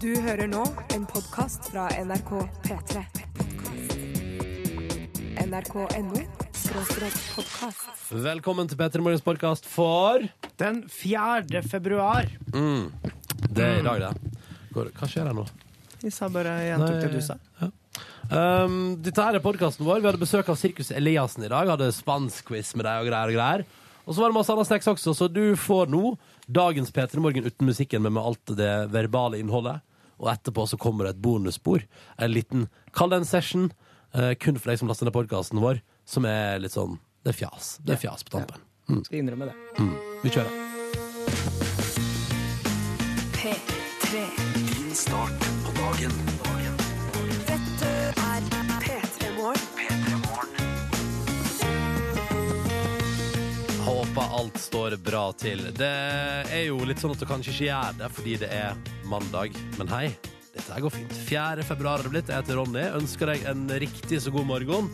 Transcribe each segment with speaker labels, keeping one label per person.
Speaker 1: Du hører nå en podkast fra NRK P3. NRK.no podkast.
Speaker 2: Velkommen til Petter Morgens podkast for
Speaker 3: Den 4. februar.
Speaker 2: Det er i dag, det. Går, hva skjer her nå?
Speaker 3: Jeg sa bare jeg gjentok det du sa.
Speaker 2: Um, dette her er podkasten vår. Vi hadde besøk av Sirkus Eliassen i dag. Hadde spanskquiz med deg og greier og greier. Og så var det masse annet snacks også, så du får nå dagens P3 Morgen uten musikken, men med alt det verbale innholdet. Og etterpå så kommer det et bonusspor. En liten Kall det en session. eh, kun for deg som laster ned podkasten vår, som er litt sånn Det er fjas. Det er fjas på tampen.
Speaker 3: Skal innrømme det.
Speaker 2: Vi kjører.
Speaker 1: P3.
Speaker 4: Din start på dagen. dagen.
Speaker 1: Dette er P3 Morgen.
Speaker 2: Håper alt står bra til. Det er jo litt sånn at du kanskje ikke gjør det fordi det er mandag, men hei. Dette her går fint. 4. februar har det blitt. Jeg heter Ronny. Ønsker deg en riktig så god morgen,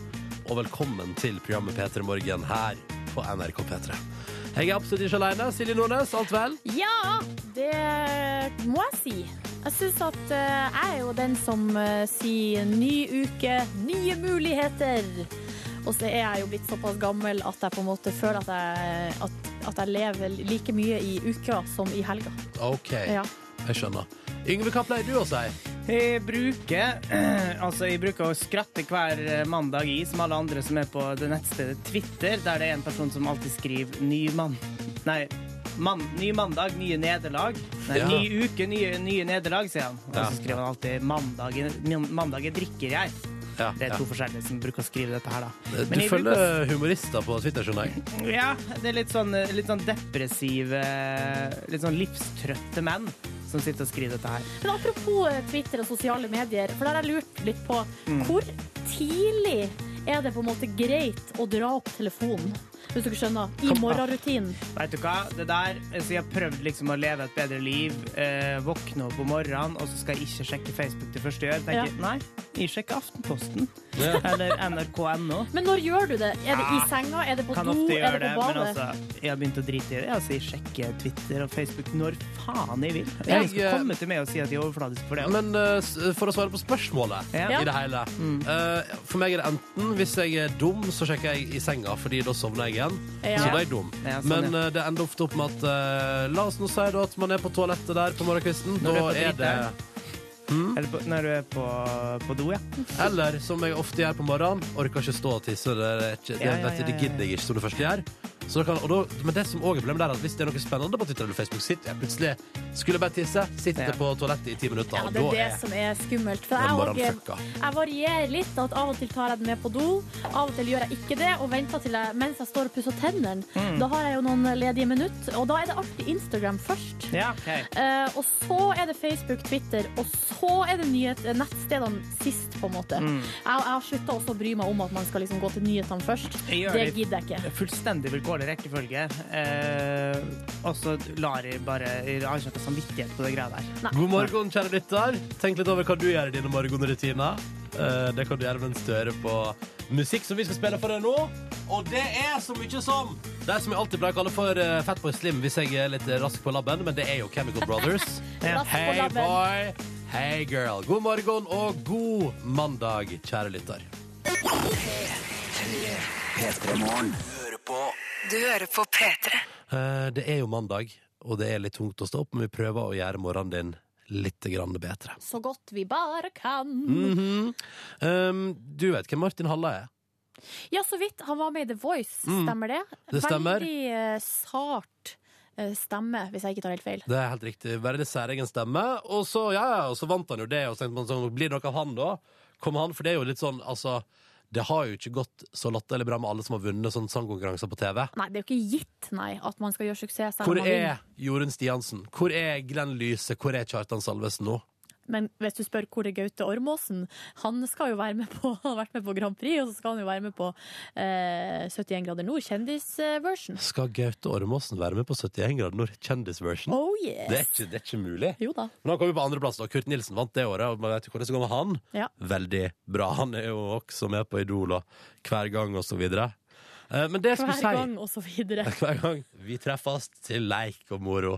Speaker 2: og velkommen til programmet P3 Morgen her på NRK P3. Jeg er absolutt ikke aleine. Silje Nordnes, alt vel?
Speaker 5: Ja, det må jeg si. Jeg syns at eh, jeg er jo den som eh, sier ny uke, nye muligheter. Og så er jeg jo blitt såpass gammel at jeg på en måte føler at jeg, at, at jeg lever like mye i uka som i helga.
Speaker 2: OK,
Speaker 5: Ja.
Speaker 2: jeg skjønner. Yngve, hva pleier du å si?
Speaker 3: Jeg bruker, altså jeg bruker å skratte hver eh, mandag i, som alle andre som er på det nettstedet Twitter, der det er en person som alltid skriver 'ny mann'. Nei, mann, 'ny mandag, nye nederlag'. Nei,
Speaker 2: Ja.
Speaker 3: 'ny uke, nye, nye nederlag', sier han. Og
Speaker 2: Ja.
Speaker 3: så skriver han alltid 'mandagen, mandagen drikker jeg'.
Speaker 2: Ja,
Speaker 3: Det er
Speaker 2: ja. Eh,
Speaker 3: to forskjellige som bruker å skrive dette her, da. Men
Speaker 2: Du
Speaker 3: jeg bruker å
Speaker 2: følger humorister på Twitter, skjønner jeg.
Speaker 3: Ja, det er litt sånn, litt sånn depressive, litt sånn livstrøtte menn som sitter og skriver dette her.
Speaker 5: Men apropos eh, Twitter og sosiale medier, for der har jeg lurt litt på
Speaker 3: Mm.
Speaker 5: hvor tidlig er det på en måte greit å dra opp telefonen? Hvis dere skjønner. I morgenrutinen.
Speaker 3: Vet du hva, det der, så jeg har prøvd liksom å leve et bedre liv, eh, våkne opp om morgenen, og så skal jeg ikke sjekke Facebook det første jeg gjør. Tenker,
Speaker 5: Ja.
Speaker 3: nei, jeg sjekker Aftenposten,
Speaker 2: Ja.
Speaker 3: eller nrk.no.
Speaker 5: Men når gjør du det? Er det i senga? Er det på
Speaker 3: Ah. Kan
Speaker 5: do?
Speaker 3: ofte
Speaker 5: Er
Speaker 3: gjøre
Speaker 5: det
Speaker 3: det,
Speaker 5: på
Speaker 3: men
Speaker 5: badet?
Speaker 3: altså, jeg har begynt å drite i det. Altså, jeg sjekker Twitter og Facebook når faen jeg vil. Jeg,
Speaker 2: Jeg,
Speaker 3: skal
Speaker 2: eh,
Speaker 3: komme til meg og si at jeg er overfladisk for det. også.
Speaker 2: Men eh, s- for å svare på spørsmålet
Speaker 3: Ja. Mm.
Speaker 2: i det hele eh, For meg er det enten hvis jeg er dum, så sjekker jeg i senga, fordi da sovner jeg igjen.
Speaker 5: Ja.
Speaker 2: Så da er jeg dum.
Speaker 3: Ja, sånn,
Speaker 2: Men
Speaker 3: ja.
Speaker 2: eh, det ender ofte opp med at eh, La oss nå si da at man er på toalettet der på morgenkvisten.
Speaker 3: Når
Speaker 2: Da
Speaker 3: du er på
Speaker 2: er det
Speaker 3: driteren.
Speaker 5: Mm.
Speaker 3: Eller på, når du er på, på do, ja.
Speaker 2: Eller som jeg ofte gjør på morgenen, orker ikke stå og tisse. Det, er ikke, det,
Speaker 3: Ja, ja,
Speaker 2: vet jeg, det
Speaker 3: ja, ja,
Speaker 2: gidder jeg ikke som det første jeg gjør. Så da kan, og da, men det som også er problemet der, er at hvis det er noe spennende på Twitter eller Facebook, sitter jeg plutselig Skulle bare tisse, sitter
Speaker 3: Ja.
Speaker 2: på toalettet i ti minutter,
Speaker 5: Ja,
Speaker 2: og
Speaker 5: det er
Speaker 2: da
Speaker 5: det
Speaker 2: er
Speaker 5: som er skummelt. For
Speaker 2: Da må
Speaker 5: jeg,
Speaker 2: den
Speaker 5: også-
Speaker 2: fucka.
Speaker 5: jeg varierer litt. At av og til tar jeg den med på do, av og til gjør jeg ikke det. Og venter til jeg, mens jeg står og pusser tennene. Da har jeg jo noen ledige minutter. Og da er det alltid Instagram først.
Speaker 3: Ja, ok.
Speaker 5: Eh, og så er det Facebook, Twitter, og så er det nyhet, eh, nettstedene sist, på en måte. Jeg, jeg har slutta også å bry meg om at man skal liksom gå til nyhetene først.
Speaker 3: Jeg gjør
Speaker 5: Det
Speaker 3: det
Speaker 5: gidder jeg ikke.
Speaker 3: fullstendig vilkårlig rekkefølge. Eh, og så lar jeg bare Jeg har ikke noe samvittighet på det greia der.
Speaker 2: God morgen, kjære lytter. Tenk litt over hva du gjør i dine morgenrutiner. Eh, Det kan du gjøre mens du hører på musikk som vi skal spille for deg nå. Og det er så mye som Det er som jeg alltid pleier å kalle for eh, Fatboy Slim hvis jeg er litt eh, rask på labben, men det er jo Chemical Brothers.
Speaker 3: Ja.
Speaker 5: Rask på
Speaker 2: Hei,
Speaker 5: labben.
Speaker 2: boy. Hei, girl. God morgen og god mandag, kjære lytter.
Speaker 4: P3morgen. Hører på
Speaker 1: Du hører på P3.
Speaker 2: Eh, Det er jo mandag, og det er litt tungt å stå opp, men vi prøver å gjøre morgenen din litt grann bedre.
Speaker 5: Så godt vi bare kan.
Speaker 2: Mhm. Um, du vet hvem Martin Halla er?
Speaker 5: Ja, så vidt. Han var med i The Voice, stemmer det?
Speaker 2: Mm. Det stemmer.
Speaker 5: Veldig eh, sart eh, stemme, hvis jeg ikke tar helt feil.
Speaker 2: Det er helt riktig. Veldig særegen stemme. Og så, ja, ja, og så vant han jo det, og så tenkte man sånn, blir det noe av han da? Kom han, for det er jo litt sånn, altså, det har jo ikke gått så latterlig bra med alle som har vunnet sånne sangkonkurranser på TV.
Speaker 5: Nei, det er jo ikke gitt, nei, at man skal gjøre suksess. selv om
Speaker 2: Hvor
Speaker 5: man vinner.
Speaker 2: er Jorunn Stiansen? Hvor er Glenn Lyse? Hvor er Kjartan Salvesen nå?
Speaker 5: Men hvis du spør hvor er Gaute Ormåsen, han skal jo være med på, han har vært med på Grand Prix, og så skal han jo være med på eh, 71 grader nord, kjendisversion.
Speaker 2: Skal Gaute Ormåsen være med på 71 grader nord kjendisversjon?
Speaker 5: Oh
Speaker 2: Det, er
Speaker 5: yes!
Speaker 2: ikke- det er ikke mulig.
Speaker 5: Jo da.
Speaker 2: Men han kom jo på andreplass, da. Kurt Nilsen vant det året, og man vet jo hvordan det går med han.
Speaker 5: Ja.
Speaker 2: Veldig bra. Han er jo også med på Idol og hver gang, og så videre. Eh, Men det jeg skulle
Speaker 5: Hver
Speaker 2: si
Speaker 5: gang, og så videre.
Speaker 2: hver gang vi treffes til leik og moro.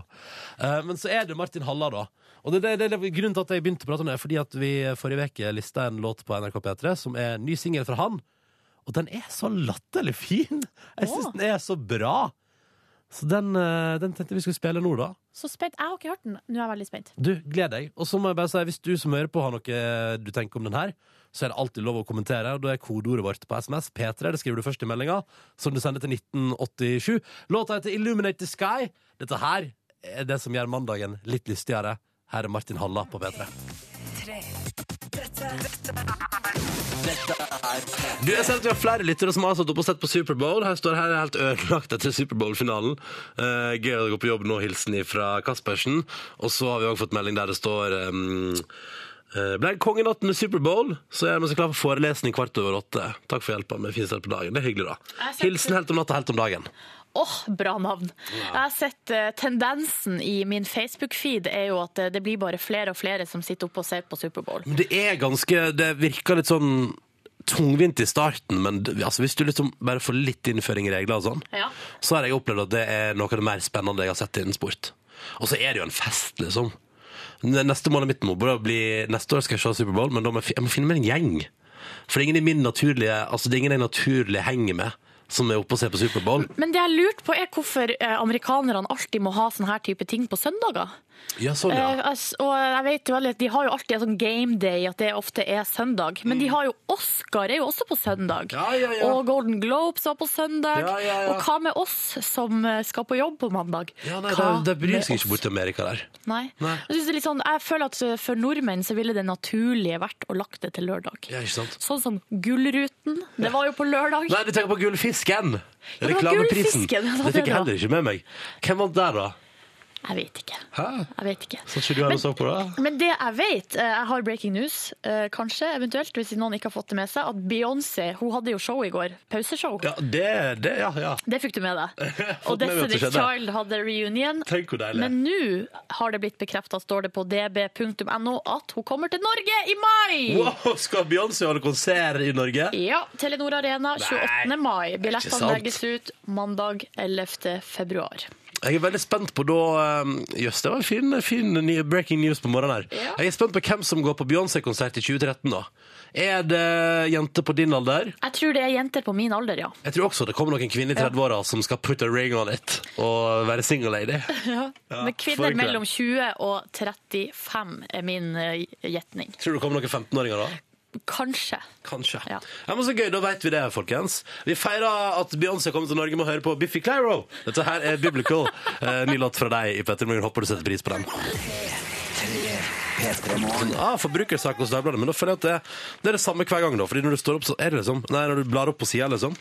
Speaker 2: Eh, men så er det Martin Halla, da. Og det, det, det, det, grunnen til at jeg begynte å prate om det, er fordi at vi forrige uke lista en låt på NRK P3 som er en ny singel fra han. Og den er så latterlig fin! Jeg syns
Speaker 5: Åh.
Speaker 2: den er så bra! Så den, eh, den tenkte vi skulle spille nå, da.
Speaker 5: Så spent. Jeg har ikke hørt den. Nå er jeg veldig spent.
Speaker 2: Du, gled deg. Og så må jeg bare si, hvis du som hører på har noe eh, du tenker om den her, så er det alltid lov å kommentere. og Da er kodeordet vårt på SMS P3. Det skriver du først i meldinga, som du sender til 1987. Låta heter 'Illuminate the Sky'. Dette her er det som gjør mandagen litt lystigere. Her er Martin Halla på P3. Du, jeg ser at vi har flere lyttere som har satt opp og sett på Superbowl. Her står her er helt ødelagt etter Superbowl-finalen. Eh, gøy å gå på jobb nå, hilsen fra Kaspersen. Og så har vi også fått melding der det står um, eh, Ble det kongenatten med Superbowl, så er vi så klar for forelesning kvart over åtte. Takk for hjelpa med fin start på dagen. Det er hyggelig, da.
Speaker 5: Jeg setter-
Speaker 2: Hilsen helt om natta, helt om dagen.
Speaker 5: Åh, bra navn. Jeg har sett eh, tendensen i min Facebook-feed er jo at eh, det blir bare flere og flere som sitter oppe og ser på Superbowl.
Speaker 2: Men det er ganske Det virker litt sånn tungvint i starten, men det- altså, hvis du liksom bare får litt innføring i regler og sånn,
Speaker 5: Ja.
Speaker 2: så har jeg opplevd at det er noe av det mer spennende jeg har sett innen sport. Og så er det jo en fest, liksom. Ne- Neste mål er mitt må bare bli Neste år skal jeg se Superbowl, men da må jeg, fi- jeg må finne meg en gjeng. For det er ingen i min naturlige Altså det er ingen jeg naturlig henger med, som er oppe og ser på Superbowl.
Speaker 5: Men det jeg lurte på er hvorfor eh, amerikanerne alltid må ha sånne her type ting på søndager.
Speaker 2: Ja, sånn,
Speaker 5: Eh,
Speaker 2: ja.
Speaker 5: ass- og jeg vet jo veldig, at De har jo alltid en sånn game day, at det ofte er søndag. Men de har jo Oscar er jo også på søndag.
Speaker 2: Mm. Ja, ja, ja.
Speaker 5: Og Golden Globes var på søndag.
Speaker 2: Ja, ja, ja.
Speaker 5: Og hva med oss som eh, skal på jobb på mandag?
Speaker 2: ja nei,
Speaker 5: Hva
Speaker 2: de, de bryr
Speaker 5: med
Speaker 2: seg
Speaker 5: oss?
Speaker 2: ikke bort til Amerika der.
Speaker 5: Nei.
Speaker 2: Nei.
Speaker 5: Jeg, synes det er litt sånn, jeg føler at eh, for nordmenn så ville det naturlige vært å lagt det til lørdag.
Speaker 2: Ja, ikke sant?
Speaker 5: Sånn som Gullruten. Det var jo på lørdag.
Speaker 2: Nei, du tenker på Gullfisken!
Speaker 5: Ja, det var
Speaker 2: Reklameprisen.
Speaker 5: Gullfisken, det var
Speaker 2: Det fikk
Speaker 5: det
Speaker 2: jeg
Speaker 5: da.
Speaker 2: heller ikke med meg. Hvem vant der, da?
Speaker 5: Jeg vet ikke.
Speaker 2: Hæ?
Speaker 5: Jeg vet ikke.
Speaker 2: Satt ikke du her og så på det?
Speaker 5: Men det jeg vet, eh, jeg har breaking news, eh, kanskje, eventuelt, hvis noen ikke har fått det med seg, at Beyoncé hun hadde jo show i går. Pauseshow.
Speaker 2: Ja, det, det ja, ja.
Speaker 5: Det fikk du med deg. Og
Speaker 2: med meg at det
Speaker 5: Destiny's
Speaker 2: skjedde.
Speaker 5: Child hadde reunion.
Speaker 2: Tenk hvor deilig.
Speaker 5: Men nå har det blitt bekrefta, står det på db.no, at hun kommer til Norge i mai!
Speaker 2: Wow, skal Beyoncé holde konsert i Norge?
Speaker 5: Ja, Telenor Arena 28.
Speaker 2: Nei,
Speaker 5: mai.
Speaker 2: ikke sant.
Speaker 5: Billettene legges ut mandag 11. februar.
Speaker 2: Jeg er veldig spent på da um, Jøss, det var en fin, fin ny breaking news på morgenen her.
Speaker 5: Ja.
Speaker 2: Jeg er spent på hvem som går på Beyoncé-konsert i 2013, da. Er det jenter på din alder?
Speaker 5: Jeg tror det er jenter på min alder, ja.
Speaker 2: Jeg tror også det kommer noen kvinner i 30-åra som skal put a ring on it og være single lady. Ja,
Speaker 5: Men
Speaker 2: får
Speaker 5: kvinner
Speaker 2: ikke det.
Speaker 5: mellom 20 og 35 er min eh, gjetning.
Speaker 2: Tror du det kommer noen 15-åringer da?
Speaker 5: Kanskje.
Speaker 2: Kanskje. Ja.
Speaker 5: Ja.
Speaker 2: men så gøy, da vet vi det, folkens. Vi feirer at Beyoncé kommer til Norge med å høre på Biffy Clyro. Dette her er Biblical. Eh, ny låt fra deg i Petter Morgen. Håper du setter pris på den.
Speaker 4: P3morgen.
Speaker 2: Ah, forbrukersak hos Dagbladet, men da føler jeg at det, det er det samme hver gang, da. Fordi når du står opp, så er det liksom Nei, når du blar opp på sida, liksom,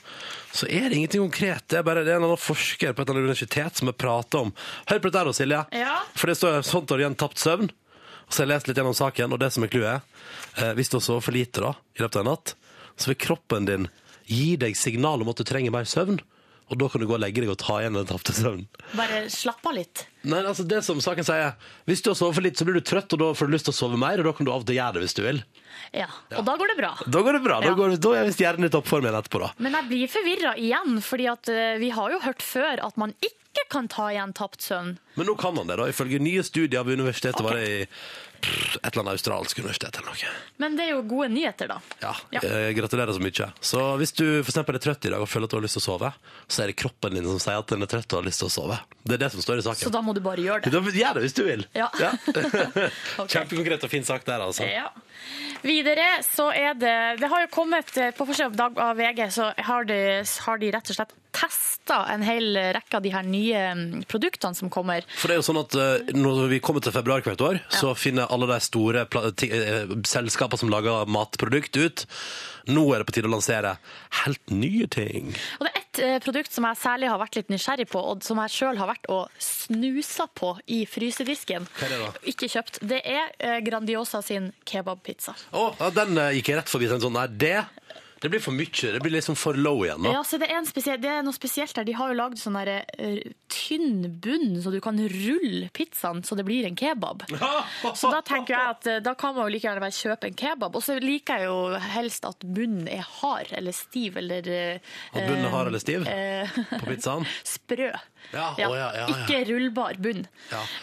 Speaker 2: så er det ingenting konkret. Det er bare det er en eller annen forsker på et eller annet universitet som har prata om Hør på dette her da, Silje.
Speaker 5: Ja.
Speaker 2: For det står sånt har du igjen tapt søvn. Og så har jeg lest litt gjennom saken, og det som er clouet, er eh, hvis du har sovet for lite da, i løpet av en natt, så vil kroppen din gi deg signal om at du trenger mer søvn. Og da kan du gå og legge deg og ta igjen den tapte søvnen.
Speaker 5: Bare slapp av litt.
Speaker 2: Nei, altså det som saken sier Hvis du har sovet for litt, så blir du trøtt Og da får du lyst til å sove mer, og da kan du av og til gjøre det hvis du vil
Speaker 5: Ja. Og da går det bra.
Speaker 2: Da går det bra, da,
Speaker 5: Ja.
Speaker 2: går, da er visst hjernen i toppform igjen etterpå da
Speaker 5: Men jeg blir forvirra igjen, fordi at eh, vi har jo hørt før at man ikke kan ta igjen tapt søvn.
Speaker 2: Men nå kan man det da, ifølge nye studier ved universitetet
Speaker 5: Ok.
Speaker 2: Var det i pff, et eller annet australsk universitet eller noe
Speaker 5: Men det er jo gode nyheter, da.
Speaker 2: Ja,
Speaker 5: Ja.
Speaker 2: Eh, gratulerer så mye Så hvis du for eksempel er trøtt i dag og føler at du har lyst til å sove Så er det kroppen din som sier at den er trøtt og har lyst til å sove Det er det som står i
Speaker 5: Så
Speaker 2: saken
Speaker 5: da må du bare gjøre det.
Speaker 2: Da Gjør det hvis du vil
Speaker 5: Ja. Ok.
Speaker 2: Kjempekonkret og fin sak der altså
Speaker 5: Ja. Videre så er det Det har jo kommet eh, på forsiden av Dag av VG, så har de, har de rett og slett testa en hel rekke av de her nye mm, produktene som kommer.
Speaker 2: For det er jo sånn at eh, når vi kommer til februar hvert år, så finner alle de store pla- ti- eh, selskapene som lager matprodukt ut. Nå er det på tide å lansere helt nye ting.
Speaker 5: Og det er ett eh, produkt som jeg særlig har vært litt nysgjerrig på, og som jeg sjøl har vært og snusa på i frysedisken.
Speaker 2: Hva er det da?
Speaker 5: Ikke kjøpt. Det er eh, Grandiosa sin kebabpizza.
Speaker 2: Å, ja, den eh, gikk jeg rett forbi. Sånn, sånn, nei, det Det blir for mye. Det blir liksom for low igjen. da.
Speaker 5: Ja, så det, er en spesiell, det er noe spesielt der. De har jo lagd sånn der, eh, tynn bunn, så du kan rulle pizzaen så det blir en kebab. Så da tenker jeg at eh, da kan man jo like gjerne bare kjøpe en kebab. Og så liker jeg jo helst at bunnen er hard eller stiv eller eh,
Speaker 2: At bunnen er hard eller stiv?
Speaker 5: eh,
Speaker 2: På pizzaen?
Speaker 5: Sprø.
Speaker 2: Ja, å ja, ja, ja.
Speaker 5: Ikke rullbar bunn.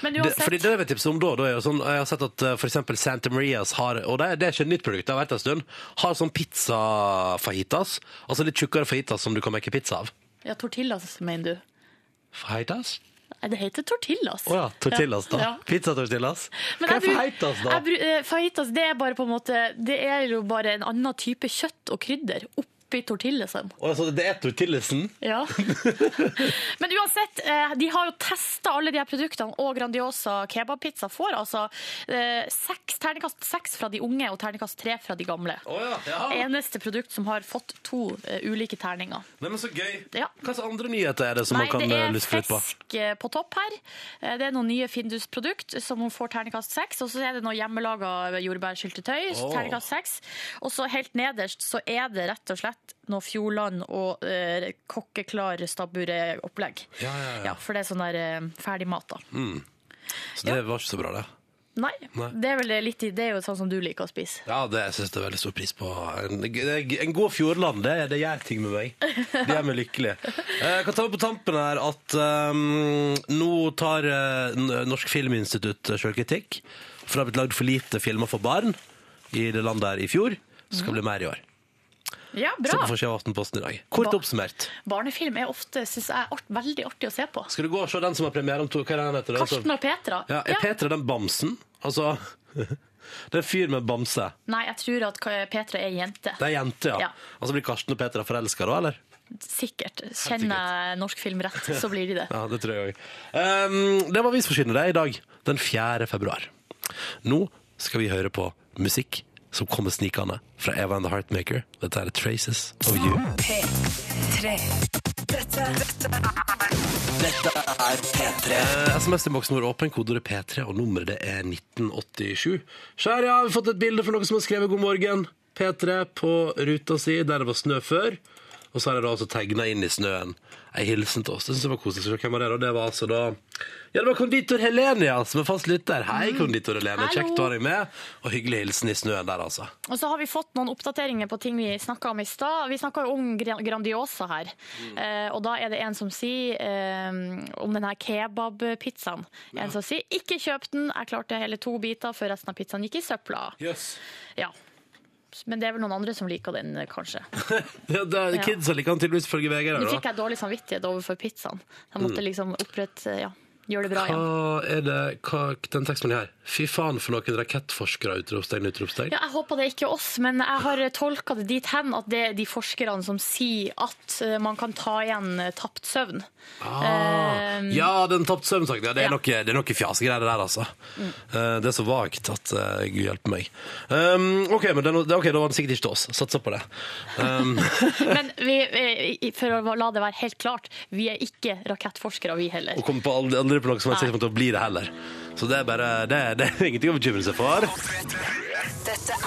Speaker 5: Men
Speaker 2: Det, fordi
Speaker 5: uansett
Speaker 2: det vil jeg tipse om da, da er jo sånn, Jeg har sett at eh, for eksempel Santa Marias har Og det, er- det er ikke et nytt produkt, det har vært en stund Har sånn pizza fajitas Altså litt tjukkere fajitas som du kan make pizza av
Speaker 5: Ja, tortillas, mener du.
Speaker 2: Fajitas?
Speaker 5: Nei, det heter tortillas.
Speaker 2: Åja, tortillas da
Speaker 5: Ja.
Speaker 2: Pizza tortillas
Speaker 5: Men
Speaker 2: Hva er
Speaker 5: jeg bruk-
Speaker 2: fajitas da?
Speaker 5: jeg bru- eh, fajitas, det er bare på en måte Det er jo bare en annen type kjøtt og krydder oppi tortillasen.
Speaker 2: Åja, så det er tortillesen
Speaker 5: Ja. Men uansett, eh, de har jo testa alle de her produktene, og Grandiosa kebabpizza får altså eh, seks, terningkast seks fra de unge og terningkast tre fra de gamle.
Speaker 2: Åja, ja
Speaker 5: Eneste produkt som har fått to eh, ulike terninger.
Speaker 2: Nei, men så gøy
Speaker 5: Ja.
Speaker 2: Hva slags andre nyheter er det som
Speaker 5: Nei,
Speaker 2: man kan
Speaker 5: det
Speaker 2: eh,
Speaker 5: er
Speaker 2: lyst til å flytte på?
Speaker 5: fisk eh, på topp her. Eh, Det er noen nye Findus-produkt som hun får terningkast seks. Og så er det noe hjemmelaga jordbærsyltetøy.
Speaker 2: Åh.
Speaker 5: Terningkast seks. Og så helt nederst så er det rett og slett noe Fjordland og eh, kokkeklar stabbureopplegg.
Speaker 2: Ja, ja, ja.
Speaker 5: for det er sånn der eh, ferdigmat, da.
Speaker 2: Så det var ikke så bra det
Speaker 5: Nei,
Speaker 2: Nei.
Speaker 5: Det, er vel litt, i- det er jo sånn som du liker å spise.
Speaker 2: Ja, det jeg synes jeg det er veldig stor pris på. En, en god fjordland, det, det gjør ting med meg. Det gjør meg lykkelig. Jeg kan ta opp på tampen her at ehm, nå tar eh, N- Norsk Filminstitutt selvkritikk. For det har blitt lagd for lite filmer for barn i det landet her i fjor. Det skal bli mer i år.
Speaker 5: Mhm. Ja,
Speaker 2: Se på
Speaker 5: bra!
Speaker 2: forsida av Aftenposten i dag. Kort
Speaker 5: Ba-
Speaker 2: oppsummert.
Speaker 5: Barnefilm er ofte, synes jeg, art, veldig artig å se på.
Speaker 2: Skal du gå og se den som har premiere om to Hva er den heter? Den som-
Speaker 5: Karsten og Petra.
Speaker 2: Ja, er Petra den bamsen? Altså Det er en fyr med bamse.
Speaker 5: Nei, jeg tror at Ka- Petra er jente.
Speaker 2: Det er ei jente, ja.
Speaker 5: Ja.
Speaker 2: Og så blir Karsten og Petra forelska da, eller?
Speaker 5: Sikkert. Kjenner jeg norsk film rett, så blir de det.
Speaker 2: Ja, det tror jeg òg. Um, det var avisforsiden i dag, den 4. februar. Nå skal vi høre på musikk som kommer snikende fra Eva and the Heartmaker. Dette er Traces of You.
Speaker 4: er P3.
Speaker 2: Eh, SMS-innboksen vår er åpen, kodeordet P3, og nummeret det er 1987. Skjær, ja, vi har fått et bilde fra noen som har skrevet 'God morgen'. P3 på ruta si, der det var snø før. Og så har jeg da altså tegna inn i snøen ei hilsen til oss. Det synes jeg var koselig. Så Hvem var det, da? Det var altså da Ja, det var konditor Helenia som er fast lytter. Hei, konditor Helene.
Speaker 5: Mm. Hallo.
Speaker 2: Kjekt å ha deg med. Og hyggelig hilsen i snøen der, altså.
Speaker 5: Og så har vi fått noen oppdateringer på ting vi snakka om i stad. Vi snakka jo om Gra- Grandiosa her,
Speaker 2: Mm.
Speaker 5: eh, og da er det en som sier eh, om den her kebabpizzaen. En som sier 'ikke kjøp den', jeg klarte hele to biter før resten av pizzaen gikk i søpla.
Speaker 2: Jøss.
Speaker 5: Ja. Men det er vel noen andre som liker den, eh, kanskje.
Speaker 2: Ja, det er
Speaker 5: Ja.
Speaker 2: kidsa liker han tydeligvis ifølge VG. der,
Speaker 5: Nå
Speaker 2: da.
Speaker 5: fikk jeg dårlig samvittighet overfor pizzaen. Jeg måtte liksom opprette Ja, gjøre det bra igjen.
Speaker 2: Mm. Hva er det hva, Den tekstmeldingen her. Fy faen for noen rakettforskere! Utropstegn, utropstegn.
Speaker 5: Ja, jeg håper det ikke er oss, men jeg har tolka det dit hen at det er de forskerne som sier at eh, man kan ta igjen eh, tapt søvn.
Speaker 2: Ah,
Speaker 5: Ehm,
Speaker 2: ja, den tapte søvnsaken. Ja, det, er
Speaker 5: ja.
Speaker 2: noe- det er noe fjasegreier der, altså. Eh, det er så vagt at eh, Gud hjelpe meg. Um, OK, men den, ok, da var den sikkert ikke til oss. Satser på det. Um,
Speaker 5: Men vi, eh, for å la det være helt klart, vi er ikke rakettforskere, vi heller.
Speaker 2: og kommer på aldri, aldri på noe som helst
Speaker 5: Nei.
Speaker 2: tidspunkt til å bli det heller. Så det er bare Det, det er ingenting å bekymre seg for.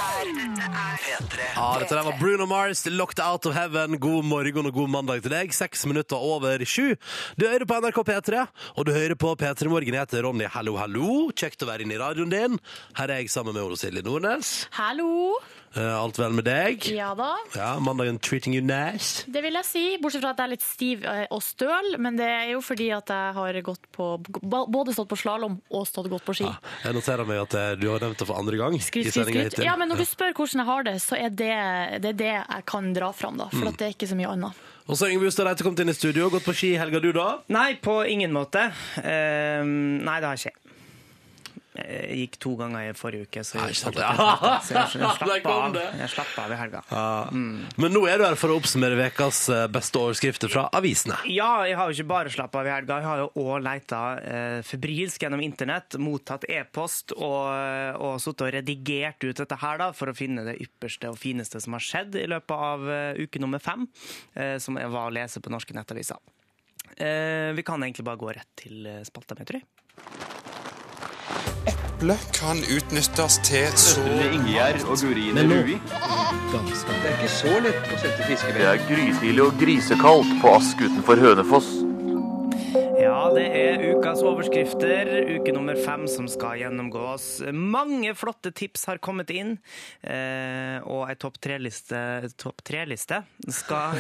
Speaker 4: P3.
Speaker 2: Ja, dette der var Bruno Mars, Locked Out of Heaven. God morgen og god mandag til deg. Seks minutter over sju. Du hører på NRK P3, og du hører på P3 Morgen. Jeg heter Ronny. Hallo, hallo. Kjekt å være inne i radioen din. Her er jeg sammen med Ole Silje Nordnes.
Speaker 5: Hallo!
Speaker 2: Eh, Alt vel med deg?
Speaker 5: Ja da.
Speaker 2: Ja, mandagen treating you nice.
Speaker 5: Det vil jeg si, bortsett fra at jeg er litt stiv eh, og støl. Men det er jo fordi at jeg har gått på, både stått på slalåm og stått godt på ski.
Speaker 2: Ja, jeg noterer meg at eh, du har nevnt det for andre gang. Ah,
Speaker 5: Skryt,
Speaker 2: i
Speaker 5: skryt,
Speaker 2: sendingen
Speaker 5: skryt.
Speaker 2: hittil.
Speaker 5: Ja, men når du spør hvordan jeg har det, så er det det, er det jeg kan dra fram, da. For at det er ikke så mye annet.
Speaker 2: Og så har Yngve Ustad Reite kommet inn i studio. Gått på ski i helga, du, da?
Speaker 3: Nei, på ingen måte. Eh, nei, det har ikke jeg. Jeg gikk to ganger i forrige uke, så
Speaker 2: Nei,
Speaker 3: jeg,
Speaker 2: ikke sant?
Speaker 3: slapp,
Speaker 2: Ja.
Speaker 3: så jeg, jeg,
Speaker 2: Der
Speaker 3: slapp
Speaker 2: kom
Speaker 3: av.
Speaker 2: det.
Speaker 3: jeg slapp av i helga.
Speaker 2: Men nå er du her for å oppsummere ukas eh, beste overskrifter fra avisene.
Speaker 3: Ja, jeg har jo ikke bare slappet av i helga. Jeg har jo òg leita eh, febrilsk gjennom internett, mottatt e-post og, og sittet og redigert ut dette her da, for å finne det ypperste og fineste som har skjedd i løpet av eh, uke nummer fem, eh, som jeg var å lese på norske nettaviser. Eh, vi kan egentlig bare gå rett til eh, spalta mi, tror jeg.
Speaker 6: eple kan utnyttes til så
Speaker 7: Ingjerd og Gurine
Speaker 2: Men nå-
Speaker 7: Rui.
Speaker 4: Det er ikke så lett å sette
Speaker 7: Det
Speaker 4: fiskebelg.
Speaker 7: er grytidlig og grisekaldt på Ask utenfor Hønefoss.
Speaker 3: Ja, det er ukas overskrifter, uke nummer fem, som skal gjennomgås. Mange flotte tips har kommet inn, eh, og ei topp tre-liste Topp tre-liste skal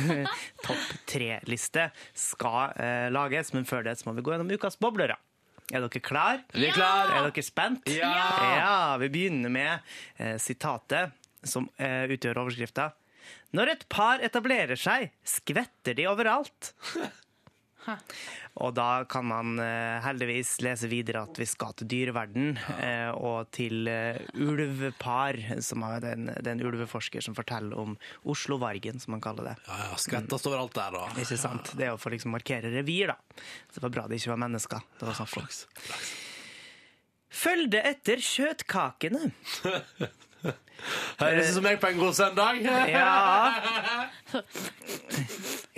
Speaker 3: Topp tre-liste skal eh, lages, men før det så må vi gå gjennom ukas boblere. Er dere klar?
Speaker 2: Vi er klar!
Speaker 3: Er dere spent?
Speaker 2: Ja!
Speaker 3: Ja, Vi begynner med eh, sitatet som eh, utgjør overskrifta. Når et par etablerer seg, skvetter de overalt. Og da kan man eh, heldigvis lese videre at vi skal til dyreverden eh, og til eh, ulvepar, som er den, den ulveforsker som forteller om Oslovargen, som man kaller det.
Speaker 2: Ja, ja, skvettast overalt der, da.
Speaker 3: Ikke sant? Det er jo for liksom å markere revir, da. Så det var bra det ikke var mennesker. Det var sånn flaks. Følg det etter kjøttkakene.
Speaker 2: Høres ut som meg på en god søndag.
Speaker 3: Ja. Ja,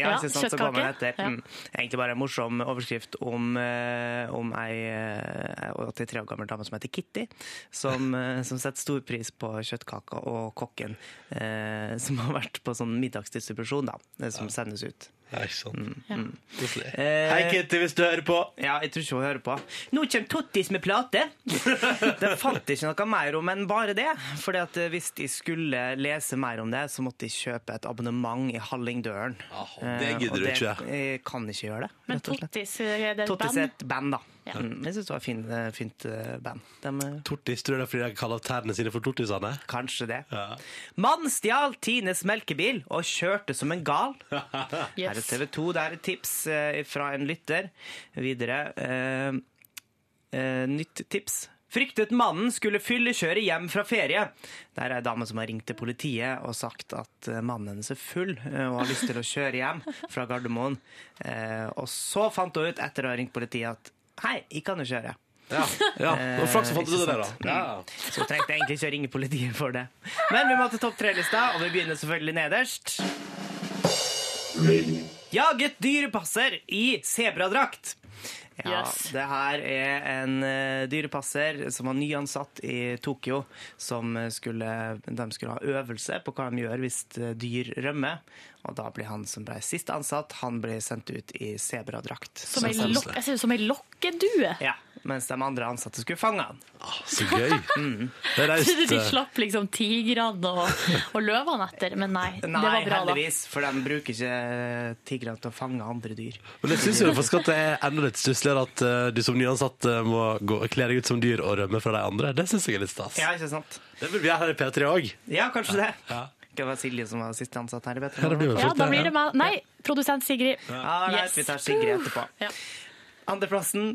Speaker 5: Ja,
Speaker 3: ikke sant, så går man
Speaker 5: kjøttkake.
Speaker 3: etter. Mm. Egentlig bare en morsom overskrift om, eh, om ei eh, 83 år gammel dame som heter Kitty, som, eh, som setter stor pris på kjøttkaker og kokken eh, som har vært på sånn middagsdistribusjon, da, eh, som sendes ut.
Speaker 2: Nei, ikke sant. sånn. Mm. Koselig.
Speaker 3: Eh,
Speaker 2: Hei, Kitty, hvis du hører på.
Speaker 3: Ja, jeg tror ikke hun hører på. Nå kommer Tottis med plate! Det fant jeg ikke noe mer om enn bare det. Fordi at eh, hvis jeg skulle lese mer om det, så måtte jeg kjøpe et abonnement i Hallingdølen.
Speaker 2: Ah, det
Speaker 3: Eh,
Speaker 2: gidder
Speaker 3: og
Speaker 2: du
Speaker 3: det-
Speaker 2: ikke.
Speaker 3: Jeg kan ikke gjøre det.
Speaker 5: Men
Speaker 3: rett og slett.
Speaker 5: Tottis, er det et
Speaker 3: Tottis er
Speaker 5: band?
Speaker 3: et band, da.
Speaker 5: Ja.
Speaker 3: Mm, jeg syns det var et fin, eh, fint eh, band. Dem, eh,
Speaker 2: Tortis, tror jeg det er fordi jeg kaller tærne sine for tortisene.
Speaker 3: kanskje det.
Speaker 2: Ja.
Speaker 3: Mann stjal Tines melkebil og kjørte som en gal. Her er
Speaker 5: Yes.
Speaker 3: TV 2. Det er et tips eh, fra en lytter. Videre. eh, eh, nytt tips. Fryktet mannen skulle fyllekjøre hjem fra ferie. Det er ei dame som har ringt til politiet og sagt at eh, mannen hennes er full eh, og har lyst til å kjøre hjem fra Gardermoen. Eh, og så fant hun ut, etter å ha ringt politiet, at hei, jeg kan jo kjøre.
Speaker 2: Ja, ja. Det var flaks å fant ut det der, da.
Speaker 3: Så trengte jeg egentlig ikke å ringe politiet for det. Men vi må til topp tre-lista, og vi begynner selvfølgelig nederst. Jaget dyrepasser i sebradrakt. Ja,
Speaker 5: Yes.
Speaker 3: det her er en eh, dyrepasser som var nyansatt i Tokyo. Som eh, skulle, de skulle ha øvelse på hva de gjør hvis eh, dyr rømmer. Og da blir han som ble sist ansatt, han ble sendt ut i sebradrakt.
Speaker 5: Som ei lok- Jeg ser ut som ei lokkedue.
Speaker 3: Ja, mens de andre ansatte skulle fange han.
Speaker 2: Så gøy. Det er
Speaker 5: Trodde
Speaker 2: reist.
Speaker 5: de
Speaker 2: eh,
Speaker 5: slapp liksom tigrene og, og løvene etter, men nei. det
Speaker 3: Nei,
Speaker 5: var bra, da.
Speaker 3: heldigvis, for de bruker ikke eh, tigrene til å fange andre dyr.
Speaker 2: Men jeg syns jo faktisk at det er enda litt stussligere at eh, du som nyansatt eh, må gå, kle deg ut som dyr og rømme fra de andre. Det syns jeg er litt stas.
Speaker 3: Ja, ikke sant?
Speaker 2: Det vil vi gjøre her i P3 òg.
Speaker 3: Ja, kanskje det.
Speaker 2: Ja.
Speaker 3: Det var Silje som var siste ansatt her i Petra.
Speaker 2: Ja, det blir vel
Speaker 5: Ja,
Speaker 2: fint,
Speaker 5: da blir det meg. Nei, produsent Sigrid.
Speaker 3: Ja, nei,
Speaker 5: Yes.
Speaker 3: Vi tar Sigrid etterpå.
Speaker 5: Ja.
Speaker 3: Andreplassen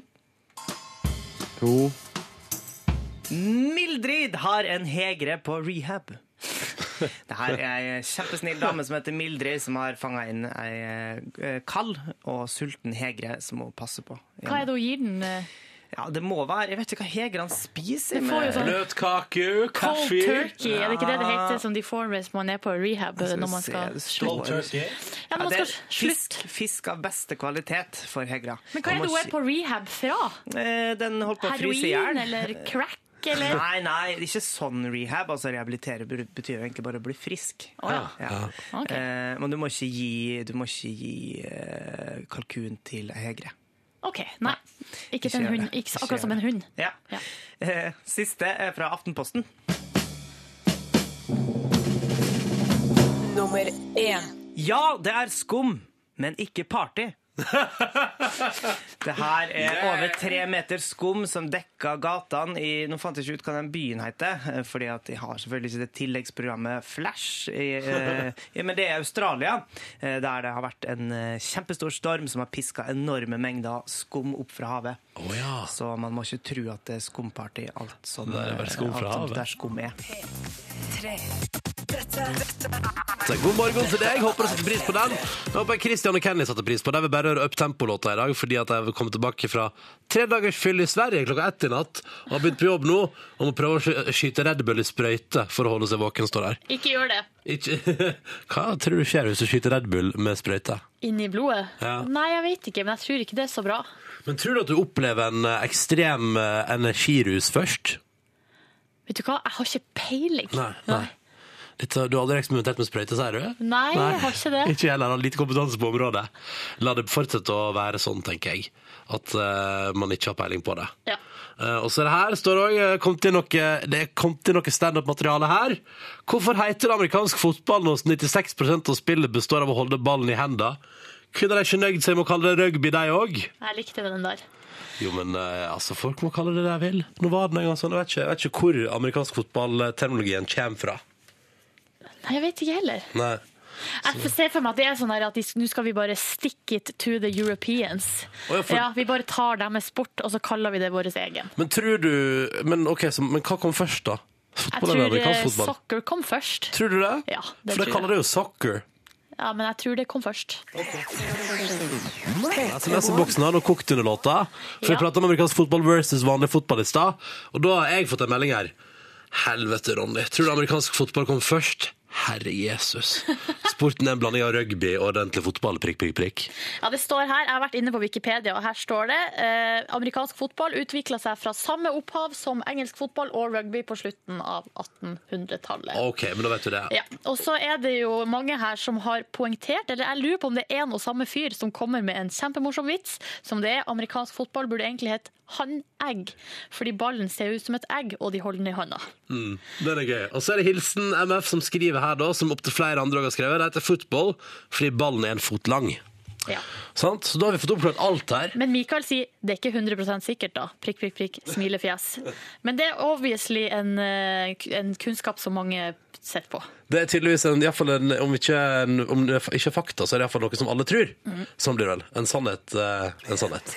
Speaker 8: To.
Speaker 3: Mildrid har en hegre på rehab. Det her er ei kjempesnill dame som heter Mildrid, som har fanga inn ei eh, kald og sulten hegre som hun passer på.
Speaker 5: Hva er det hun gir den? eh,
Speaker 3: Ja, det må være Jeg vet ikke hva hegrene spiser.
Speaker 5: Det får jo
Speaker 3: men-
Speaker 5: sånn
Speaker 2: Bløtkake,
Speaker 5: cold
Speaker 2: kaffe
Speaker 5: turkey, er det ikke det det heter som de får hvis man er på rehab eh,
Speaker 3: Skal vi
Speaker 5: når man
Speaker 3: se,
Speaker 5: skal
Speaker 3: det står-
Speaker 5: Ja, når
Speaker 3: Ja,
Speaker 5: man skal
Speaker 3: det er
Speaker 5: slutte.
Speaker 3: Fisk, fisk av beste kvalitet for Hegra.
Speaker 5: Men hva er det hun er på rehab fra?
Speaker 3: Eh, Den holdt på å fryse i
Speaker 5: Heroin
Speaker 3: hjel.
Speaker 5: eller crack eller
Speaker 3: Nei, nei, ikke sånn rehab. Altså Rehabilitere br- betyr jo egentlig bare å bli frisk.
Speaker 5: Å ja.
Speaker 3: Ja.
Speaker 5: Ok.
Speaker 3: Eh, men du må ikke gi, du må ikke gi eh, kalkun til ei hegre.
Speaker 5: OK. Nei. Ikke, til en
Speaker 3: gjør
Speaker 5: hund.
Speaker 3: det.
Speaker 5: Ikke så-
Speaker 3: Ikke
Speaker 5: akkurat som
Speaker 3: gjør
Speaker 5: en hund.
Speaker 3: Ja.
Speaker 5: Ja.
Speaker 3: Eh, siste er fra Aftenposten.
Speaker 1: Nummer én.
Speaker 3: Ja, det er skum, men ikke party. det her er over tre meter skum som dekka gatene i Nå fant jeg ikke ut hva den byen heter, eh, fordi at de har selvfølgelig ikke det tilleggsprogrammet Flash. I, eh, ja, men det er Australia, eh, der det har vært en eh, kjempestor storm som har piska enorme mengder skum opp fra havet.
Speaker 2: Å ja.
Speaker 3: Så man må ikke tro at det er skumparty alt som eh,
Speaker 2: Det er bare skum fra
Speaker 3: alt som-
Speaker 2: havet.
Speaker 3: der skum er.
Speaker 2: Så god morgen til deg. Håper du setter pris på den. Jeg håper Christian og Kenny setter pris på den. Jeg vil bare høre Uptempo-låta i dag, fordi at jeg vil komme tilbake fra tre dagers fyll i Sverige klokka ett i natt. Og har begynt på jobb nå og må prøve å sky- skyte Red Bull i sprøyte for å holde seg våken, står der.
Speaker 5: Ikke gjør det.
Speaker 2: Ikke Hva tror du skjer hvis du skyter Red Bull med sprøyte?
Speaker 5: Inni blodet?
Speaker 2: Ja.
Speaker 5: Nei, jeg vet ikke, men jeg tror ikke det er så bra.
Speaker 2: Men tror du at du opplever en eh, ekstrem eh, energirus først?
Speaker 5: Vet du hva, jeg har ikke peiling.
Speaker 2: Nei, nei. Dette, du har aldri eksperimentert med sprøyte, sier du?
Speaker 5: Nei, jeg har ikke det.
Speaker 2: Ikke jeg heller. Har lite kompetanse på området. La det fortsette å være sånn, tenker jeg. At eh, man ikke har peiling på det.
Speaker 5: Ja.
Speaker 2: Eh, og så er det her står det òg kom til noe, Det er kommet inn noe standup-materiale her. Hvorfor heter det amerikansk fotball når 96 av spillet består av å holde ballen i hendene? Kunne de ikke nøyd seg med å kalle det rugby, de òg?
Speaker 5: Jeg likte den der.
Speaker 2: Jo, men eh, altså, folk må kalle det det de vil. Nå var det en gang sånn. Jeg vet ikke, jeg vet ikke hvor amerikansk fotballterminologien kommer fra.
Speaker 5: Nei, jeg vet ikke heller.
Speaker 2: Nei.
Speaker 5: Jeg får se for meg at det er sånn her at de- nå skal vi bare stick it to the Europeans.
Speaker 2: Å, ja, for-
Speaker 5: Ja, vi bare tar deres sport, og så kaller vi det vår egen.
Speaker 2: Men tror du Men, ok, så, men hva kom først, da?
Speaker 5: Jeg
Speaker 2: Fotball eller
Speaker 5: tror eh,
Speaker 2: amerikansk fotball?
Speaker 5: soccer kom først.
Speaker 2: Tror du det?
Speaker 5: Ja,
Speaker 2: For
Speaker 5: det tror
Speaker 2: de kaller det jo soccer.
Speaker 5: Ja, men jeg tror det kom først.
Speaker 2: SMS-boksen har nå kokt under låta. For vi
Speaker 5: Ja.
Speaker 2: pratet om amerikansk fotball versus vanlig fotball i stad. Og da har jeg fått en melding her. Helvete, Ronny. Tror du amerikansk fotball kom først? Herre Jesus. Sporten er en blanding av rugby og ordentlig fotball. Prikk, prikk, prikk.
Speaker 5: Ja, det står her, Jeg har vært inne på Wikipedia, og her står det eh, amerikansk fotball utvikla seg fra samme opphav som engelsk fotball og rugby på slutten av 1800-tallet.
Speaker 2: OK, men da vet du det.
Speaker 5: Ja, og så er det jo mange her som har poengtert, eller jeg lurer på om det er en og samme fyr som kommer med en kjempemorsom vits, som det er amerikansk fotball burde egentlig hett han-egg, fordi ballen ser ut som et egg, og de holder den i hånda.
Speaker 2: Den er gøy. Og så er det Hilsen MF som skriver her, da, som opptil flere andre også har skrevet. Det heter football fordi ballen er en fot lang.
Speaker 5: Ja.
Speaker 2: Sant? Så da har vi fått oppklart alt her.
Speaker 5: Men Mikael sier det er ikke 100 sikkert, da. Prikk, prikk, prikk, smilefjes. Men det er obviously en, eh, en kunnskap som mange setter på.
Speaker 2: Det er tydeligvis en, i hvert fall en, om, ikke, en, om det ikke er fakta, så er det iallfall noe som alle tror. Sånn blir det vel. En sannhet. eh, En sannhet.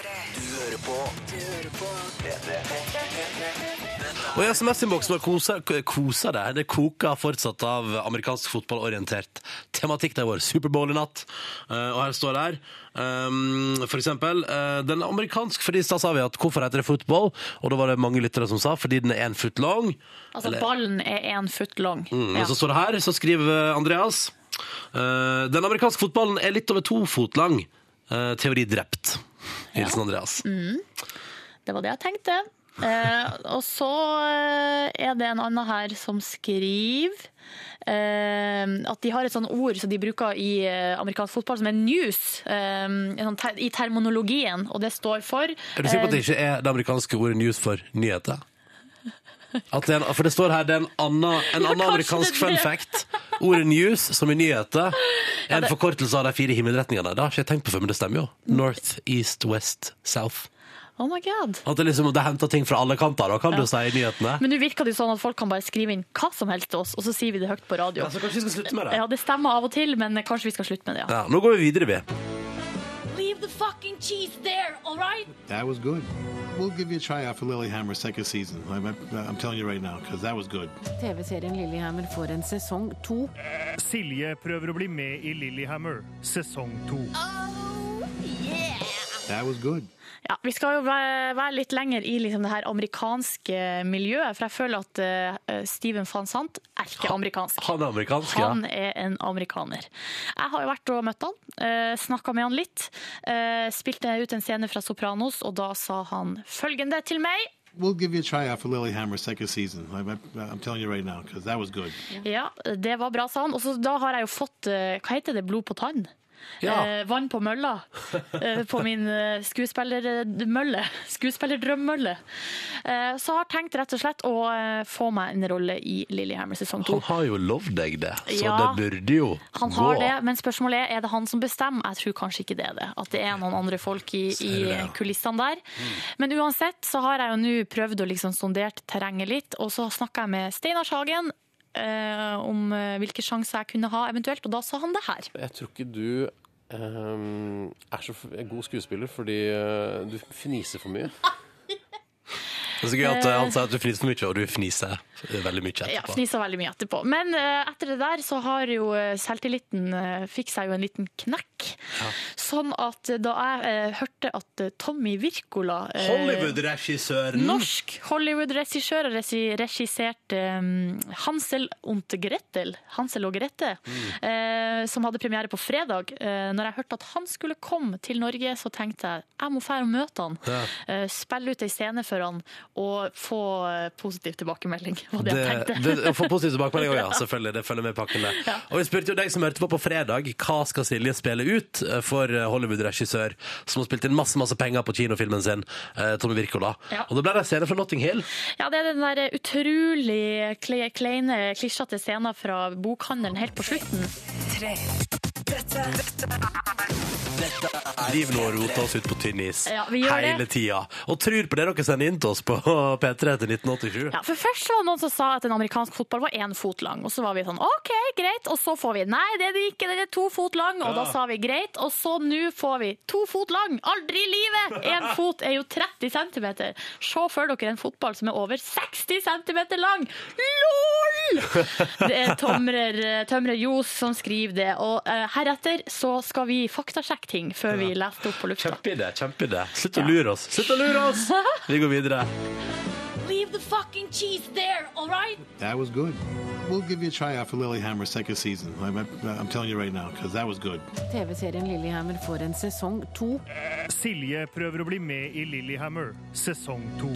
Speaker 2: Og i SMS-innboksen vår koser, koser det. Det koker fortsatt av amerikansk fotballorientert tematikk. Det er vår Superbowl i natt. Eh, og her står det her ehm, for eksempel eh, Den er amerikansk, fordi i stad sa vi at hvorfor heter det fotball? Og da var det mange lyttere som sa fordi den er én foot long.
Speaker 5: Altså, ballen er én foot long.
Speaker 2: Mm,
Speaker 5: Ja.
Speaker 2: Og så står det her, så skriver Andreas eh, Den amerikanske fotballen er litt over to fot lang. Eh, teori drept. Hilsen Andreas.
Speaker 5: Mm. Det var det jeg tenkte. Eh, og så eh, er det en annen her som skriver eh, at de har et sånn ord som de bruker i eh, amerikansk fotball, som er news, eh, en sånn ter i terminologien, og det står for
Speaker 2: Er du sikker
Speaker 5: Eh.
Speaker 2: på at det ikke er det amerikanske ordet news for nyheter? At det er en, for det står her det er en annen, en annen
Speaker 5: kanskje
Speaker 2: amerikansk
Speaker 5: det er
Speaker 2: fun
Speaker 5: det.
Speaker 2: fact. Ordet news, som i nyheter, er en forkortelse av de fire himmelretningene. Det har ikke jeg tenkt på før, men det stemmer jo. North, east, west, south.
Speaker 5: Oh my god.
Speaker 2: At det liksom det henter ting fra alle kanter, da, kan du si i nyhetene.
Speaker 5: Men nå virker det jo sånn at folk kan bare skrive inn hva som helst til oss, og så sier vi det høyt på radio.
Speaker 2: Ja, så kanskje vi skal slutte med det.
Speaker 5: Ja, det stemmer av og til, men kanskje vi skal slutte med det,
Speaker 2: Ja,
Speaker 5: ja.
Speaker 2: nå går vi videre, vi.
Speaker 5: Leave the fucking cheese there, all right?
Speaker 9: That was good. We'll give you a try out for Lilyhammer second season. I'm, I'm telling you right now, because that was good.
Speaker 10: TV-serien Lillehammer får en sesong to.
Speaker 11: Silje prøver å bli med i Lillehammer, sesong to.
Speaker 9: That was good.
Speaker 5: Ja, Vi skal jo være, være litt lenger i liksom det her amerikanske miljøet, for jeg føler at eh, Steven van Sant er ikke amerikansk.
Speaker 2: Han er amerikansk, ja.
Speaker 5: Han er en amerikaner. Jeg har jo vært og møtt han, uh, snakka med han litt. eh, spilte ut en scene fra Sopranos, og da sa han følgende til meg.
Speaker 9: We'll give you a try out for Lilyhammer second season. I'm, I'm telling you right now, because that was good.
Speaker 5: Ja, det var bra, sa han. Og så da har jeg jo fått eh, Hva heter det? Blod på tann?
Speaker 2: Ja.
Speaker 5: Eh, vann på mølla. Eh, på min eh, skuespillermølle. Skuespillerdrømmølle. Eh, så har jeg tenkt rett og slett å eh, få meg en rolle i Lillehammer sesong to.
Speaker 2: Han har jo lovd deg det, så
Speaker 5: Ja.
Speaker 2: det burde jo
Speaker 5: Han har det, men spørsmålet er er det han som bestemmer. Jeg tror kanskje ikke det er det. At det er noen andre folk i, i
Speaker 2: du det, ja? Mm.
Speaker 5: kulissene der. Men uansett så har jeg jo nå prøvd å liksom sondert terrenget litt, og så snakka jeg med Steinar Sagen. eh, om eh, hvilke sjanser jeg kunne ha eventuelt, og da sa han det her.
Speaker 8: Jeg tror ikke du ehm, er så f- god skuespiller fordi eh, du fniser for mye.
Speaker 2: Det er så gøy at eh, han sier at du fniser for mye, og du fniser eh, veldig mye
Speaker 5: Ja,
Speaker 2: etterpå.
Speaker 5: Fnisa veldig mye etterpå. Men eh, etter det der så har jo eh, selvtilliten eh, fikk seg jo en liten knekk. Sånn at eh, da jeg eh, hørte at eh, Tommy Wirkola eh,
Speaker 2: Hollywood-regissøren!
Speaker 5: Norsk Hollywood-regissør har regi- regissert um, Hansel und Gretel, Hansel og Grete,
Speaker 2: Mm.
Speaker 5: eh, som hadde premiere på fredag. Eh, når jeg hørte at han skulle komme til Norge, så tenkte jeg jeg må fære og møte han.
Speaker 2: Ja.
Speaker 5: Eh, spille ut ei scene for han og få eh, positiv tilbakemelding. Var det, jeg
Speaker 2: Det,
Speaker 5: tenkte.
Speaker 2: det, å få positiv tilbakemelding også, ja. Selvfølgelig. Det følger med pakken der. Og vi spurte jo deg som hørte på på fredag, hva skal Silje spille ut eh, for eh, Hollywood-regissør som har spilt inn masse masse penger på kinofilmen sin, eh, Tommy Wirkola.
Speaker 5: Ja.
Speaker 2: Og da ble det en scene fra Notting Hill.
Speaker 5: Ja, det er den der utrolig kle- kleine, klisjete scenen fra bokhandelen helt på slutten.
Speaker 12: Dette,
Speaker 2: Driver nå og roter oss ut på tynn is
Speaker 5: Ja, vi gjør det.
Speaker 2: hele tida. Og tror på det dere sender inn til oss på P3 til 1987.
Speaker 5: Ja, for Først så var det noen som sa at en amerikansk fotball var én fot lang. Og så var vi sånn OK, greit. Og så får vi nei, det er det ikke, den er to fot lang. Og
Speaker 13: Ja.
Speaker 5: da sa vi greit. Og så nå får vi to fot lang. Aldri i livet! Én fot er jo 30 cm. Se for dere en fotball som er over 60 cm lang. LOL! Det er Tomrer, eh, Tømrer Johs som skriver det. Og eh, heretter så skal vi faktasjekke ting før vi leser det opp på lufta.
Speaker 2: Kjempeidé. kjempeidé. Slutt å lure oss. Slutt å lure oss! Vi går videre.
Speaker 12: Leave the fucking cheese there, all right?
Speaker 9: That was good. We'll give you a tryout for Lilyhammer second season. I'm, I'm telling you right now, because that was good.
Speaker 14: TV-serien Lillehammer får en sesong to.
Speaker 3: Silje prøver å bli med i Lillehammer sesong to.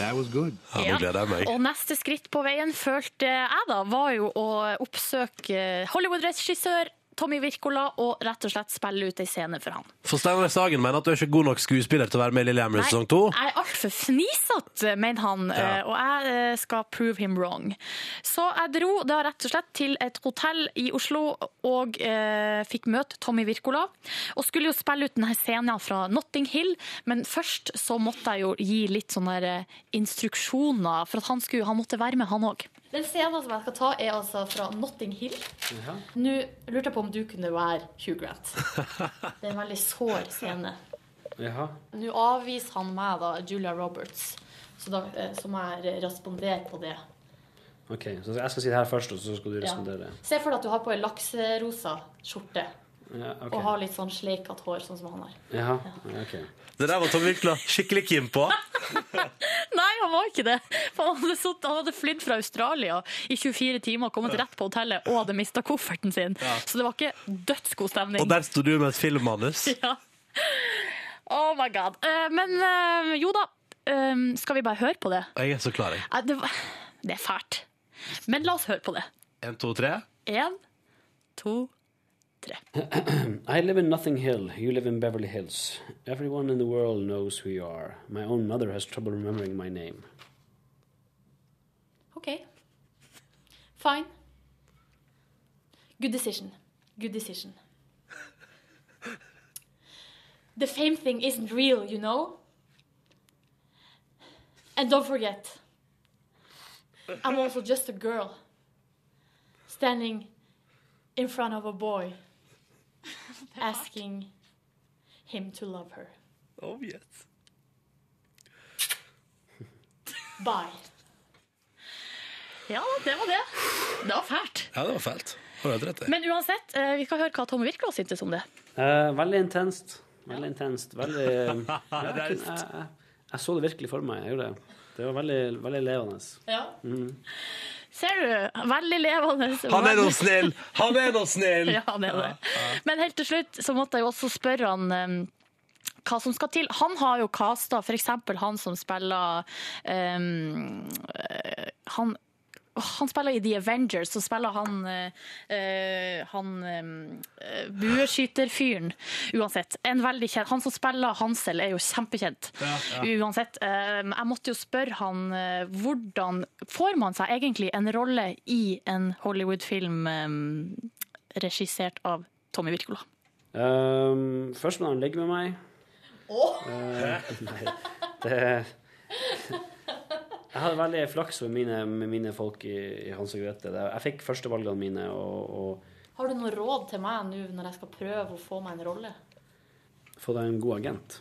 Speaker 9: That was good.
Speaker 5: Og neste skritt på veien, følte jeg da, var jo å oppsøke Hollywood-regissør Tommy Wirkola og rett og slett spille ut ei scene for han.
Speaker 2: For Steinar Sagen mener at du er ikke god nok skuespiller til å være med i Lillehammer i
Speaker 5: Nei,
Speaker 2: sesong to.
Speaker 5: Jeg er altfor fnisete, mener han,
Speaker 2: Ja.
Speaker 5: eh, og jeg eh, skal prove him wrong. Så jeg dro da rett og slett til et hotell i Oslo og eh, fikk møte Tommy Wirkola. Og skulle jo spille ut denne scenen fra Notting Hill, men først så måtte jeg jo gi litt sånne eh, instruksjoner, for at han, skulle, han måtte være med, han òg. Den scenen som jeg skal ta, er altså fra Notting Hill. Nå lurte jeg på om du kunne være Hugh Grant. Det er en veldig sår scene.
Speaker 15: Jaha.
Speaker 5: Nå avviser han meg, da, Julia Roberts, så, da, eh, så må jeg respondere på det.
Speaker 15: Ok, så jeg skal si det her først, og så skal du respondere.
Speaker 5: Se for deg at du har på ei lakserosa skjorte
Speaker 15: Ja, ok.
Speaker 5: og har litt sånn sleikete hår, sånn som han har.
Speaker 15: Jaha, ok.
Speaker 2: Det der var Tom Virkla skikkelig keen på.
Speaker 5: Nei, han var ikke det. For han hadde, sutt, han hadde flydd fra Australia i 24 timer, kommet rett på hotellet og hadde mista kofferten sin. Så det var ikke dødsgod stemning.
Speaker 2: Og der sto du med et filmmanus.
Speaker 5: Ja. Oh my god. Eh, men eh, jo da, eh, skal vi bare høre på det?
Speaker 2: Jeg er så klar, jeg.
Speaker 5: Eh, det, var- det er fælt. Men la oss høre på det.
Speaker 2: En, to, tre.
Speaker 5: Én, to
Speaker 15: I live in Nothing Hill. You live in Beverly Hills. Everyone in the world knows who you are. My own mother has trouble remembering my name.
Speaker 5: OK. Fine. Good decision. Good decision. The fame thing isn't real, you know? And don't forget, I'm also just a girl standing in front of a boy asking him to love her.
Speaker 2: Oh, yes.
Speaker 5: Bye. Ja, det var det. Det var fælt.
Speaker 2: Ja, det var fælt. Har du helt rett i.
Speaker 5: Men uansett, eh, vi skal høre hva Tom Wirkola syntes om det.
Speaker 15: Eh, veldig intenst. Veldig intenst. Veldig ja, jeg,
Speaker 5: Raust.
Speaker 15: kunne- jeg, jeg, jeg så det virkelig for meg. Jeg gjorde det. Det var veldig, veldig levende.
Speaker 5: Ja.
Speaker 15: Mm.
Speaker 5: Ser du? Veldig levende.
Speaker 2: Han er nå snill! Han er nå snill!
Speaker 5: Ja, han er det. Men helt til slutt så måtte jeg jo også spørre han eh, hva som skal til. Han har jo casta f.eks. han som spiller eh, eh, Han han spiller i The Avengers, så spiller han eh, eh, Han eh, bueskyterfyren. Uansett. En veldig kjent, han som spiller Hansel, er jo kjempekjent.
Speaker 12: Ja, ja.
Speaker 5: Uansett. eh, jeg måtte jo spørre han eh, hvordan får man seg egentlig en rolle i en Hollywood-film eh, regissert av Tommy Wirkola?
Speaker 15: Um, først må han ligge med meg.
Speaker 5: Åh!
Speaker 15: Eh, nei, det Jeg hadde veldig flaks med mine, med mine folk i, i Hans og Grete. Det- Jeg fikk førstevalgene mine, og,
Speaker 5: Har du noe råd til meg nå når jeg skal prøve å få meg en rolle?
Speaker 15: og få deg en god agent.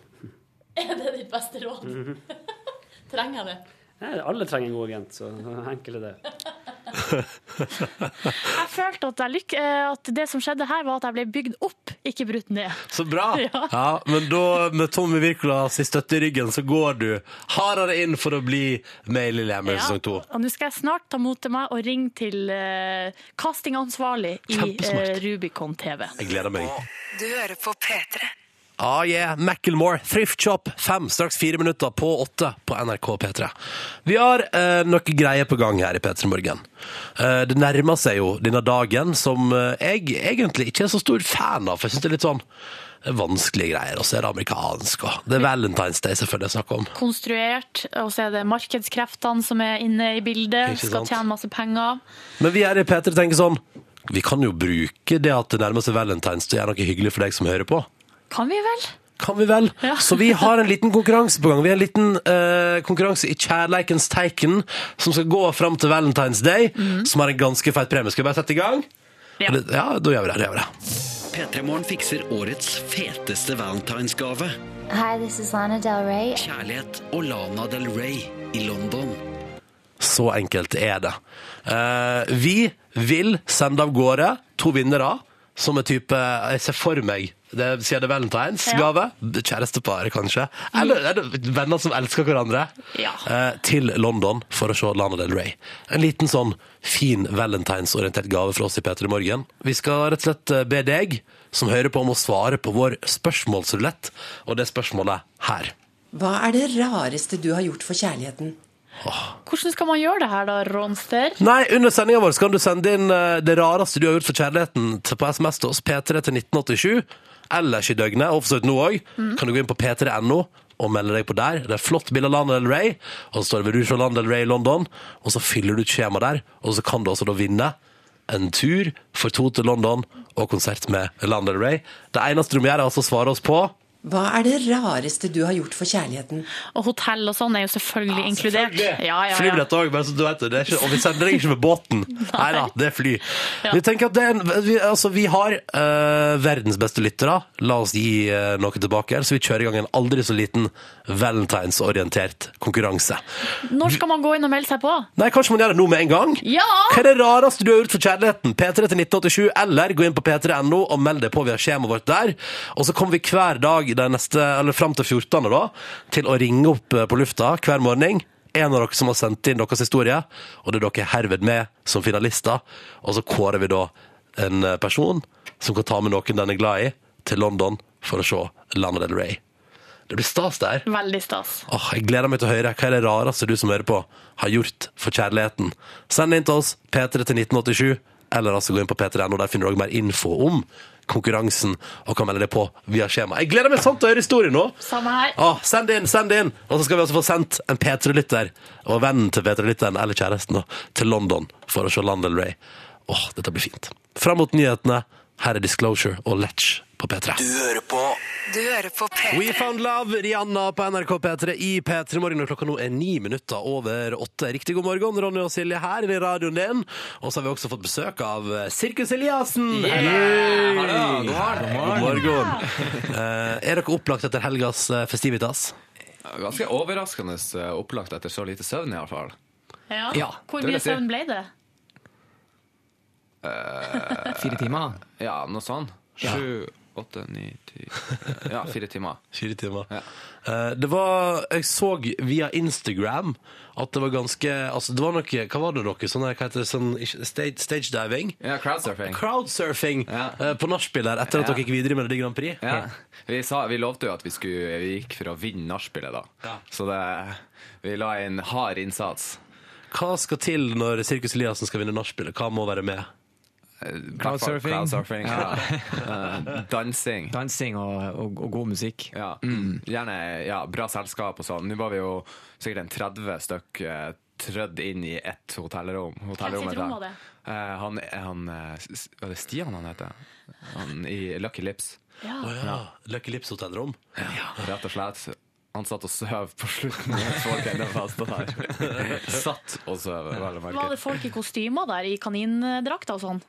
Speaker 5: Er det ditt beste råd?
Speaker 15: Mhm.
Speaker 5: Trenger jeg det?
Speaker 15: Nei, alle trenger en god agent, så enkelt er det.
Speaker 5: Jeg følte at, jeg lyk eh, at det som skjedde her, var at jeg ble bygd opp, ikke brutt ned.
Speaker 2: Så bra!
Speaker 5: Ja.
Speaker 2: Ja, men da, med Tommy Wirkola sin støtte i ryggen, så går du hardere inn for å bli med i Lillehammer i sesong to.
Speaker 5: Og nå skal jeg snart ta mot til meg og ringe til eh, castingansvarlig i eh,
Speaker 2: Kjempesmart.
Speaker 5: Rubicon TV.
Speaker 2: Jeg gleder meg.
Speaker 1: Du hører på P3.
Speaker 2: Ah yeah, Macklemore, Thrift Shop, fem, straks fire minutter på åtte på NRK P3. Vi har eh, noe greier på gang her i P3 Morgen. Eh, det nærmer seg jo denne dagen som eh, jeg egentlig ikke er så stor fan av, for jeg synes det er litt sånn vanskelige greier, og så er det amerikansk, og det er Valentine's Day selvfølgelig jeg snakker om.
Speaker 16: Konstruert, og så er det markedskreftene som er inne i bildet.
Speaker 2: Ikke
Speaker 16: Skal
Speaker 2: sant.
Speaker 16: tjene masse penger.
Speaker 2: Men vi her i P3 tenker sånn, vi kan jo bruke det at det nærmer seg Valentine's til å gjøre noe hyggelig for deg som hører på.
Speaker 16: Kan vi vel?
Speaker 2: Kan vi vel? Så vi har en liten konkurranse på gang. Vi har en liten eh, konkurranse i Kjærleikens teiken som skal gå fram til Valentine's Day, som har en ganske feit premie. Skal vi bare sette i gang? Ja, det, ja da gjør vi det. Da gjør vi det.
Speaker 17: P3 Morgen fikser årets feteste valentinsgave.
Speaker 18: Hi, this is Lana Del Rey.
Speaker 17: Kjærlighet og Lana Del Rey i London.
Speaker 2: Så enkelt er det. Eh, vi vil sende av gårde to vinnere som er type Jeg ser for meg det, Siden det er Valentine's
Speaker 16: Ja.
Speaker 2: gave, kjærestepar kanskje, eller, eller venner som elsker hverandre,
Speaker 16: Ja.
Speaker 2: eh, til London for å se Lana Del Rey. En liten sånn fin valentinsorientert gave fra oss i P3 Morgen. Vi skal rett og slett eh, be deg som hører på om å svare på vår spørsmålsrulett, og det spørsmålet her.
Speaker 19: Hva er det rareste du har gjort for kjærligheten?
Speaker 16: Hvordan skal man gjøre det her da, Ronster?
Speaker 2: Nei, under sendinga vår så kan du sende inn eh, det rareste du har gjort for kjærligheten til- på SMS til oss, P3 til 1987, ellers i døgnet, og for så vidt nå òg. Kan du gå inn på p3.no og melde deg på der. Det er flott bilde av Lana Del Rey, og så står det 'Vil du se Lana Del Rey i London?' Og så fyller du ut skjema der, og så kan du også da vinne en tur for to til London og konsert med Lana Del Rey. Det eneste du må gjøre, er altså å svare oss på
Speaker 19: Hva er det rareste du har gjort for kjærligheten?
Speaker 16: Og hotell og sånn er jo selvfølgelig inkludert. Ja, ja, ja.
Speaker 2: Flybillett òg, bare så du vet det. det er ikke, og vi sender deg ikke med båten. Nei da, det er fly.
Speaker 16: Ja.
Speaker 2: Vi tenker at det er en, vi, altså, vi har eh, verdens beste lyttere. La oss gi eh, noe tilbake her, så vi kjører i gang en aldri så liten valentinsorientert konkurranse.
Speaker 16: Når skal man gå inn og melde seg på?
Speaker 2: Nei, kanskje man gjør det nå med en gang?
Speaker 16: Ja!
Speaker 2: Hva er det rareste du har gjort for kjærligheten? P3 til 1987, eller gå inn på p3.no og meld deg på via skjemaet vårt der. Og så kommer vi hver dag den neste, eller fram til 14. da, til å ringe opp eh, på lufta hver morgen. En av dere som har sendt inn deres historie, og det er dere herved med som finalister. Og så kårer vi da en eh, person som kan ta med noen den er glad i, til London for å se Lana Del Rey. Det blir stas, det her.
Speaker 16: Veldig stas.
Speaker 2: Åh, jeg gleder meg til å høre hva er det rareste du som hører på har gjort for kjærligheten. Send det inn til oss, P3 til 1987, eller altså gå inn på p3.no. Der finner du også mer info om konkurransen og kan melde deg på via skjema. Jeg gleder meg sånn til å høre historien nå!
Speaker 16: Samme her.
Speaker 2: Åh, send det inn, send det inn! Og så skal vi også få sendt en P3-lytter, og vennen til P3-lytteren, eller kjæresten, da, til London for å se London Ray. Åh, dette blir fint. Fram mot nyhetene, her er Disclosure og Letch på P3.
Speaker 17: hører på
Speaker 1: Du hører på P3.
Speaker 2: We Found Love, Rihanna på NRK P3 i P3 Morgen. og Klokka nå er ni minutter over åtte. Riktig god morgen, Ronny og Silje her i radioen din. Og så har vi også fått besøk av Sirkus Eliassen. Hei!
Speaker 20: Hallo, god morgen.
Speaker 2: God morgen. Eh, er dere opplagt etter helgas eh, festivitas?
Speaker 20: Ganske overraskende eh, opplagt etter så lite søvn, iallfall.
Speaker 16: Ja.
Speaker 20: Ja,
Speaker 16: Hvor
Speaker 20: det vil
Speaker 16: mye
Speaker 20: jeg si.
Speaker 16: søvn ble det?
Speaker 20: Uh,
Speaker 21: Fire timer?
Speaker 20: Ja, noe sånn. Sju, åtte, ni, ti Ja, fire timer.
Speaker 2: Fire timer. Eh, det var Jeg så via Instagram at det var ganske Altså, det var noe Hva var det dere sånn her, Hva heter det? Sånn, ikke- stage, stage diving?
Speaker 20: Ja, crowdsurfing.
Speaker 2: Crowdsurfing eh, på nachspiel her etter at
Speaker 20: Ja.
Speaker 2: dere gikk videre i Melodi Grand Prix.
Speaker 20: Ja. Vi, sa, vi lovte jo at vi, skulle, vi gikk for å vinne nachspielet, da. Så det, vi la inn hard innsats.
Speaker 2: Hva skal til når Sirkus Eliassen skal vinne nachspielet? Hva må være med?
Speaker 20: Crowdsurfing. Crowdsurfing, ja. Eh, Dansing.
Speaker 21: Dansing og, og, og god musikk.
Speaker 20: Ja. Gjerne ja, bra selskap og sånn. Nå var vi jo sikkert en 30 stykk eh, trødd inn i ett hotellrom. Hotellrommet
Speaker 16: rom
Speaker 20: der.
Speaker 16: var det?
Speaker 20: Eh, han, han eh, S- Var det Stian han heter? Han i Lucky Lips.
Speaker 16: Ja.
Speaker 2: Å ja. Lucky Lips hotellrom?
Speaker 20: Ja, rett og slett. Han satt og søv på slutten. mens Folk enda fast der. Satt og søv, vel å merke.
Speaker 16: Var det folk i kostymer der, i kanindrakter og sånn?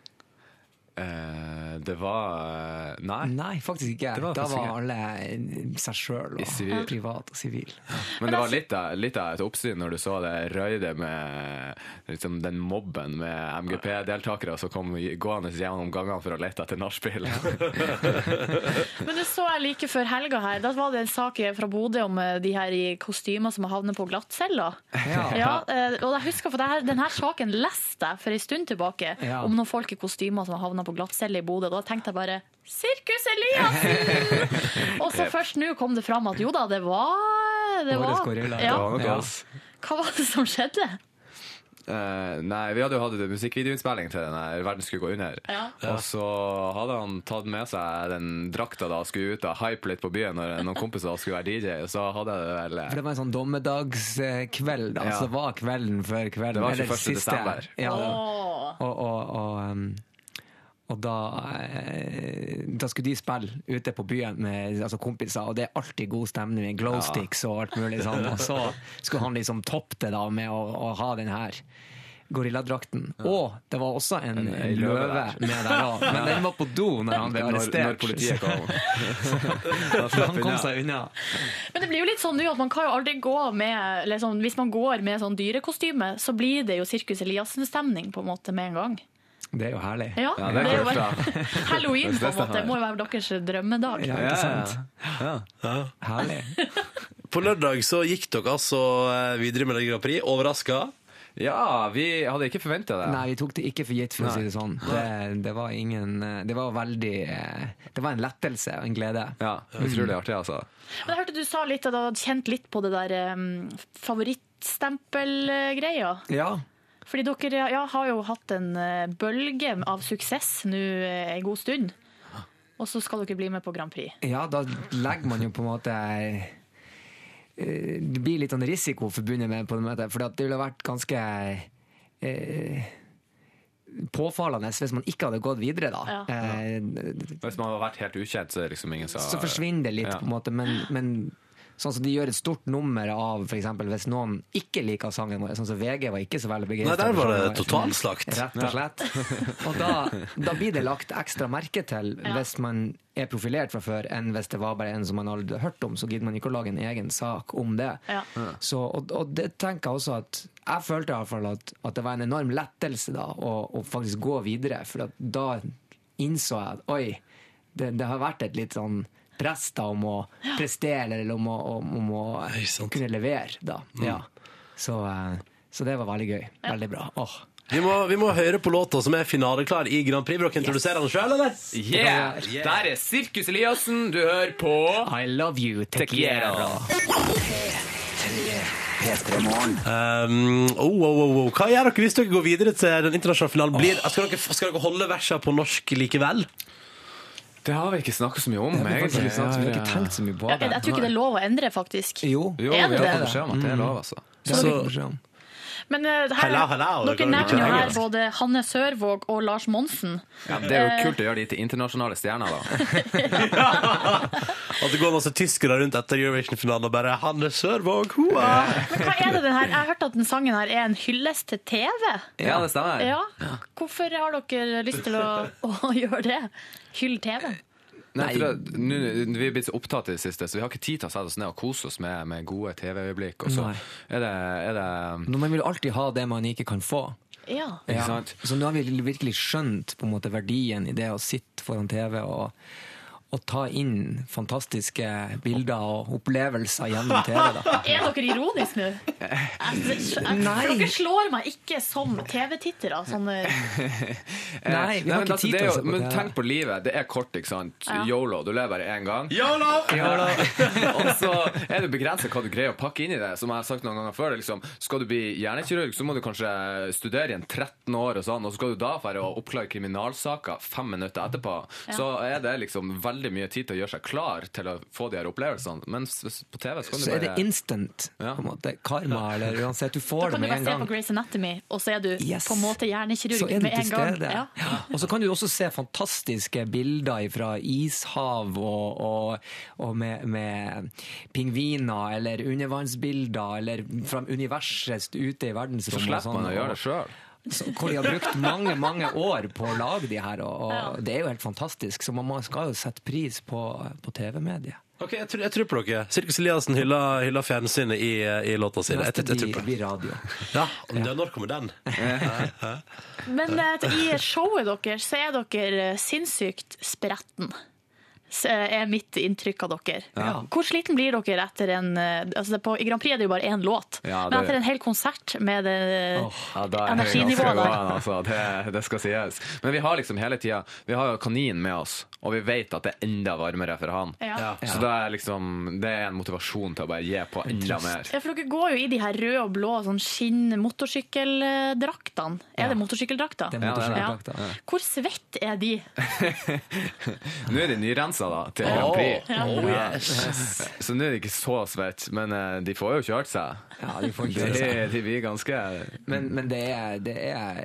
Speaker 20: Eh, det var eh, Nei.
Speaker 21: Nei, faktisk ikke.
Speaker 20: Det var
Speaker 21: da
Speaker 20: faktisk
Speaker 21: var
Speaker 20: ikke.
Speaker 21: alle eh, seg sjøl
Speaker 20: I
Speaker 21: og
Speaker 20: sivil.
Speaker 21: privat og sivil.
Speaker 20: Men det var litt av, litt av et oppsyn når du så det røyde med liksom, den mobben med MGP-deltakere som kom gående gjennom gangene for å lete etter nachspiel.
Speaker 16: Men det så jeg like før helga her. Da var det en sak fra Bodø om eh, de her i kostymer som havner på glattcella.
Speaker 21: Ja.
Speaker 16: eh, og jeg husker, for det her, den her saken leste jeg for en stund tilbake,
Speaker 21: Ja.
Speaker 16: om noen folk i kostymer som havna på glattcelle i Bodø. Da tenkte jeg bare
Speaker 5: Sirkus Eliassen! Og så først nå kom det fram at jo da, det var det
Speaker 2: Årets
Speaker 5: var,
Speaker 2: kårer.
Speaker 5: ja.
Speaker 2: Det var noe,
Speaker 5: Ja.
Speaker 2: ass.
Speaker 5: Hva var det som skjedde?
Speaker 2: Eh, nei, vi hadde jo hatt en musikkvideoinnspilling til den her 'Verden skulle gå under'.
Speaker 5: Ja.
Speaker 2: Og så hadde han tatt med seg den drakta da og skulle ut og hype litt på byen når noen kompiser skulle være DJ. og Så hadde jeg det vel eh,
Speaker 3: For det var en sånn dommedagskveld, da.
Speaker 2: Ja.
Speaker 3: Så det var kvelden før kvelden.
Speaker 2: Det var
Speaker 3: eller
Speaker 2: 21.
Speaker 3: siste
Speaker 2: desember.
Speaker 3: her. Ja, det var-
Speaker 5: Åh.
Speaker 3: og, og, og, um, og da, eh, da skulle de spille ute på byen med altså kompiser, og det er alltid god stemning med
Speaker 2: Ja.
Speaker 3: glowsticks og alt mulig sånn. Og så skulle han liksom toppe det da med å, å ha den her gorilladrakten. Og det var også en, en,
Speaker 2: ei
Speaker 3: løve,
Speaker 2: løve der.
Speaker 3: med der òg, men den var på do når han ble
Speaker 2: Når-
Speaker 3: arrestert.
Speaker 2: når politiet kom.
Speaker 3: Så han kom seg unna.
Speaker 5: Men det blir jo litt sånn nå at man kan jo aldri gå med eller sånn, Hvis man går med sånn dyrekostyme, så blir det jo Sirkus Eliassen-stemning på en måte med en gang.
Speaker 3: Det er jo herlig.
Speaker 5: Ja, Ja, det er det er jo kult, bare- Halloween på en måte må jo være deres drømmedag.
Speaker 3: Ja, ikke sant? Herlig.
Speaker 22: På lørdag så gikk dere altså eh, videre med Melodi Grand Prix. Overraska?
Speaker 2: Ja, vi hadde ikke forventa det.
Speaker 3: Nei, vi tok det ikke for gitt, for å si
Speaker 2: Nei.
Speaker 3: det sånn. Det, det var ingen eh, Det var veldig eh, Det var en lettelse og en glede.
Speaker 2: Ja, utrolig artig, altså.
Speaker 5: Men jeg hørte du sa litt at du hadde kjent litt på det der um, favorittstempelgreia.
Speaker 3: Ja.
Speaker 5: Fordi dere ja, har jo hatt en eh, bølge av suksess nå eh, en god stund. Og så skal dere bli med på Grand Prix.
Speaker 3: ja, da legger man jo på en måte eh, Det blir litt sånn risiko forbundet med det, på en måte, for det ville vært ganske eh, påfallende hvis man ikke hadde gått videre, da. Eh,
Speaker 2: Hvis man hadde vært helt ukjent, så er det liksom ingen som
Speaker 3: så forsvinner det litt,
Speaker 2: Ja.
Speaker 3: på en måte. Men, men sånn som de gjør et stort nummer av for eksempel, hvis noen ikke liker sangen vår. Sånn som VG var ikke så veldig
Speaker 22: Nei,
Speaker 3: begeistra.
Speaker 22: der var det totalslakt.
Speaker 3: Rett og slett. Og da, da blir det lagt ekstra merke til hvis man er profilert fra før, enn hvis det var bare en som man aldri hadde hørt om. Så gidder man ikke å lage en egen sak om det.
Speaker 5: Ja.
Speaker 3: Så, og, og det tenker jeg også at Jeg følte i hvert fall at, at det var en enorm lettelse da, å, å faktisk gå videre. For at da innså jeg at oi, det, det har vært et litt sånn press da om å prestere eller om å, om, om å kunne levere. da. Ja. Så, eh, så det var veldig gøy. Veldig bra. Åh.
Speaker 22: Vi må, vi må høre på låta som er finaleklar i Grand Prix. Vil dere introdusere den sjøl, eller?
Speaker 2: Yeah! Der er Sirkus Eliassen, du hører på
Speaker 3: I love you,
Speaker 2: Tequiera.
Speaker 22: Um, oh, oh, oh, oh. Hva gjør dere hvis dere går videre til den internasjonale finalen? Blir, skal, dere, skal dere holde versene på norsk likevel?
Speaker 2: Det har vi ikke snakket så mye om.
Speaker 22: Det har vi faktisk
Speaker 2: egentlig.
Speaker 22: ikke snakket så mye om. Vi har ikke tenkt
Speaker 3: så mye
Speaker 5: Jeg, jeg tror ikke det er lov å endre, faktisk.
Speaker 3: Jo,
Speaker 2: Jo,
Speaker 5: er
Speaker 2: vi har fått
Speaker 5: det det?
Speaker 2: beskjed om at det er lov, altså.
Speaker 3: Det har vi fått beskjed om.
Speaker 5: Men eh, her,
Speaker 2: Hello, hello, det
Speaker 5: dere
Speaker 2: kan vi ikke
Speaker 5: nevner jo
Speaker 2: gjøre.
Speaker 5: her både Hanne Sørvåg og Lars Monsen.
Speaker 2: Ja, det er
Speaker 5: Eh,
Speaker 2: jo kult å gjøre de til internasjonale stjerner, da.
Speaker 22: At det går masse tyskere rundt etter Eurovision-finalen og bare 'Hanne Sørvåg', hoa!
Speaker 5: Men hva er det den her? Jeg hørte at den sangen her er en hyllest til TV.
Speaker 2: Ja, det stemmer.
Speaker 5: Ja. Hvorfor har dere lyst til å, å gjøre det? Hylle TV?
Speaker 2: Nei, for det, nå- vi er blitt så opptatt i det siste, så vi har ikke tid til å sette oss ned og kose oss med, med gode TV-øyeblikk. Og så
Speaker 3: Nei.
Speaker 2: er det, er det
Speaker 3: Når man vil alltid ha det man ikke kan få.
Speaker 5: Ja.
Speaker 2: Ikke
Speaker 3: Ja.
Speaker 2: sant?
Speaker 3: Så nå har vi virkelig skjønt på en måte verdien i det å sitte foran TV og, og ta inn fantastiske bilder og opplevelser gjennom TV. Da.
Speaker 5: Er dere ironisk nå? Jeg- jeg-
Speaker 3: Nei.
Speaker 5: Dere slår meg ikke som sånn, TV-tittere. Sånne
Speaker 2: Eh,
Speaker 3: Nei, vi har
Speaker 2: men
Speaker 3: ikke
Speaker 2: altså,
Speaker 3: tid
Speaker 2: det er
Speaker 3: til å
Speaker 2: jo-
Speaker 3: se på
Speaker 2: Men
Speaker 3: det.
Speaker 2: tenk på livet. Det er kort, ikke sant?
Speaker 5: Ja.
Speaker 2: Yolo. Du lever bare én gang.
Speaker 22: YOLO!
Speaker 2: og så er det begrenset hva du greier å pakke inn i det. Som jeg har sagt noen ganger før, det er liksom, skal du bli hjernekirurg, så må du kanskje studere igjen 13 år, og sånn, og så skal du da dra og oppklare kriminalsaker fem minutter etterpå.
Speaker 5: Ja.
Speaker 2: Så er det liksom veldig mye tid til å gjøre seg klar til å få de her opplevelsene. Mens på TV så kan du
Speaker 3: Så er det
Speaker 2: bare
Speaker 3: instant, på en måte. Karma, eller uansett. Du
Speaker 5: Da
Speaker 3: får det
Speaker 5: kan du
Speaker 3: med
Speaker 5: bare
Speaker 3: en
Speaker 5: se på
Speaker 3: gang.
Speaker 5: Grey's Anatomy, og så er du
Speaker 3: Yes.
Speaker 5: på en måte
Speaker 3: Så
Speaker 5: hjernekirurg
Speaker 3: er du
Speaker 5: med
Speaker 3: til
Speaker 5: en gang.
Speaker 3: stede.
Speaker 5: Ja.
Speaker 3: Og så kan du også se fantastiske bilder fra ishav og, og, og med, med pingviner, eller undervannsbilder, eller fra universet ute i
Speaker 2: Så
Speaker 3: verdensrommet. og
Speaker 2: slipper
Speaker 3: sånn,
Speaker 2: man å gjøre
Speaker 3: og-
Speaker 2: det sjøl.
Speaker 3: Så- Hvor de har brukt mange mange år på å lage de her, og, og det er jo helt fantastisk. Så man må- skal jo sette pris på, på TV-mediet.
Speaker 22: Ok, jeg tror, jeg tror på dere. Sirkus Eliassen hyller, hyller fjernsynet i, eh, i låta si. Jeg,
Speaker 3: Neste
Speaker 22: jeg, jeg tror
Speaker 3: blir-
Speaker 22: på
Speaker 3: blir radio.
Speaker 22: Ja, men det- Når kommer Ah, den?
Speaker 5: Men eh, i showet deres så er dere sinnssykt eh, spretten. s- er mitt inntrykk av dere.
Speaker 6: Ja.
Speaker 5: Hvor sliten blir dere etter en eh, altså det er på, I Grand Prix er det jo bare én låt,
Speaker 20: Ja,
Speaker 5: men
Speaker 20: det-
Speaker 5: etter en hel konsert med det
Speaker 20: Ja, da er jeg
Speaker 5: Energinivået der.
Speaker 20: ganske gåen, altså. det, det skal sies. Men vi har liksom hele tida Vi har jo kanin med oss, og vi vet at det er enda varmere for han.
Speaker 5: Ja. Ja.
Speaker 20: Så det er liksom Det er en motivasjon til å bare gi på enda mer.
Speaker 5: Ja, for Dere går jo i de her røde og blå sånn skinn-motorsykkeldraktene. Er det motorsykkeldrakter?
Speaker 20: Ja, det er det.
Speaker 5: Ja. Hvor svett er de?
Speaker 20: Nå er de nyrensa, da, til
Speaker 5: Åh,
Speaker 20: Grand Prix.
Speaker 5: ja. Oh,
Speaker 20: Ja.
Speaker 5: yes.
Speaker 20: Så nå er de ikke så svette, men eh, de får jo kjørt seg.
Speaker 3: Ja, de får kjørt seg.
Speaker 20: De, de blir ganske
Speaker 3: Men, men det, er, det er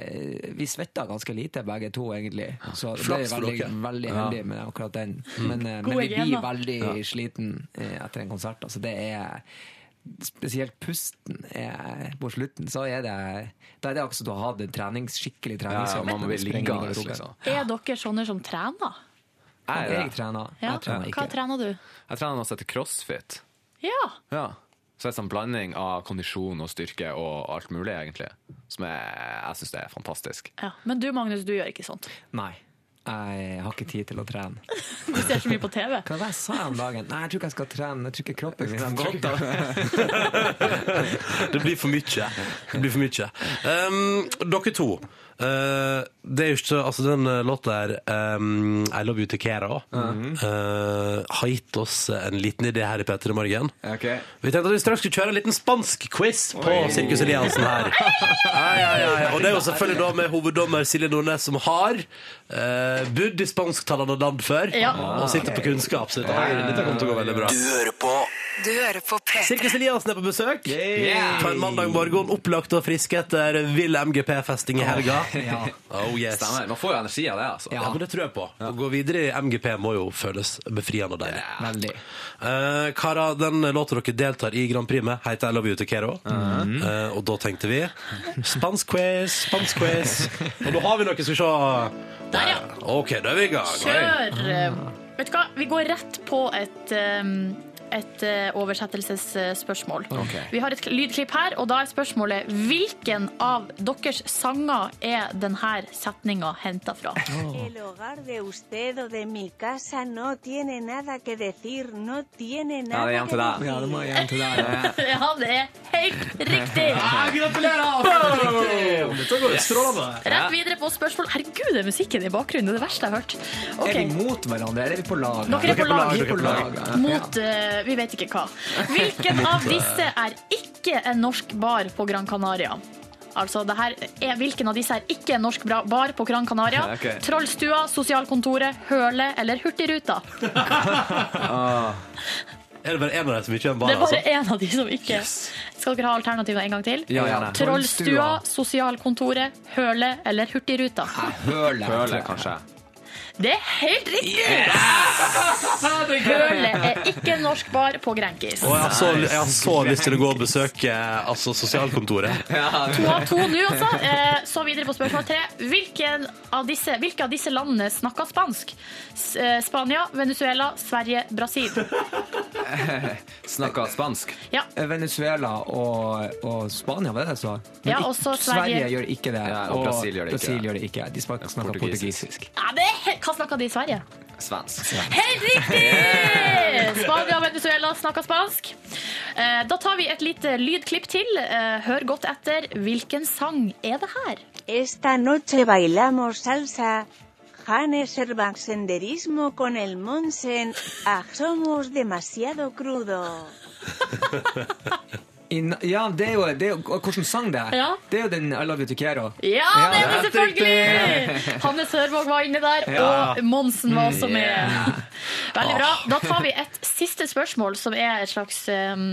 Speaker 3: Vi svetter ganske lite, begge to, egentlig. Så det
Speaker 20: Flaks
Speaker 3: er
Speaker 20: for
Speaker 3: veldig,
Speaker 20: dere.
Speaker 3: veldig
Speaker 20: Ja.
Speaker 3: heldig med akkurat den. Men, eh,
Speaker 20: Gode
Speaker 3: men vi blir
Speaker 20: gener.
Speaker 3: veldig
Speaker 20: Ja.
Speaker 3: sliten eh, etter en konsert. Altså, det er Spesielt pusten er, på slutten, så er det Da er det akkurat som du har hatt en trenings, skikkelig treningsøkt.
Speaker 20: Ja, man må bli
Speaker 3: Sprenger i
Speaker 20: liggende,
Speaker 3: garderoben.
Speaker 20: liksom.
Speaker 5: Er dere sånne som trener?
Speaker 20: Jeg er det.
Speaker 3: Jeg trener.
Speaker 5: Ja.
Speaker 20: Jeg trener
Speaker 5: Hva
Speaker 20: ikke.
Speaker 5: trener du?
Speaker 20: Jeg trener noe som heter crossfit.
Speaker 5: Ja,
Speaker 20: Ja. Så det er en sånn blanding av kondisjon og styrke og alt mulig, egentlig. Som jeg, jeg syns er fantastisk.
Speaker 5: ja. Men du Magnus, du gjør ikke sånt.
Speaker 3: Nei. Jeg har ikke tid til å trene.
Speaker 5: Du ser så mye på TV.
Speaker 3: Hva var det jeg sa om dagen? Nei, jeg tror ikke jeg skal trene. Jeg tror ikke kroppen min har
Speaker 2: Godt,
Speaker 3: godt
Speaker 2: da.
Speaker 3: av det.
Speaker 2: Det blir for mye. Det blir for mye. Um, dere to. eh, det er jo ikke Altså, den eh, låta der, ehm, 'I Love You Til Kera', eh, har gitt oss en liten idé her i P3 Morgen.
Speaker 20: Ok.
Speaker 2: Vi tenkte at vi straks skulle kjøre en liten spansk quiz på
Speaker 20: Oi.
Speaker 2: Sirkus Eliassen her. Ja, ja, ja, ja. Og det er jo selvfølgelig da med hoveddommer Silje Nordnes, som har eh, bodd i spansktalende land før,
Speaker 6: Ja.
Speaker 2: og sitter på kunnskap. Så dette, her- dette kommer til å gå veldig bra.
Speaker 6: Du hører på P3.
Speaker 2: Sirkus Eliassen er på besøk. Ta en mandag morgen, opplagt og frisk etter vill MGP-festing i helga.
Speaker 20: Ja.
Speaker 2: Oh yes.
Speaker 20: Stemmer. Man får jo energi av det, altså.
Speaker 2: Ja. men det tror jeg på. Å gå videre i MGP må jo føles befriende og deilig. Eh, Kara, den låta dere deltar i Grand Prix med, heter I Love You To Kero. Eh, og da tenkte vi spansk quiz, spansk quiz. Og da har vi noe, skal vi se.
Speaker 5: Der, ja.
Speaker 2: OK, da er vi i gang.
Speaker 5: Kjør! eh, Vet du hva, vi går rett på et um, et eh, oversettelsesspørsmål.
Speaker 6: Ok.
Speaker 5: Vi har et lydklipp her, og da er spørsmålet hvilken av deres sanger er denne setninga henta fra?
Speaker 1: El hogar de usted o de mi casa no tiene nada que decir, no tiene
Speaker 20: Ja,
Speaker 1: nada que
Speaker 20: det er hjem til deg. Ja, det må hjem til deg.
Speaker 5: Ja, det er helt riktig!
Speaker 6: Ja,
Speaker 5: gratulerer!
Speaker 6: Dette går jo strålende.
Speaker 5: Rett videre på spørsmål. Herregud, det er musikken i bakgrunnen. Det er det verste jeg har hørt. Ok.
Speaker 3: Er vi mot hverandre, eller er vi på lag?
Speaker 5: Dere er på lag.
Speaker 3: Dere er på lag. Ja.
Speaker 5: Mot eh, vi vet ikke hva. Hvilken av disse er ikke en norsk bar på Gran Canaria? Altså, det her er, Hvilken av disse er ikke en norsk bra- bar på Gran Canaria?
Speaker 20: Ok.
Speaker 5: Trollstua, Sosialkontoret, Høle eller Hurtigruta?
Speaker 20: Ah.
Speaker 2: Er det bare én av dem som ikke er en
Speaker 5: det
Speaker 2: bar?
Speaker 5: er bare
Speaker 2: altså?
Speaker 5: én av de som ikke Skal dere ha alternativene en gang til?
Speaker 2: Ja, gjerne.
Speaker 5: Trollstua, Sosialkontoret, Høle eller Hurtigruta?
Speaker 20: Høle, Høle kanskje.
Speaker 5: Det er helt riktig! Høle er ikke en norsk bar på Grenkis.
Speaker 2: Å, jeg, har så, jeg har så lyst til å gå og besøke eh, altså, sosialkontoret.
Speaker 5: To av to nå, altså. Eh, Så videre på spørsmål tre. Hvilken av disse, hvilke av disse landene snakker spansk? S eh, Spania, Venezuela, Sverige, Brasil.
Speaker 20: Snakka spansk.
Speaker 5: Ja.
Speaker 3: Eh, Venezuela og, og Spania, var det det du sa? Men
Speaker 5: Ja,
Speaker 3: ikk-
Speaker 5: også Sverige.
Speaker 3: Sverige gjør ikke det.
Speaker 20: Ja, og Brasil gjør det ikke.
Speaker 3: Brasil gjør det ikke. De snakker snakker portugisisk.
Speaker 5: Ja, det er, he- hva snakker de i Sverige?
Speaker 20: Svensk.
Speaker 5: Helt riktig! Spania og Venezuela snakker spansk. Eh, Da tar vi et lite lydklipp til. Eh, Hør godt etter. Hvilken sang er det her?
Speaker 1: Esta noche bailamos salsa, Janes Urban Senderismo con el Monsen, ah, somos demasiado crudo.
Speaker 3: In, ja, det er jo, det er jo og Hvordan sang det er?
Speaker 5: Ja.
Speaker 3: Det er jo den I Love You To Kero.
Speaker 5: Ja, det er det selvfølgelig! Hanne Sørvåg var inne der,
Speaker 3: Ja.
Speaker 5: og Monsen var også med.
Speaker 3: Yeah.
Speaker 5: Veldig bra. Da tar vi et siste spørsmål, som er et slags um,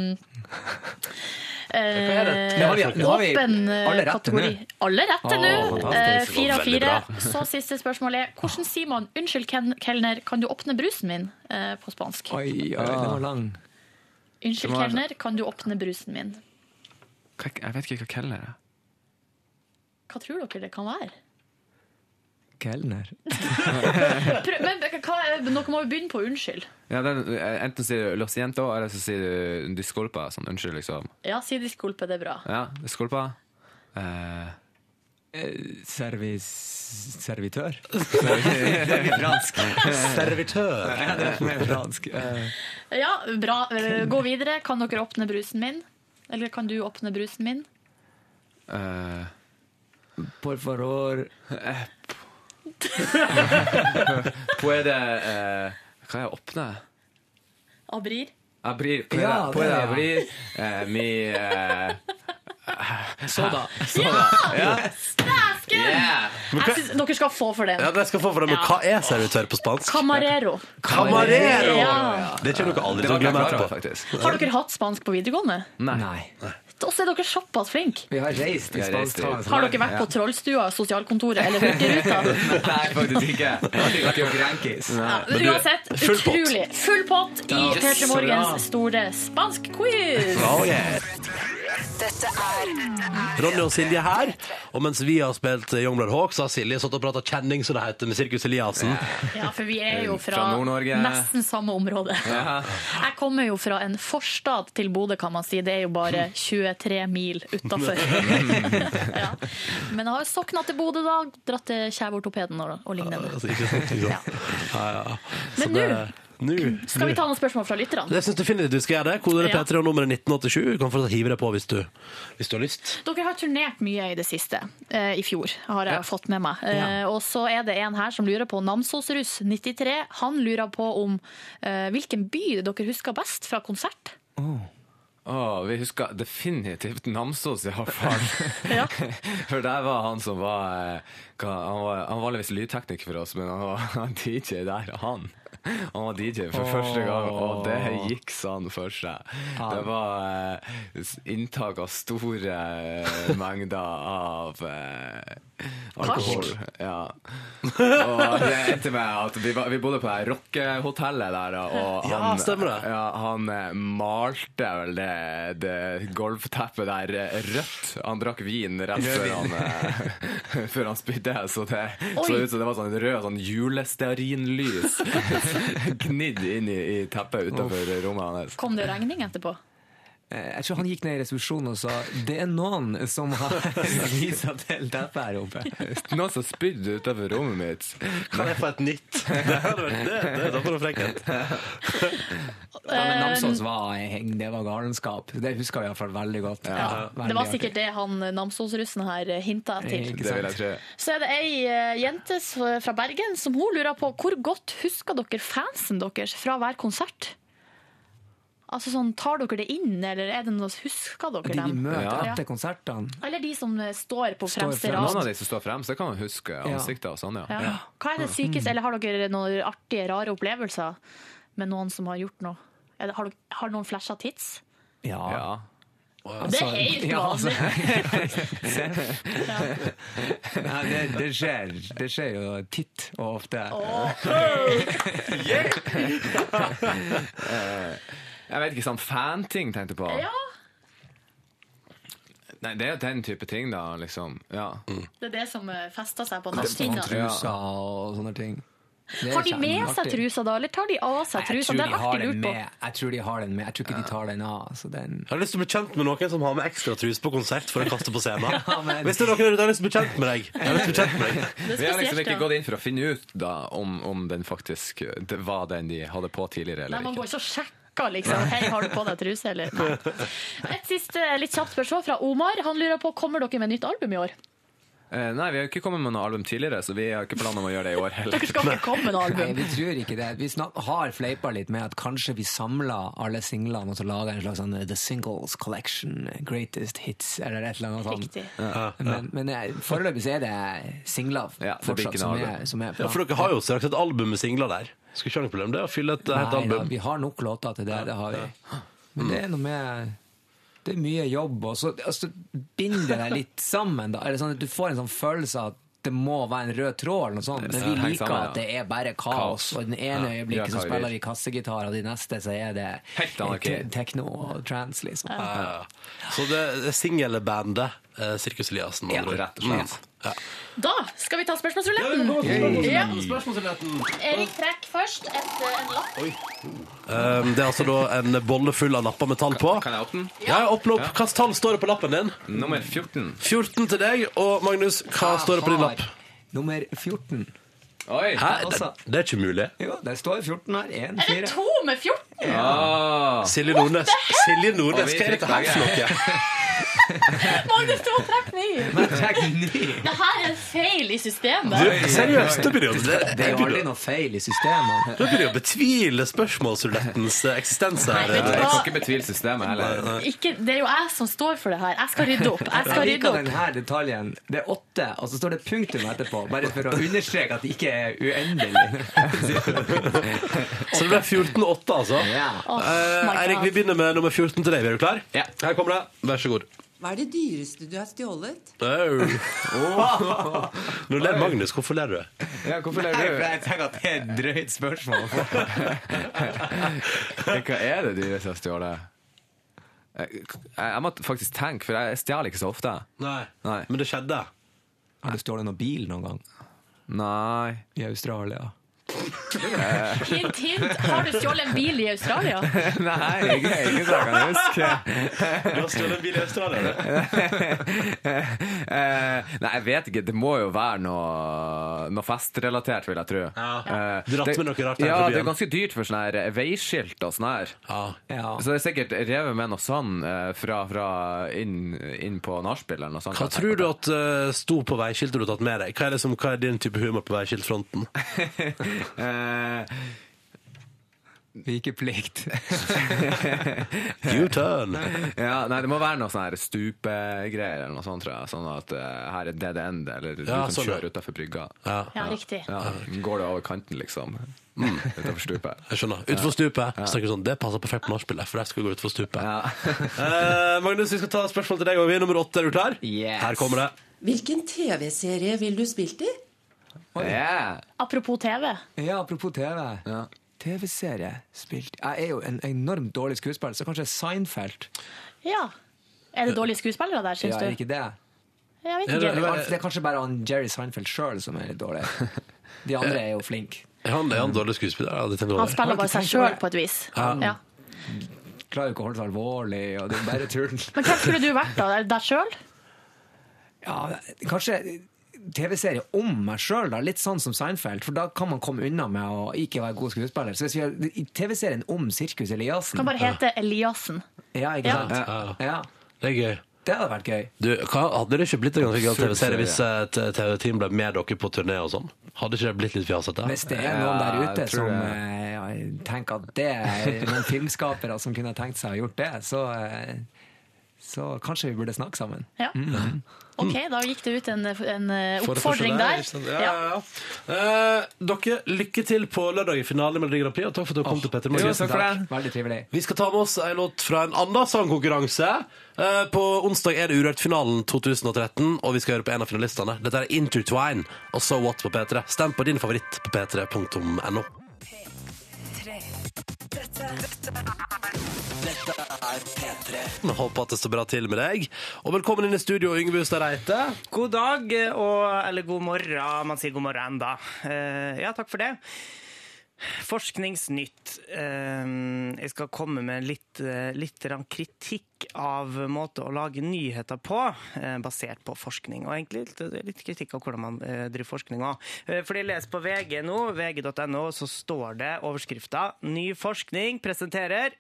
Speaker 5: eh,
Speaker 3: er det? Nå har vi- nå har vi
Speaker 5: åpen
Speaker 3: alle
Speaker 5: eh,
Speaker 3: rette
Speaker 5: kategori.
Speaker 3: nå.
Speaker 5: Alle rette
Speaker 3: Å,
Speaker 5: nå. Eh,
Speaker 3: fantastisk.
Speaker 5: Fire av
Speaker 3: Veldig
Speaker 5: fire.
Speaker 3: bra.
Speaker 5: Så siste spørsmål er hvordan sier man 'unnskyld, ken- kelner, kan du åpne brusen min?' eh, på spansk.
Speaker 3: Oi, oi, den var lang.
Speaker 5: Unnskyld,
Speaker 20: Det var-
Speaker 5: kelner, kan du åpne brusen min?
Speaker 20: Hva- Jeg vet ikke hva keller er.
Speaker 5: Hva tror dere det kan være?
Speaker 3: Kelner.
Speaker 5: Prøv, men hva, er- dere må jo begynne på 'unnskyld'.
Speaker 20: Ja, den, enten sier du Los Siento, eller så sier du disculpa. Sånn, unnskyld, liksom.
Speaker 5: Ja, si disculpe, det er bra.
Speaker 20: Ja, disculpa. Eh,
Speaker 3: Eh, Servis... servitør?
Speaker 23: Det blir fransk. Servitør.
Speaker 3: Ja, det er mer
Speaker 20: sånn.
Speaker 3: fransk. Eh,
Speaker 5: Ja, bra. Eh, Gå videre. Kan dere åpne brusen min? Eller kan du åpne brusen min?
Speaker 3: Por favor
Speaker 20: Eh, Puede eh, Kan jeg åpne?
Speaker 5: Abrir?
Speaker 20: Abrir. Puede,
Speaker 5: Ja,
Speaker 20: puede
Speaker 5: det, ja.
Speaker 20: abrir eh, mi eh,
Speaker 2: Soda.
Speaker 20: Soda. Ja!
Speaker 5: Dæsken!
Speaker 20: Yeah.
Speaker 2: Men
Speaker 5: Jeg synes dere skal få for den.
Speaker 23: Ja, det skal jeg få for deg, men
Speaker 5: Ja.
Speaker 23: Hva er servitør på spansk?
Speaker 5: Camarero.
Speaker 23: Camarero!
Speaker 5: Ja.
Speaker 23: Det kommer dere aldri
Speaker 20: Det
Speaker 23: til
Speaker 20: var
Speaker 23: å glemme
Speaker 20: jeg klar
Speaker 23: etterpå.
Speaker 20: over, faktisk.
Speaker 5: Har dere hatt spansk på videregående?
Speaker 20: Nei.
Speaker 5: Og så er dere såpass flinke.
Speaker 3: Vi har reist
Speaker 20: Vi
Speaker 3: til
Speaker 20: har reist
Speaker 3: spansk
Speaker 20: til-
Speaker 5: Har dere vært på Trollstua, sosialkontoret eller Hurtigruta?
Speaker 20: Nei, faktisk ikke.
Speaker 3: Ikke Grankis.
Speaker 20: Men du-
Speaker 5: Uansett,
Speaker 20: full pott.
Speaker 5: utrolig. Full pott i
Speaker 20: Ja.
Speaker 5: P3
Speaker 20: Yes, bra.
Speaker 5: Morgens store spansk-quiz.
Speaker 2: Oh, yeah.
Speaker 24: Dette er
Speaker 2: Ronny og Silje her. Og mens vi har spilt eh, Youngblood Hawk, så har Silje satt og prata kjenning, som det heter, med Sirkus Eliassen.
Speaker 5: Ja, for vi er jo fra,
Speaker 2: Eh, Fra Nord-Norge.
Speaker 5: nesten samme område.
Speaker 2: Ja.
Speaker 5: Jeg kommer jo fra en forstad til Bodø, kan man si. Det er jo bare 23 mil utafor. ja. Men jeg har sokna til Bodø, da. Dratt til Kjeveortopeden og, og lignende.
Speaker 2: Altså, ikke sant, ikke sant. Ja, ja. Så
Speaker 5: Men
Speaker 2: det- nå
Speaker 5: Skal vi
Speaker 2: nå.
Speaker 5: ta noen spørsmål fra lytterne?
Speaker 2: Jeg syns definitivt du skal gjøre det. Kodet er
Speaker 5: Ja.
Speaker 2: P3 og nummeret 1987. Du kan fortsatt hive deg på hvis du, hvis du har lyst.
Speaker 5: Dere har turnert mye i det siste. Eh, I fjor har jeg
Speaker 2: Ja.
Speaker 5: fått med meg. Eh, og så er det en her som lurer på Namsos-russ 93. Han lurer på om eh, hvilken by dere husker best fra konsert.
Speaker 20: Å, vi husker definitivt Namsos, i hvert fall.
Speaker 5: Ja.
Speaker 20: For der var han som var eh, hva- Han var, han var visst lydtekniker for oss, men han var han DJ der, han. Han var DJ for
Speaker 23: Åh.
Speaker 20: første gang, og det gikk sånn for seg.
Speaker 23: Ja.
Speaker 20: Det var eh, s- inntak av store eh, mengder av eh, alkohol. Ja. Og det endte med at vi, var, vi bodde på det her rockehotellet der, og
Speaker 2: Ja,
Speaker 20: han,
Speaker 2: stemmer det.
Speaker 20: Ja, han eh, malte vel det, det golfteppet der eh, rødt. Han drakk vin rett
Speaker 23: Rød
Speaker 20: før
Speaker 23: vin.
Speaker 20: han, eh, før han spydde, så det
Speaker 23: Oi.
Speaker 20: så ut som det var sånn rød sånn julestearinlys gnidd inn i, i teppet utenfor rommet hans.
Speaker 5: Kom det regning etterpå?
Speaker 3: Eh, Jeg tror han gikk ned i resepsjonen og sa det er noen som har skvisa til teppet her oppe.
Speaker 20: Noen som spydde utenfor rommet mitt.
Speaker 2: Kan jeg få et nytt? Det hadde vært det. det, det var frekkhet.
Speaker 3: Ja,
Speaker 5: Eh,
Speaker 3: men Namsos var, det var galenskap. Det husker vi iallfall veldig godt.
Speaker 5: Det var sikkert det han eh, Namsos-russen her eh, hinta til.
Speaker 20: Det vil jeg tro.
Speaker 5: Så er det ei eh, jente s- fra Bergen som hun lurer på hvor godt husker dere fansen deres fra hver konsert? Altså sånn, Tar dere det inn, eller er det noe, husker dere
Speaker 3: De vi
Speaker 5: dem?
Speaker 3: møter
Speaker 5: Ja.
Speaker 3: etter konsertene.
Speaker 5: Eller de som eh, står på
Speaker 3: Står
Speaker 5: fremste
Speaker 20: Noen av
Speaker 5: rad?
Speaker 20: de som står frem, så kan man huske ansikter og sånn, ja.
Speaker 5: Ja. Hva
Speaker 3: Mm.
Speaker 5: er det sykeste, eller har dere noen artige, rare opplevelser med noen som har gjort noe? Er det- Har, dere, har noen flasha tits?
Speaker 3: Ja.
Speaker 5: Det er helt
Speaker 3: altså.
Speaker 5: Ja.
Speaker 3: Nei, det, det, skjer, det skjer jo titt og ofte.
Speaker 20: Eh, Jeg vet ikke, sånn fan-ting tenkte jeg på.
Speaker 5: Ja,
Speaker 20: Nei, det er jo den type ting, da, liksom. Ja.
Speaker 3: Mm.
Speaker 5: det er det som eh, fester seg på
Speaker 3: Sånn
Speaker 5: natthinna.
Speaker 3: trusa og sånne ting. Det er
Speaker 5: Har de med seg
Speaker 3: kjempeartig.
Speaker 5: trusa da, eller tar de av seg
Speaker 3: Jeg
Speaker 5: trusa?
Speaker 3: tror
Speaker 5: Det
Speaker 3: de
Speaker 5: har
Speaker 3: har
Speaker 5: jeg alltid
Speaker 3: den
Speaker 5: lurt på.
Speaker 3: med. Jeg tror de har den med. Jeg tror ikke de tar den av. Så den
Speaker 2: Jeg har lyst til å bli kjent med noen som har med ekstra trus på konsert for å kaste på scenen.
Speaker 3: Ja, men-
Speaker 2: Hvis det er noen der ute, jeg har lyst til å bli kjent med deg. Jeg har lyst til å bli kjent med deg.
Speaker 20: Vi har liksom ikke
Speaker 5: ja.
Speaker 20: gått inn for å finne ut da, om, om den faktisk det var den de hadde på tidligere,
Speaker 5: Nei,
Speaker 20: eller
Speaker 5: man
Speaker 20: ikke.
Speaker 5: går ikke og sjekker liksom. Hei, har du på deg truse, eller? Nei. Et siste eh, litt kjapt spørsmål fra Omar. Han lurer på kommer dere med nytt album i år.
Speaker 20: Eh, nei, vi har jo ikke kommet med noe album tidligere, så vi har ikke planer om å gjøre det i år heller.
Speaker 5: Dere skal ikke komme med noe
Speaker 3: Nei,
Speaker 5: album.
Speaker 3: vi tror ikke det. Vi snak, har fleipa litt med at kanskje vi samler alle singlene og så lager en slags sånn eh, The Singles Collection, eh, Greatest Hits, eller et eller annet sånt.
Speaker 5: Riktig.
Speaker 3: Men, men eh, foreløpig så er det singler
Speaker 2: det blir ikke
Speaker 3: fortsatt som
Speaker 2: noe
Speaker 3: er,
Speaker 2: album.
Speaker 3: som er
Speaker 2: Ja, for dere har jo straks et album med singler der. Skal ikke ha noe problem det, å fylle et helt
Speaker 3: Nei, da,
Speaker 2: album.
Speaker 3: vi har nok låter til det, det har vi. Men det er noe med Det er mye jobb, og så altså, binder det deg litt sammen. Da. Eller sånn at du får en sånn følelse av at det må være en rød tråd, eller noe sånt.
Speaker 23: Det
Speaker 3: Men
Speaker 23: henger
Speaker 3: vi liker
Speaker 23: sammen, ja.
Speaker 3: at det er bare kaos.
Speaker 23: Kaos.
Speaker 3: Og i det ene
Speaker 23: Ja, gjør
Speaker 3: øyeblikket så
Speaker 23: hva vi
Speaker 3: spiller
Speaker 23: vil.
Speaker 3: vi kassegitar, og i det neste så er det
Speaker 23: Helt anarki.
Speaker 3: te- tekno og trance, liksom.
Speaker 2: Ja, ja. Så det er singelbandet eh, Sirkus Eliassen. med
Speaker 3: Ja,
Speaker 2: andre ord.
Speaker 3: rett og slett.
Speaker 2: Mm. Ja.
Speaker 16: Da skal vi ta
Speaker 2: Ja,
Speaker 16: spørsmålsruletten.
Speaker 2: nå skal vi ta
Speaker 16: Ja.
Speaker 2: spørsmålsruletten.
Speaker 16: Erik trekk først et,
Speaker 5: eh,
Speaker 16: en lapp.
Speaker 2: Um, det er altså da en bolle full av lapper med tall på. Kan jeg åpne den? Ja, åpne opp. Hvilket tall står det på lappen din?
Speaker 20: Nummer 14.
Speaker 2: 14 til deg. Og Magnus, hva
Speaker 21: Jeg
Speaker 2: står det på din
Speaker 21: har
Speaker 2: lapp?
Speaker 21: Nummer 14.
Speaker 20: Oi,
Speaker 2: Hæ?
Speaker 20: altså.
Speaker 2: Det, det er ikke mulig.
Speaker 21: Jo, det står 14 her. En,
Speaker 16: Er det
Speaker 21: fire.
Speaker 16: to med 14?
Speaker 2: Silje Nordnes. Silje Nordnes,
Speaker 21: Og vi
Speaker 2: hva er
Speaker 21: fikk
Speaker 2: dette her for
Speaker 21: begge.
Speaker 2: noe?
Speaker 16: Magnus, du må trekke ny. Det her er feil i systemet.
Speaker 2: Du, seriøst, da begynner jeg å-
Speaker 21: Det er jo aldri noe feil i systemet.
Speaker 2: Da begynner jeg å betvile spørsmålsrulettens eh, eksistens her.
Speaker 16: Nei, vet du hva? Jeg skal
Speaker 20: ikke betvile systemet heller.
Speaker 16: Ikke, det er jo jeg som står for det her. Jeg skal rydde opp. Jeg skal
Speaker 21: Jeg
Speaker 16: rydde
Speaker 21: liker
Speaker 16: opp.
Speaker 21: denne detaljen. Det er åtte, og så står det punktum etterpå. Bare for å understreke at det ikke er uendelig.
Speaker 2: Så det ble 14-8, altså.
Speaker 19: Oh,
Speaker 2: Eh,
Speaker 19: my God.
Speaker 2: Eirik, vi begynner med nummer 14 til deg. Er du klar? Her kommer det. Vær så god.
Speaker 19: Hva er det dyreste du har stjålet?
Speaker 2: Au. Nå ler Magnus. Hvorfor ler du?
Speaker 21: Ja, hvorfor ler du?
Speaker 20: Nei, for
Speaker 21: jeg tenker at det er et drøyt spørsmål.
Speaker 20: Hva er det dyreste jeg stjåler? Jeg, jeg må faktisk tenke, for jeg stjeler ikke så ofte.
Speaker 2: Nei. Men det skjedde.
Speaker 21: Har du stjålet noen bil noen gang?
Speaker 20: Nei.
Speaker 21: I Australia?
Speaker 16: Intimt. Har du stjålet en bil i Australia?
Speaker 20: Nei, ikke, ikke så jeg kan huske.
Speaker 2: Du har stjålet en bil i Australia, du.
Speaker 20: Eh, Nei, jeg vet ikke. Det må jo være noe, noe festrelatert, vil jeg tro.
Speaker 2: Ja.
Speaker 20: Eh,
Speaker 2: Dratt
Speaker 20: det-
Speaker 2: med noe rart her
Speaker 20: Ja,
Speaker 2: fra
Speaker 20: det er
Speaker 2: byen.
Speaker 20: ganske dyrt for sånne her veiskilt og sånn her.
Speaker 21: Ja.
Speaker 20: Så det er sikkert revet med noe sand eh, fra, fra inn, inn på nachspiel eller noe sånt.
Speaker 2: Hva tror du at eh, sto på veiskiltet du har tatt med deg? Hva er, det som, hva er din type humor på veiskiltfronten?
Speaker 20: Eh,
Speaker 21: Vikeplikt.
Speaker 2: U-turn.
Speaker 20: Ja, nei, det må være noe sånn her stupegreier eller noe sånt, tror jeg. Sånn at eh, her er dead end, eller du
Speaker 2: Ja,
Speaker 20: kan
Speaker 2: sånn,
Speaker 20: kjøre
Speaker 2: ja.
Speaker 20: utafor brygga.
Speaker 2: Ja.
Speaker 16: Ja, riktig.
Speaker 20: Ja, Går det over kanten, liksom?
Speaker 21: Mm.
Speaker 20: Utenfor stupet.
Speaker 2: Jeg skjønner. Utenfor stupet. Så tenker du sånn, Det passer perfekt med nachspielet, for jeg skal gå utfor stupet. Eh, Magnus, vi skal ta spørsmål til deg òg. Nummer åtte, er du klar? Her kommer det.
Speaker 19: Hvilken TV-serie ville du spilt i?
Speaker 16: Apropos TV.
Speaker 21: Ja, apropos TV. TV-serie spilt Jeg er jo en enormt dårlig skuespiller, så kanskje Seinfeld.
Speaker 16: Ja. Er det dårlige skuespillere der, syns
Speaker 21: ja,
Speaker 16: du?
Speaker 21: ikke det?
Speaker 16: Jeg vet
Speaker 21: det,
Speaker 16: ikke.
Speaker 21: er kanskje bare han Jerry Seinfeld sjøl som er litt dårlig. De andre er jo flinke.
Speaker 2: Er han, er han dårlig skuespiller? Ja, det tenker jeg
Speaker 16: Han
Speaker 2: over.
Speaker 16: spiller bare seg sjøl på et vis.
Speaker 2: Ja.
Speaker 16: Ja.
Speaker 21: Klarer jo ikke å holde seg alvorlig, og det er bare tull.
Speaker 16: Men hvem skulle du vært, da? Deg sjøl?
Speaker 21: Ja, kanskje TV-serie om meg sjøl, litt sånn som Seinfeld. For da kan man komme unna med å ikke være god skuespiller. Så hvis vi har TV-serien om Sirkus Eliassen
Speaker 16: Kan bare hete Eliassen.
Speaker 21: Ja, ikke
Speaker 16: Ja.
Speaker 21: sant? Ja.
Speaker 2: Det er gøy.
Speaker 21: Det hadde vært gøy.
Speaker 2: Du, hva, hadde det ikke blitt en ganske gøy
Speaker 21: Full
Speaker 2: TV-serie
Speaker 21: serie.
Speaker 2: hvis eh, t- TV-team ble med dere på turné og sånn? Hadde ikke det blitt litt fjasete?
Speaker 21: Hvis det er noen der ute som
Speaker 2: eh,
Speaker 21: eh, ja, tenker at det er noen filmskapere som kunne tenkt seg å gjort det, så, eh, så kanskje vi burde snakke sammen.
Speaker 16: Ja.
Speaker 21: Mhm.
Speaker 16: OK, da gikk det ut en, en eh,
Speaker 2: For det
Speaker 16: oppfordring
Speaker 2: første
Speaker 16: der.
Speaker 2: ikke sant? Ja, ja, ja. Eh, dere, lykke til på lørdag i finalen i Melodi Grand Prix, og takk for at dere kom til Petter Morgen.
Speaker 21: Tusen takk. Veldig trivelig.
Speaker 2: Vi skal ta med oss en låt fra en annen sangkonkurranse. Eh, På onsdag er det Urørt-finalen 2013, og vi skal høre på en av finalistene. Dette er Intertwine og So What på P3. Stem på din favoritt på p3.no.
Speaker 25: Dette er P3.
Speaker 2: Jeg Håper at det står bra til med deg. Og velkommen inn i studio, Yngve Ustad Reite.
Speaker 3: God dag, eh, og, eller god morgen. Man sier god morgen enda. Eh, ja, takk for det. Forskningsnytt. Eh, jeg skal komme med litt, eh, litt grann kritikk av måte å lage nyheter på, eh, basert på forskning. Og egentlig litt, litt kritikk av hvordan man eh, driver forskning òg. fordi jeg leser på VG nå, vg.no, så står det overskrifta 'Ny forskning presenterer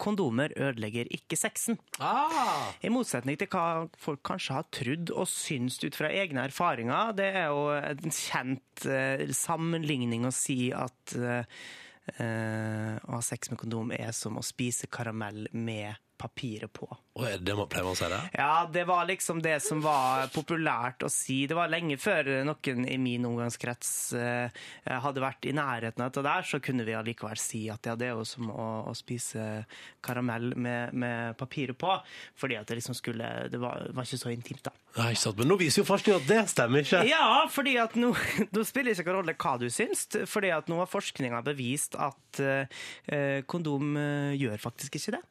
Speaker 3: kondomer ødelegger ikke sexen'.
Speaker 2: Ah.
Speaker 3: I motsetning til hva folk kanskje har trodd og syns ut fra egne erfaringer. Det er jo en kjent eh, sammenligning å si at eh, eh, å ha sex med kondom er som å spise karamell med papiret på.
Speaker 2: Og er det man pleier man å si det?
Speaker 3: Ja, det var liksom det som var populært å si. Det var lenge før noen i min omgangskrets eh, hadde vært i nærheten av dette der, så kunne vi allikevel si at ja, det er jo som å, å spise karamell med, med papiret på. Fordi at det liksom skulle Det var, var ikke så intimt, da.
Speaker 2: Nei, ikke sant. Men nå viser jo forskningen at det stemmer ikke.
Speaker 3: Ja, fordi at nå, nå spiller det ikke noen rolle hva du syns, fordi at nå har forskninga bevist at eh, eh, kondom eh, gjør faktisk ikke det.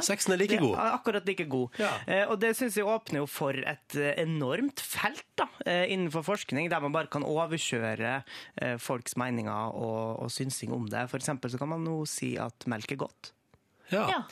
Speaker 6: Sexen er like
Speaker 3: Det
Speaker 6: god.
Speaker 3: er akkurat like god. Eh, og det syns jeg åpner jo for et eh, enormt felt da, eh, innenfor forskning, der man bare kan overkjøre eh, folks meninger og, og synsing om det. For eksempel så kan man nå si at melk er godt.
Speaker 2: Ja.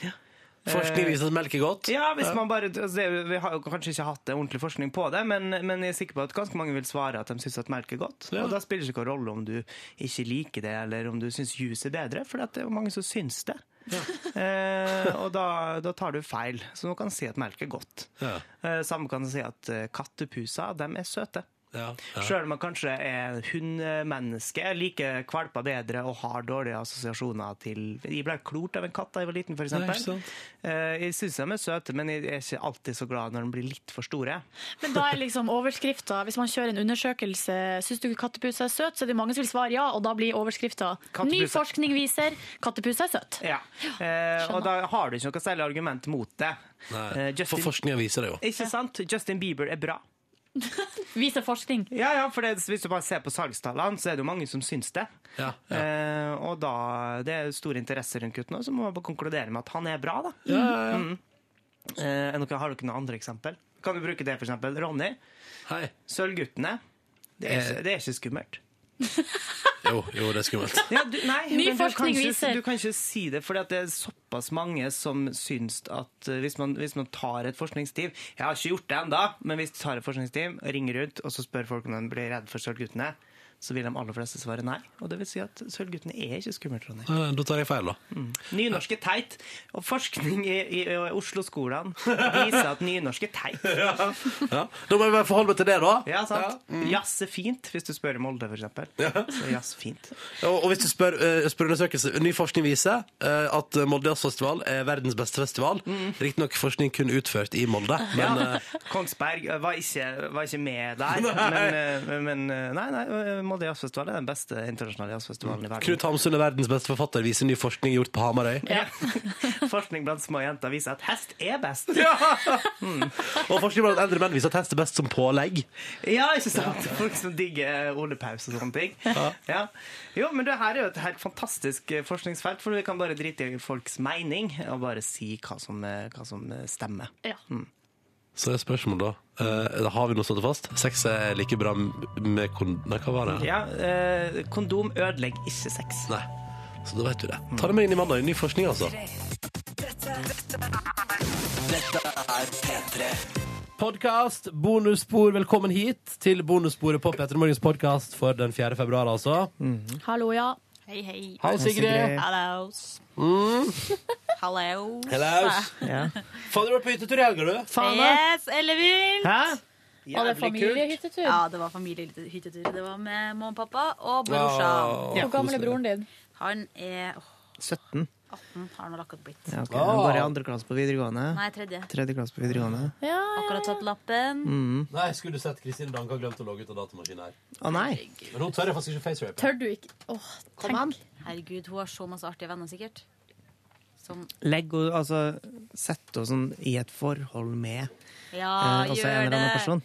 Speaker 2: Forskning viser at melk er godt.
Speaker 3: Ja, hvis man bare, altså det, Vi har jo kanskje ikke hatt det ordentlig forskning på det, men, men jeg er sikker på at ganske mange vil svare at de syns at melk er godt. Og Da spiller det ikke noen rolle om du ikke liker det, eller om du syns juice er bedre, for det er jo mange som syns det. eh, og da, da tar du feil, så nå kan du si at melk er godt. Eh, samme kan du si at eh, kattepuser, de er søte.
Speaker 2: Ja.
Speaker 3: Sjøl om man kanskje er hundemenneske, liker valper bedre og har dårlige assosiasjoner til Jeg ble klort av en katt da jeg var liten, f.eks.
Speaker 2: Nei, ikke sant.
Speaker 3: Jeg syns Eh, de er søte, men jeg er ikke alltid så glad når de blir litt for store.
Speaker 16: Men da er liksom overskrifta Hvis man kjører en undersøkelse Syns du kattepus er søt, så er det mange som vil svare ja, og da blir overskrifta Ny
Speaker 3: Kattepus er-
Speaker 16: forskning viser kattepus er søt.
Speaker 3: Ja. Eh, og da har du ikke noe særlig argument mot det. Eh, Justin-
Speaker 2: For forskninga viser det jo.
Speaker 3: Ikke sant? Justin Bieber er bra.
Speaker 16: Viser forskning.
Speaker 3: Ja, ja, for det, Hvis du bare ser på salgstallene, så er det jo mange som syns det. Eh, og da, Det er stor interesse rundt gutten, og så må man bare konkludere med at han er bra. da.
Speaker 2: ja, ja.
Speaker 3: Mm. Eh, er dere- har dere noen andre eksempel? Kan du bruke det, for eksempel? Ronny. Sølvguttene. Det
Speaker 2: Eh.
Speaker 3: er, ikke- det er ikke skummelt.
Speaker 2: Jo, jo, det er skummelt.
Speaker 3: Ja, du, nei,
Speaker 16: Ny
Speaker 3: men du kan
Speaker 16: forskning
Speaker 3: ikke-
Speaker 16: viser.
Speaker 3: Du kan ikke si det, for det er såpass mange som syns at eh, hvis man, hvis man tar et forskningsteam Jeg har ikke gjort det ennå, men hvis du tar et forskningsteam, ringer rundt og så spør folk om de blir redd for sølvguttene, så vil de aller fleste svare nei. Og det vil si at sølvguttene er ikke skummelt, Ronny.
Speaker 2: Eh, Da tar jeg feil, da.
Speaker 3: Nynorsk er teit, og forskning i, i, i Oslo-skolene viser at nynorsk er teit.
Speaker 2: Ja. Da må jeg bare forholde meg til det, da.
Speaker 3: Ja, sant? Jazz er fint, hvis du spør Molde, for eksempel. Så er jazz fint.
Speaker 2: Og, og hvis du spør, eh, spør undersøkelse, ny forskning viser eh, at Molde Jazzfestival er verdens beste festival. Riktignok forskning kun utført i Molde, men
Speaker 3: Mm. ja.
Speaker 2: eh,
Speaker 3: Kongsberg eh, var ikke, var ikke med der,
Speaker 2: Nei.
Speaker 3: men, eh, men eh, nei, nei, eh, Molde jazzfestival er den beste internasjonale jazzfestivalen i verden.
Speaker 2: Knut Hamsun er verdens beste forfatter, viser ny forskning gjort på Hamarøy.
Speaker 3: Forskning blant små jenter viser at hest er best.
Speaker 2: Og forskning blant eldre menn viser at hest er best som pålegg.
Speaker 3: Ja, ikke sant? Folk som digger Ole Paus og sånne ting. Ja. Jo, men det her er jo et helt fantastisk eh, forskningsfelt, for vi kan bare drite i folks mening og bare si hva som, eh, hva som eh, stemmer.
Speaker 2: Så er spørsmålet da eh, da Har vi noe stått fast? Sex er like bra m- med kon... Nei, hva var det?
Speaker 3: Ja, eh, Kondom ødelegger ikke sex.
Speaker 2: Nei. Så da vet du det. Ta det med inn i mandag. Ny forskning, altså.
Speaker 25: Dette er P3.
Speaker 2: Podkast, bonusspor, velkommen hit til bonussporet på Petter Morgens podkast for den 4. februar, altså.
Speaker 16: Hallo, ja. Hei, hei.
Speaker 2: Hei, Sigrid. Hei, Sigrid.
Speaker 4: Hallos.
Speaker 2: Mm.
Speaker 4: Hallo.
Speaker 2: Hellaus. Fader, du var på hyttetur i helga, du.
Speaker 4: Yes, eller vilt!
Speaker 5: Var det familiehyttetur?
Speaker 4: Ja, det var familiehyttetur. Det var med mamma og pappa og brorsan.
Speaker 3: Wow. Ja,
Speaker 5: Hvor gammel er
Speaker 3: koselig.
Speaker 5: broren din?
Speaker 4: Han er åh,
Speaker 3: 17.
Speaker 4: 18, har han vel akkurat blitt.
Speaker 3: Ja, ok. Men Bare i andre klasse på videregående.
Speaker 4: Nei, tredje.
Speaker 3: Tredje klasse på videregående.
Speaker 4: Akkurat tatt lappen.
Speaker 3: Mm.
Speaker 2: Nei, skulle du sett Kristine Danke har glemt å logge ut av datamaskinen her.
Speaker 3: Å nei.
Speaker 2: Men hun tør jeg faktisk ikke facerape.
Speaker 4: du ikke Åh, tenk. Herregud, hun har så masse artige venner, sikkert. Som
Speaker 3: Legg og altså Sett oss sånn i et forhold med
Speaker 4: Ja,
Speaker 3: eh, altså en eller annen person.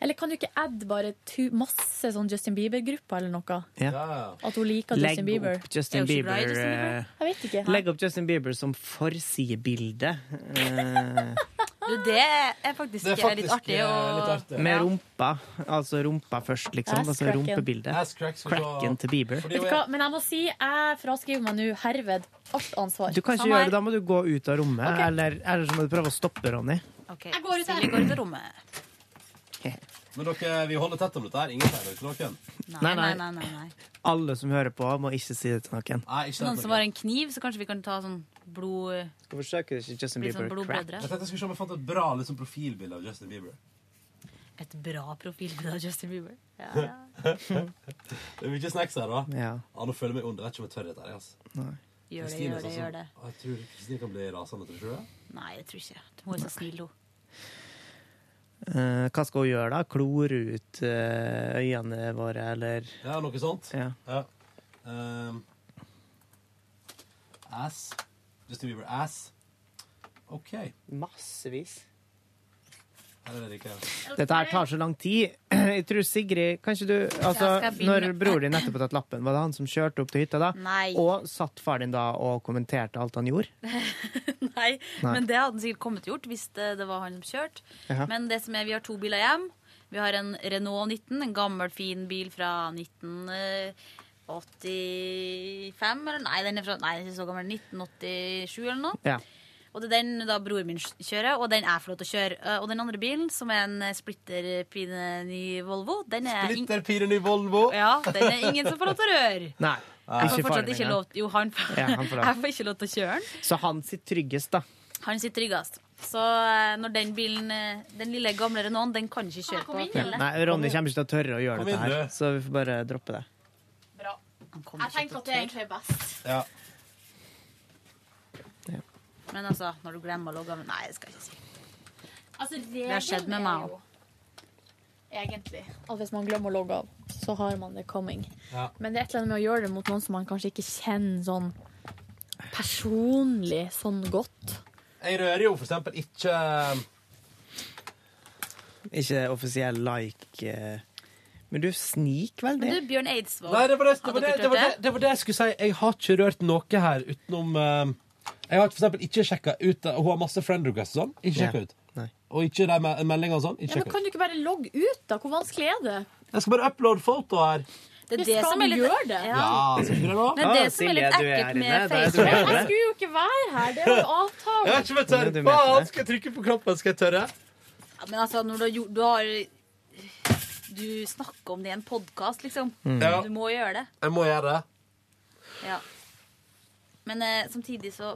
Speaker 5: Eller kan du ikke adde bare tu masse sånn Justin Bieber-grupper eller noe?
Speaker 3: Ja.
Speaker 5: At hun liker
Speaker 3: Legg
Speaker 5: Justin Bieber.
Speaker 3: opp Justin Bieber. eh,
Speaker 5: Jeg vet ikke.
Speaker 3: Legg opp Justin Bieber som forsidebilde. eh,
Speaker 4: Du, det er faktisk,
Speaker 2: Det er
Speaker 4: eh, litt
Speaker 2: faktisk,
Speaker 4: artig.
Speaker 2: eh,
Speaker 4: å-
Speaker 2: litt artig.
Speaker 3: med
Speaker 4: Ja.
Speaker 3: rumpa. Altså rumpa først, liksom. Altså
Speaker 5: Ass-cracken.
Speaker 3: rumpebildet.
Speaker 2: Ass-crack skal
Speaker 3: Cracken til Bieber.
Speaker 5: Vet du hva? Men jeg må si jeg fraskriver meg nå herved alt ansvar.
Speaker 3: Du kan ikke gjøre det, da må du gå ut av rommet, eller, eller så må du prøve å stoppe Ronny.
Speaker 4: Jeg går ut her. Går ut av rommet.
Speaker 2: Men dere, vi holder tett om dette her. Ingen feiler ikke noen.
Speaker 3: Nei, nei.
Speaker 4: nei, nei, nei.
Speaker 3: Alle som hører på, må ikke si det til noen.
Speaker 4: Noen som har en kniv, så kanskje vi kan ta sånn blod...
Speaker 3: Skal forsøke det ikke Justin
Speaker 4: Blir sånn
Speaker 3: Bieber. crap.
Speaker 4: blodbrødre.
Speaker 2: Jeg tenkte jeg skulle se om jeg fant et bra liksom, profilbilde av Justin Bieber.
Speaker 4: Et bra profilbilde av Justin Bieber. Ja, ja.
Speaker 2: Det er mye snacks her, da.
Speaker 3: Ja.
Speaker 2: Ja, nå føler jeg meg ond. Jeg vet ikke om jeg tør dette her. Altså.
Speaker 4: Gjør det,
Speaker 2: Kristine
Speaker 4: gjør
Speaker 2: sa
Speaker 4: det,
Speaker 2: sånn,
Speaker 4: gjør det.
Speaker 2: «Å, Jeg tror Kristine kan bli rasende, tror du det?
Speaker 4: Nei, jeg tror ikke. Hun er så snill, hun.
Speaker 3: Eh, hva skal hun gjøre, da? Klore ut eh, øynene våre, eller
Speaker 2: Ja, noe sånt.
Speaker 3: Ja.
Speaker 2: Ehm, ass. Justin Bieber ass. OK.
Speaker 3: Massevis. Dette her tar så lang tid. Jeg tror Sigrid Kanskje du Altså,
Speaker 5: Jeg skal
Speaker 3: når
Speaker 5: begynne.
Speaker 3: broren din nettopp har tatt lappen, var det han som kjørte opp til hytta da?
Speaker 5: Nei.
Speaker 3: Og satt far din da og kommenterte alt han gjorde?
Speaker 5: Nei,
Speaker 3: Nei.
Speaker 5: men det hadde han sikkert kommet gjort hvis det, det var han som kjørte.
Speaker 3: Jaha.
Speaker 5: Men det som er, vi har to biler hjem. Vi har en Renault 19, en gammel, fin bil fra 1985 eller Nei, den er, fra, nei, den er ikke så gammel. 1987 eller noe.
Speaker 3: Ja.
Speaker 5: Og det er den da bror min kjører, og den er flott å kjøre. Eh, Og den andre bilen, som er en eh, splitter pine ny Volvo, den er, ing-
Speaker 2: Splitter pine ny Volvo.
Speaker 5: ja, den er ingen som får lov til å røre.
Speaker 3: Nei.
Speaker 5: Jeg får
Speaker 3: Ikke faren
Speaker 5: fortsatt
Speaker 3: din,
Speaker 5: ikke
Speaker 3: ja.
Speaker 5: lov Jo, han,
Speaker 3: Ja, han får lov.
Speaker 5: jeg får ikke lov til å kjøre den.
Speaker 3: Så han sitt tryggest, da.
Speaker 5: Han sitter tryggest. Så eh, når den bilen, eh, den lille gamle Renaulten, den kan ikke kjøre på fjellet.
Speaker 3: Nei, Ronny kommer ikke til å tørre å gjøre
Speaker 2: Kom
Speaker 3: dette
Speaker 2: inn,
Speaker 3: her,
Speaker 2: du.
Speaker 3: så vi får bare droppe det.
Speaker 5: Jeg tenkte at det egentlig er best.
Speaker 2: Ja.
Speaker 5: Men altså, når du glemmer å logge av Nei, det skal jeg ikke si.
Speaker 15: Altså,
Speaker 5: Det har skjedd med meg òg.
Speaker 15: Egentlig. At hvis man glemmer å logge av, så har man det coming.
Speaker 5: Ja.
Speaker 15: Men det er et eller annet med å gjøre det mot noen som man kanskje ikke kjenner sånn personlig sånn godt.
Speaker 2: Jeg rører jo for eksempel ikke ehm,
Speaker 3: Ikke offisiell like eh, Men du snik vel
Speaker 5: Men
Speaker 3: det?
Speaker 5: du, Bjørn Eidsvåg,
Speaker 2: Nei, det var det, det,
Speaker 5: hadde
Speaker 2: var det,
Speaker 5: dere
Speaker 2: det, var det,
Speaker 5: hørt
Speaker 2: det var det jeg skulle si. Jeg har ikke rørt noe her utenom eh, Jeg har for eksempel ikke sjekka ut eh, Hun har masse friend requests og sånn. Ikke sjekka ut. Og ikke de me- meldingene og sånn.
Speaker 15: Ja,
Speaker 2: Ikke
Speaker 15: men
Speaker 2: sjekka
Speaker 15: kan
Speaker 2: ut.
Speaker 15: du ikke bare logge ut, da? Hvor vanskelig er det?
Speaker 2: Jeg skal bare uploade foto her.
Speaker 5: Det
Speaker 15: er
Speaker 5: det som er litt-
Speaker 15: Gjør det?
Speaker 2: Ja, så bra.
Speaker 5: Men det som er litt ekkelt med Facebook
Speaker 15: Jeg skulle jo ikke være her! Det var jo avtale.
Speaker 2: Jeg vet ikke om jeg tør. Faen, skal jeg trykke på knappen? Skal jeg tørre?
Speaker 5: Ja, Men altså, når du har gjort Du har Du snakker om det i en podkast, liksom.
Speaker 2: Mm. Ja.
Speaker 5: Du må gjøre det.
Speaker 2: Jeg må gjøre det.
Speaker 5: Ja. Men eh, samtidig så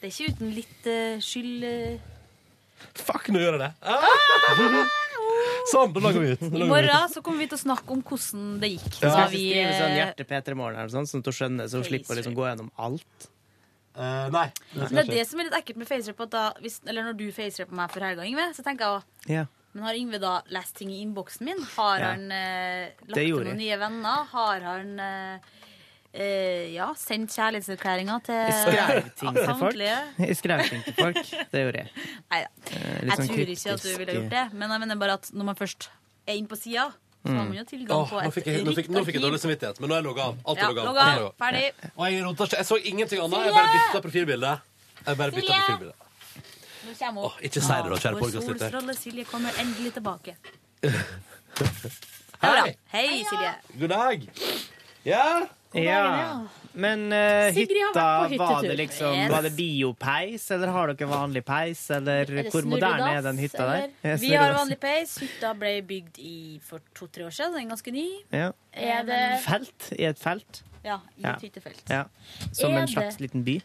Speaker 5: Det er ikke uten litt eh, skyld eh,
Speaker 2: Fuck, nå gjør jeg det. Ah! Sånn, da logger vi ut. Da
Speaker 5: I
Speaker 2: logger vi ut.
Speaker 5: morgen så kommer vi til å snakke om hvordan det gikk.
Speaker 3: Ja.
Speaker 5: Da
Speaker 3: Skal vi
Speaker 5: vi,
Speaker 3: skrive sånn
Speaker 5: eh,
Speaker 3: hjerte Peter i morgen, eller sånn, sånn at hun skjønner, så hun slipper å liksom gå gjennom alt?
Speaker 2: Eh, nei.
Speaker 5: men det er det som er litt ekkelt med facerap. at da- hvis- Eller når du facerapper meg for helga, Yngve, så tenker jeg også,
Speaker 3: Ja.
Speaker 5: men har Yngve da lest ting i innboksen min? Har
Speaker 3: Ja.
Speaker 5: han eh,
Speaker 3: Det
Speaker 5: lagt til
Speaker 3: gjorde
Speaker 5: noen
Speaker 3: jeg.
Speaker 5: nye venner? Har han eh, eh, ja, sendt kjærlighetserklæringer til
Speaker 3: Jeg skrev ting til folk.
Speaker 5: samtlige?
Speaker 3: Jeg skrev ting til folk. Det gjorde jeg.
Speaker 5: Neida.
Speaker 3: Eh, litt sånn
Speaker 5: Jeg tror ikke at du
Speaker 3: kryptisk, Mm.
Speaker 5: ville gjort det, men jeg mener bare at når man først er inne på sida, så har man jo tilgang
Speaker 2: Åh,
Speaker 5: på
Speaker 2: nå
Speaker 5: et
Speaker 2: fikk jeg, nå fikk, nå fikk jeg dårlig
Speaker 5: arkiv.
Speaker 2: samvittighet, men nå har jeg logga av. Alt
Speaker 5: Ja,
Speaker 2: er logga av.
Speaker 5: logg
Speaker 2: Alt er
Speaker 5: av.
Speaker 2: logga av.
Speaker 5: Ferdig.
Speaker 2: Og jeg rotet ikke. Jeg så ingenting annet. Jeg bare bytta profilbilde. Jeg bare bytta
Speaker 5: Silje!
Speaker 2: profilbilde.
Speaker 5: Nå kommer hun.
Speaker 2: Åh, ikke si det da, kjære
Speaker 5: Vår
Speaker 2: podcastlytter.
Speaker 5: solstråle Silje kommer endelig tilbake.
Speaker 2: Hei!
Speaker 5: Hei, Silje.
Speaker 2: God dag. Ja?
Speaker 3: Ja. Men eh,
Speaker 5: Sigrid har
Speaker 3: hytta,
Speaker 5: vært på
Speaker 3: var
Speaker 5: hyttetur.
Speaker 3: det liksom
Speaker 5: Yes.
Speaker 3: Var det biopeis, eller har dere vanlig peis, eller
Speaker 5: Er det
Speaker 3: hvor moderne
Speaker 5: snurredass,
Speaker 3: er den hytta der?
Speaker 5: eller?
Speaker 3: Ja,
Speaker 5: Vi har
Speaker 3: snurredass.
Speaker 5: vanlig peis. Hytta ble bygd i for to-tre år siden. Den er ganske ny.
Speaker 3: ja.
Speaker 5: Er det-
Speaker 3: Felt? I et felt?
Speaker 5: Ja, i et hyttefelt.
Speaker 3: Ja. Som
Speaker 15: Er
Speaker 3: en slags
Speaker 15: det-
Speaker 3: liten by.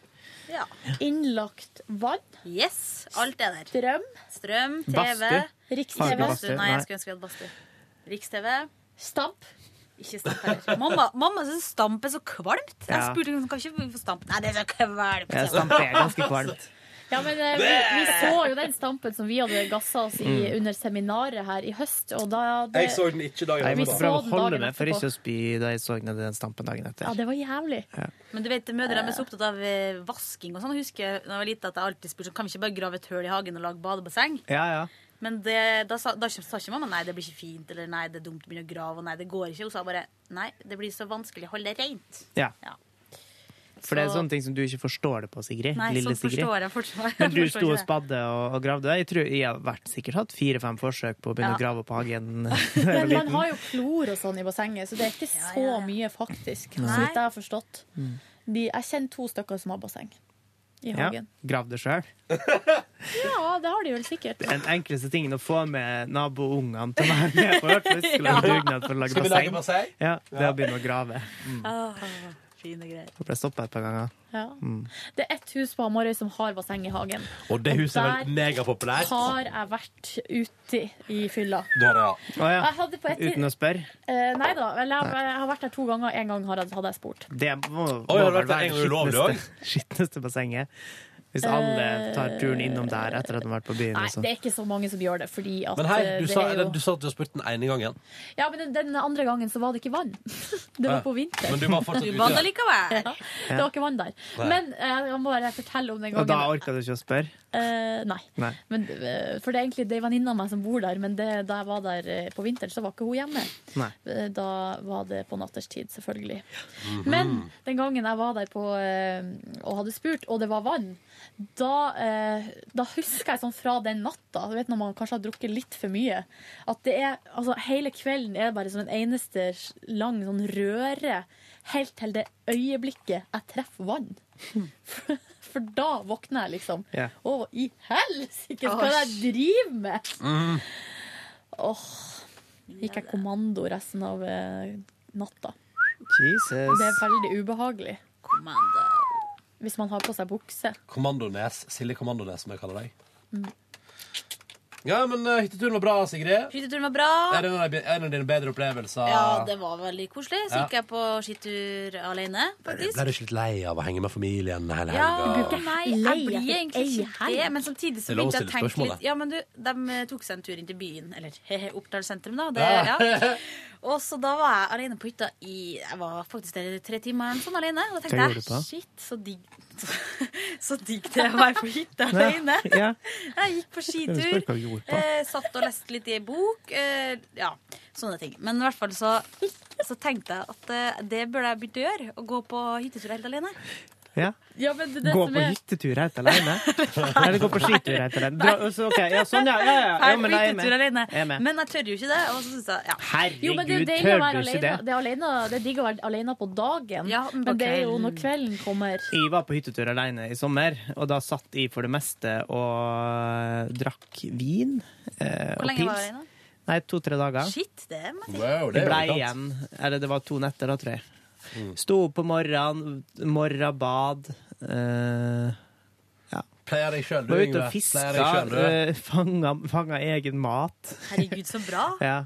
Speaker 5: Ja.
Speaker 15: Innlagt vann.
Speaker 5: Yes, alt er der.
Speaker 15: Strøm.
Speaker 5: Strøm, TV.
Speaker 3: Badstue. Har
Speaker 5: Riks-TV.
Speaker 3: du badstue?
Speaker 5: Nei,
Speaker 3: Nei.
Speaker 5: jeg skulle ønske vi hadde badstue. Riks-TV.
Speaker 15: Stamp.
Speaker 5: Ikke stamp heller. Mamma, mamma syns stamp er så kvalmt. Jeg
Speaker 3: Ja.
Speaker 5: spurte om hun kan ikke få stamp. Nei, det er så kvalmt.
Speaker 3: Ja, stamp er ganske kvalmt.
Speaker 15: Ja, men eh, vi, vi så jo den stampen som vi hadde gassa oss i
Speaker 3: Mm.
Speaker 15: under seminaret her i høst, og da det,
Speaker 2: Jeg så den ikke dagen
Speaker 3: Jeg
Speaker 2: etterpå.
Speaker 3: måtte
Speaker 15: Vi
Speaker 3: prøve
Speaker 15: så
Speaker 3: å
Speaker 15: den
Speaker 3: holde
Speaker 15: dagen
Speaker 3: meg for
Speaker 15: etterpå.
Speaker 3: ikke å spy da jeg så ned den stampen dagen
Speaker 15: Ja,
Speaker 3: etter.
Speaker 15: det var jævlig.
Speaker 5: Men du vet, mødre de er så opptatt av eh, vasking og sånn. Jeg husker da jeg var liten at jeg alltid spurte sånn, kan vi ikke bare grave et hull i hagen og lage badebasseng.
Speaker 3: Ja, ja.
Speaker 5: Men det, da, sa, da sa ikke mamma nei, det blir ikke fint, eller nei, det er dumt å begynne å grave, og nei, det går ikke. Hun sa bare nei, det blir så vanskelig å holde det rent.
Speaker 3: ja.
Speaker 5: Ja.
Speaker 3: For det er
Speaker 5: Så-
Speaker 3: sånne ting som du ikke forstår det på, Sigrid.
Speaker 5: Nei,
Speaker 3: lille
Speaker 5: sånn
Speaker 3: Sigrid.
Speaker 5: forstår jeg fortsatt.
Speaker 15: Sånn
Speaker 3: Men du
Speaker 5: Jeg forstår
Speaker 3: sto og
Speaker 5: ikke det.
Speaker 3: spadde og, og gravde. Jeg tror jeg har vært, sikkert hatt fire-fem forsøk på å begynne
Speaker 15: Ja.
Speaker 3: å grave opp hagen.
Speaker 15: Men man har jo klor og sånn i bassenget, så det er ikke så mye faktisk, så
Speaker 3: Nei.
Speaker 15: vidt jeg har forstått. De, jeg kjenner to stykker som har basseng i
Speaker 3: ja,
Speaker 15: hagen.
Speaker 3: Grav det sjøl.
Speaker 15: Ja. det har de vel sikkert.
Speaker 3: Den enkleste tingen å få med naboungene til å være med på. for Vi skulle ha
Speaker 15: Ja.
Speaker 3: dugnad for å lage
Speaker 2: Skal vi lage
Speaker 3: basseng.
Speaker 2: basseng?
Speaker 3: Ja, det er å begynne å grave. Mm.
Speaker 5: Ah, fine greier.
Speaker 3: Jeg ble stoppa et par ganger.
Speaker 15: Ja.
Speaker 3: Mm.
Speaker 15: Det er ett hus på Hamarøy som har basseng i hagen.
Speaker 2: Og det huset er
Speaker 15: der
Speaker 2: vel megapopulært?
Speaker 15: har jeg vært uti i fylla.
Speaker 2: Du har det, ja.
Speaker 3: Å ja.
Speaker 15: Jeg hadde på et-
Speaker 3: Uten å spørre.
Speaker 15: Eh, nei da, vel, jeg, jeg har vært der to ganger. En gang har jeg- hadde jeg spurt.
Speaker 3: Det må,
Speaker 2: Oi,
Speaker 3: må
Speaker 2: har du
Speaker 3: vel
Speaker 2: vært der
Speaker 3: være
Speaker 2: en
Speaker 3: det
Speaker 2: gang ulovlig
Speaker 3: skitneste, skitneste bassenget. Hvis alle tar turen innom der etter at de har vært på byen.
Speaker 1: Nei,
Speaker 3: og sånn.
Speaker 1: det er ikke så mange som gjør det, fordi at
Speaker 2: Men hei,
Speaker 1: eh,
Speaker 2: du
Speaker 1: det
Speaker 2: sa,
Speaker 1: er jo
Speaker 2: du sa at du har spurt den ene gangen.
Speaker 1: Ja, men den- den andre gangen så var det ikke vann. Det var
Speaker 2: Ja.
Speaker 1: på vinter.
Speaker 2: Men du var fortsatt Du ute. badet
Speaker 1: likevel. Ja, det var ikke vann der.
Speaker 3: Nei.
Speaker 1: Men eh, jeg må bare fortelle om den gangen.
Speaker 3: Og da orka du ikke å spørre?
Speaker 1: Eh, nei.
Speaker 3: Nei.
Speaker 1: Men, eh, for det er egentlig det er venninna av meg som bor der, men det, da jeg var der eh, på vinteren, så var ikke hun hjemme.
Speaker 3: Nei.
Speaker 1: Eh, Da var det på natterstid, selvfølgelig. Men den gangen jeg var der på, eh, og hadde spurt, og det var vann, da, eh, da husker jeg sånn fra den natta, du vet når man kanskje har drukket litt for mye, at det er, altså hele kvelden er bare som en eneste lang sånn røre, helt til det øyeblikket jeg treffer vann. For, for da våkner jeg liksom.
Speaker 3: Ja.
Speaker 1: Å, i helsike, hva
Speaker 26: Åh,
Speaker 1: er det jeg driver med?
Speaker 26: Mm.
Speaker 1: Åh, gikk jeg kommando resten av eh, natta. Det er
Speaker 2: Jesus.
Speaker 1: veldig ubehagelig. Kommando. Hvis man har på seg bukse.
Speaker 2: Kommandones. Silje Kommandones, som jeg kaller deg.
Speaker 1: Mm.
Speaker 2: Ja, men eh, hytteturen var bra, Sigrid.
Speaker 5: Hytteturen var bra.
Speaker 2: Er det en av de- en av dine bedre opplevelser?
Speaker 5: Ja, det var veldig koselig. Så
Speaker 2: Ja.
Speaker 5: gikk jeg på skitur alene, faktisk.
Speaker 2: Ble du ikke litt lei av å henge med familien hele
Speaker 5: Ja,
Speaker 2: helga?
Speaker 5: nei,
Speaker 1: lei
Speaker 5: jeg blir
Speaker 1: etter
Speaker 5: egentlig
Speaker 1: ei
Speaker 5: ikke det.
Speaker 1: helg.
Speaker 5: Men samtidig
Speaker 2: Det
Speaker 5: så
Speaker 2: er lov å
Speaker 5: begynte jeg å
Speaker 2: stille
Speaker 5: tenke
Speaker 2: spørsmål,
Speaker 5: litt
Speaker 2: da.
Speaker 5: Ja, men du, de eh, tok seg en tur inn til byen, eller he-he, Oppdal sentrum, da. Det,
Speaker 2: Ja.
Speaker 5: ja. Og så da var jeg alene på hytta i Jeg var faktisk der i tre timer eller noe sånt alene. Og
Speaker 3: Hva
Speaker 5: da
Speaker 3: gjorde
Speaker 5: tenkte
Speaker 3: du da?
Speaker 5: jeg shit, så digg Så digg det er å være på hytta alene.
Speaker 3: Ja.
Speaker 5: Jeg gikk på
Speaker 3: Skal vi spørre hva vi
Speaker 5: skitur,
Speaker 3: gjorde på?
Speaker 5: eh, satt og leste litt i en bok. Eh, ja, sånne ting. Men i hvert fall så, så tenkte jeg at eh, det burde jeg begynne å gjøre. Å gå på hyttetur helt alene.
Speaker 3: Ja.
Speaker 1: Ja, men det,
Speaker 3: Gå på hyttetur helt alene? Eller gå på skitur helt alene? Dra, så, ok, ja, sånn, ja. ja, ja.
Speaker 5: Jeg
Speaker 3: ja
Speaker 5: er
Speaker 3: men jeg
Speaker 5: på
Speaker 3: er
Speaker 5: hyttetur
Speaker 3: med.
Speaker 5: alene.
Speaker 3: Jeg er med.
Speaker 5: Men jeg tør jo ikke det. Og så synes jeg, ja.
Speaker 1: Jo, men det er jo
Speaker 3: Herregud,
Speaker 1: deilig å
Speaker 3: tør
Speaker 1: være
Speaker 3: du ikke
Speaker 1: alene.
Speaker 3: det?
Speaker 1: Det er, alene, det er digg å være alene på dagen, men,
Speaker 5: på
Speaker 1: det er jo
Speaker 5: kvelden.
Speaker 1: når kvelden kommer.
Speaker 3: Jeg var på hyttetur alene i sommer, og da satt jeg for det meste og drakk vin. Eh,
Speaker 5: Hvor
Speaker 3: og
Speaker 5: lenge var
Speaker 3: pils.
Speaker 5: jeg alene?
Speaker 3: Nei, to-tre dager.
Speaker 5: Shit, det er meg.
Speaker 2: Wow,
Speaker 3: det
Speaker 2: det er Mm. jo
Speaker 3: ble
Speaker 2: litt
Speaker 3: igjen. Eller det var to netter, da, tror jeg. Sto opp på morgenen, morgenbad. Eh,
Speaker 2: Pleier deg sjøl, du,
Speaker 3: var ute
Speaker 2: Yngve.
Speaker 3: og fiska.
Speaker 2: Pleier deg selv, du.
Speaker 3: eh, Fanga, fanga egen mat.
Speaker 5: Herregud, så bra.
Speaker 3: Ja.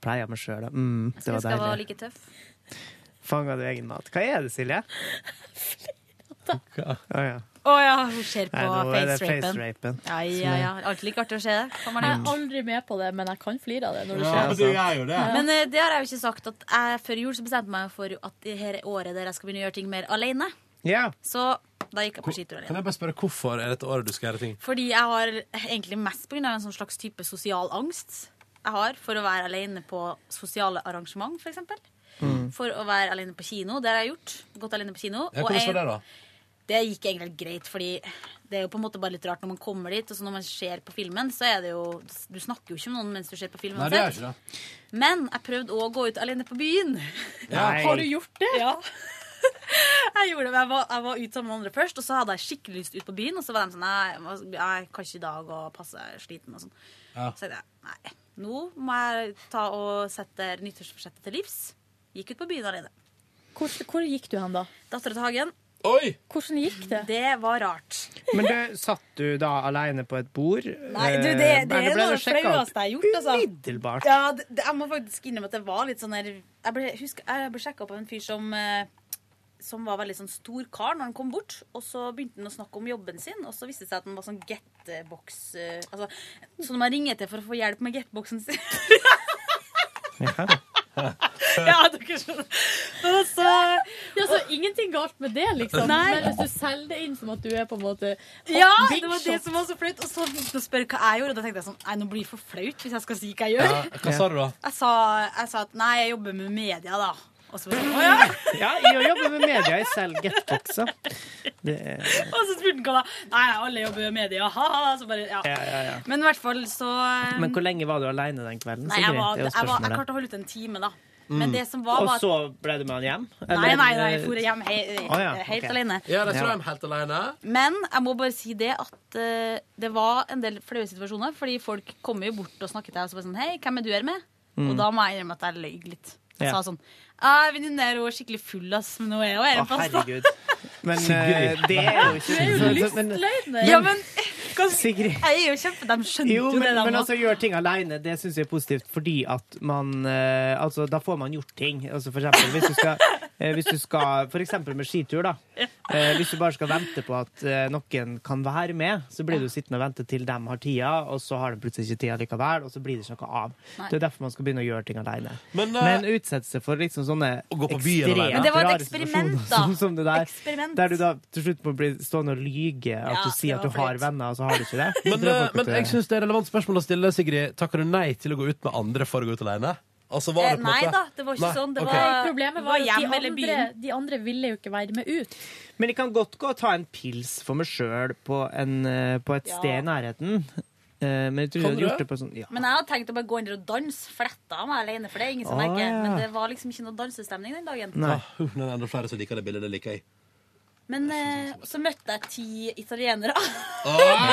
Speaker 3: Pleia meg sjøl, da. Mm,
Speaker 5: Jeg
Speaker 3: det
Speaker 5: skulle
Speaker 3: var
Speaker 5: ønske jeg var
Speaker 3: deilig.
Speaker 5: like tøff.
Speaker 3: Fanga du egen mat? Hva er det, Silje? Å ja.
Speaker 5: Å ja, hun ser på
Speaker 3: Nei, nå er det
Speaker 5: face-rapen.
Speaker 3: face-rapen.
Speaker 5: Ja, ja, ja. Alltid like artig å se det. Kan man
Speaker 1: Jeg
Speaker 3: Mm.
Speaker 5: det?
Speaker 1: er aldri med på det, men jeg kan flire av det. når det
Speaker 3: Ja,
Speaker 1: skjer.
Speaker 3: men du er jo det.
Speaker 1: Ja.
Speaker 5: Men eh, det har jeg jo ikke sagt at jeg før jul så bestemte jeg meg for at det her er året der jeg skal begynne å gjøre ting mer alene.
Speaker 3: Ja.
Speaker 5: Så da gikk jeg på skitur alene.
Speaker 2: Kan jeg bare spørre hvorfor er dette året du skal gjøre ting?
Speaker 5: Fordi jeg har egentlig mest på grunn av en sånn slags type sosial angst jeg har for å være alene på sosiale arrangement, for eksempel. For å være alene på kino. Det har jeg gjort. Gått alene på kino.
Speaker 2: Mm. Ja,
Speaker 5: Og
Speaker 2: hvordan var
Speaker 5: jeg-
Speaker 2: det, da?
Speaker 5: det gikk egentlig helt greit, fordi det er jo på en måte bare litt rart når man kommer dit, og så når man ser på filmen, så er det jo Du snakker jo ikke med noen mens du ser på filmen.
Speaker 2: Nei, det gjør
Speaker 5: uansett.
Speaker 2: jeg ikke.
Speaker 5: Men jeg prøvde òg å gå ut alene på byen.
Speaker 2: Ja. Nei.
Speaker 5: Har du gjort det? Ja. Jeg gjorde det, men jeg var, jeg var ute sammen med andre først, og så hadde jeg skikkelig lyst ut på byen. Og så var de sånn Nei, jeg må- jeg kan ikke i dag, og passe jeg er sliten og sånn.
Speaker 2: Ja.
Speaker 5: Så tenkte jeg nei, nå må jeg ta og sette nyttårsforsettet til livs. Gikk ut på byen alene.
Speaker 1: Hvor, hvor gikk du hen, da?
Speaker 5: Dattera til Hagen.
Speaker 2: Oi!
Speaker 1: Hvordan gikk det?
Speaker 5: Det var rart.
Speaker 3: Men du, satt du da alene på et bord?
Speaker 5: Nei, du, det, det,
Speaker 3: Eh, eller ble
Speaker 5: er noe
Speaker 3: du
Speaker 5: av det
Speaker 3: sjekket opp?
Speaker 5: flaueste jeg har gjort. Altså.
Speaker 3: Umiddelbart.
Speaker 5: Ja, det, det, jeg må faktisk innrømme at det var litt sånn der Jeg ble, husker- jeg ble sjekka opp av en fyr som eh, som var veldig sånn stor kar når han kom bort. Og så begynte han å snakke om jobben sin, og så viste det seg at han var sånn getbox eh, altså, Sånn man ringer til for å få hjelp med getboxen sin. ja, dere skjønner. Og så
Speaker 1: Ja, så ingenting galt med det, liksom.
Speaker 5: Nei.
Speaker 1: Men hvis du selger det inn som at du er på en måte
Speaker 5: Ja,
Speaker 1: big
Speaker 5: det var det
Speaker 1: shot.
Speaker 5: som var så flaut. Og så begynte han å spørre hva jeg gjorde, og da tenkte jeg sånn Nei, nå blir det for flaut hvis jeg skal si hva jeg gjør.
Speaker 2: Ja, hva sa du, da?
Speaker 5: Jeg sa, jeg sa at nei, jeg jobber med media, da. Og så, bare sånn, «Å, ja.
Speaker 3: Ja, jeg jobber med media. Jeg selger getboxer. Det er
Speaker 5: og så spurte han hva da. Nei, alle jobber med media. Ha, ha, ha. Så bare, ja.
Speaker 3: Ja, ja, ja.
Speaker 5: Men i hvert fall så eh,
Speaker 3: Men hvor lenge var du alene den kvelden?
Speaker 5: Nei, jeg,
Speaker 3: Sigrid?
Speaker 5: var,
Speaker 3: Det er jo
Speaker 5: jeg, var, jeg
Speaker 3: spørsmålet.
Speaker 5: klarte å holde ut en time, da. Men
Speaker 3: Mm.
Speaker 5: det som var, var
Speaker 3: Og så ble du med han hjem?
Speaker 5: at Nei, nei, nei, jeg for hjem he,
Speaker 3: Å, ja,
Speaker 5: helt
Speaker 3: ok.
Speaker 5: alene.
Speaker 2: Ja, det tror jeg er helt alene.
Speaker 5: Men jeg må bare si det at eh, det var en del flaue situasjoner, fordi folk kommer jo bort og snakker til deg og så bare sånn Hei, hvem er du her med?
Speaker 26: Mm.
Speaker 5: Og da må jeg innrømme at jeg løy litt. Jeg
Speaker 3: Ja.
Speaker 5: sa sånn «Ah, Venninne er jo skikkelig full, ass, men nå er jo her
Speaker 3: Å,
Speaker 5: en fast, da.»
Speaker 3: herregud. Men eh, det er jo ikke eh,
Speaker 5: lystløytne. Ja, men
Speaker 3: Sigrid.
Speaker 5: jeg er jo kjempe... De skjønte
Speaker 3: Jo,
Speaker 5: jo,
Speaker 3: men,
Speaker 5: det, de
Speaker 3: men
Speaker 5: også.
Speaker 3: altså, gjør ting alene, det syns jeg er positivt, fordi at man eh, Altså, da får man gjort ting. Altså, for eksempel, hvis du skal Eh, Hvis du skal, for eksempel med skitur, da. Eh, Hvis du bare skal vente på at eh, noen kan være med, så blir du sittende og vente til dem har tida, og så har de plutselig ikke tida likevel, og så blir det ikke noe av.
Speaker 5: Nei.
Speaker 3: Det er derfor man skal begynne å gjøre ting alene.
Speaker 2: Men, eh,
Speaker 3: Men utsette seg for liksom sånne
Speaker 2: på byen alene.
Speaker 5: Men det var et
Speaker 3: rare
Speaker 5: eksperiment,
Speaker 3: situasjoner
Speaker 5: da.
Speaker 3: Som, som det der,
Speaker 5: Eksperiment.
Speaker 3: der du da til slutt må bli stående og lyge at
Speaker 2: Ja,
Speaker 3: du
Speaker 2: det
Speaker 3: sier at du
Speaker 2: var
Speaker 3: har
Speaker 2: flaut.
Speaker 3: venner, og så har du ikke det.
Speaker 2: Men,
Speaker 3: Det er
Speaker 2: eh,
Speaker 3: folk at
Speaker 2: men
Speaker 3: det-
Speaker 2: jeg syns det er et relevant spørsmål å stille, Sigrid. Takker du nei til å gå ut med andre for å gå ut alene? Altså, var
Speaker 5: Eh,
Speaker 2: det på en
Speaker 5: Nei
Speaker 2: måte-
Speaker 5: da, det var ikke
Speaker 2: Nei,
Speaker 5: sånn. Det
Speaker 2: ok.
Speaker 5: var,
Speaker 1: Nei, problemet
Speaker 5: det
Speaker 1: var jo at de
Speaker 5: hjem
Speaker 1: andre,
Speaker 5: eller byen.
Speaker 1: de andre ville jo ikke være med ut.
Speaker 3: Men jeg kan godt gå og ta en pils for meg sjøl på, en, eh, på et
Speaker 5: Ja.
Speaker 3: sted i nærheten. Eh, Men jeg tror jeg
Speaker 5: Kan
Speaker 3: hadde
Speaker 5: du
Speaker 3: gjort
Speaker 5: det?
Speaker 3: det på sånn ja.
Speaker 5: Men jeg hadde tenkt å bare gå inn der og danse. Fletta av meg alene, for det er ingen som
Speaker 3: Å,
Speaker 5: merker.
Speaker 3: ja.
Speaker 5: Men det var liksom ikke noe dansestemning den dagen.
Speaker 2: Nei. Ah, uh, det er enda flere som liker det bildet. Det liker jeg.
Speaker 5: Men eh, så møtte jeg ti italienere.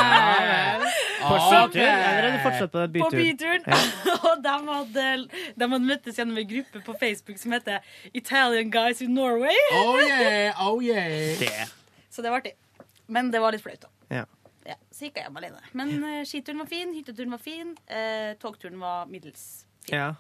Speaker 5: Ah,
Speaker 3: Fortsatt, eller er det fortsatt på byturen?
Speaker 5: På byturen.
Speaker 3: Ja.
Speaker 5: og de hadde, de hadde møttes gjennom en gruppe på Facebook som heter Italian Guys in Norway.
Speaker 3: Oh, yeah, oh, yeah. Det.
Speaker 5: Så det var artig. Men det var litt flaut, da.
Speaker 3: Ja.
Speaker 5: Ja, så gikk jeg hjem alene. Men eh, skituren var fin, hytteturen var fin, eh, togturen var middels.
Speaker 3: Ja.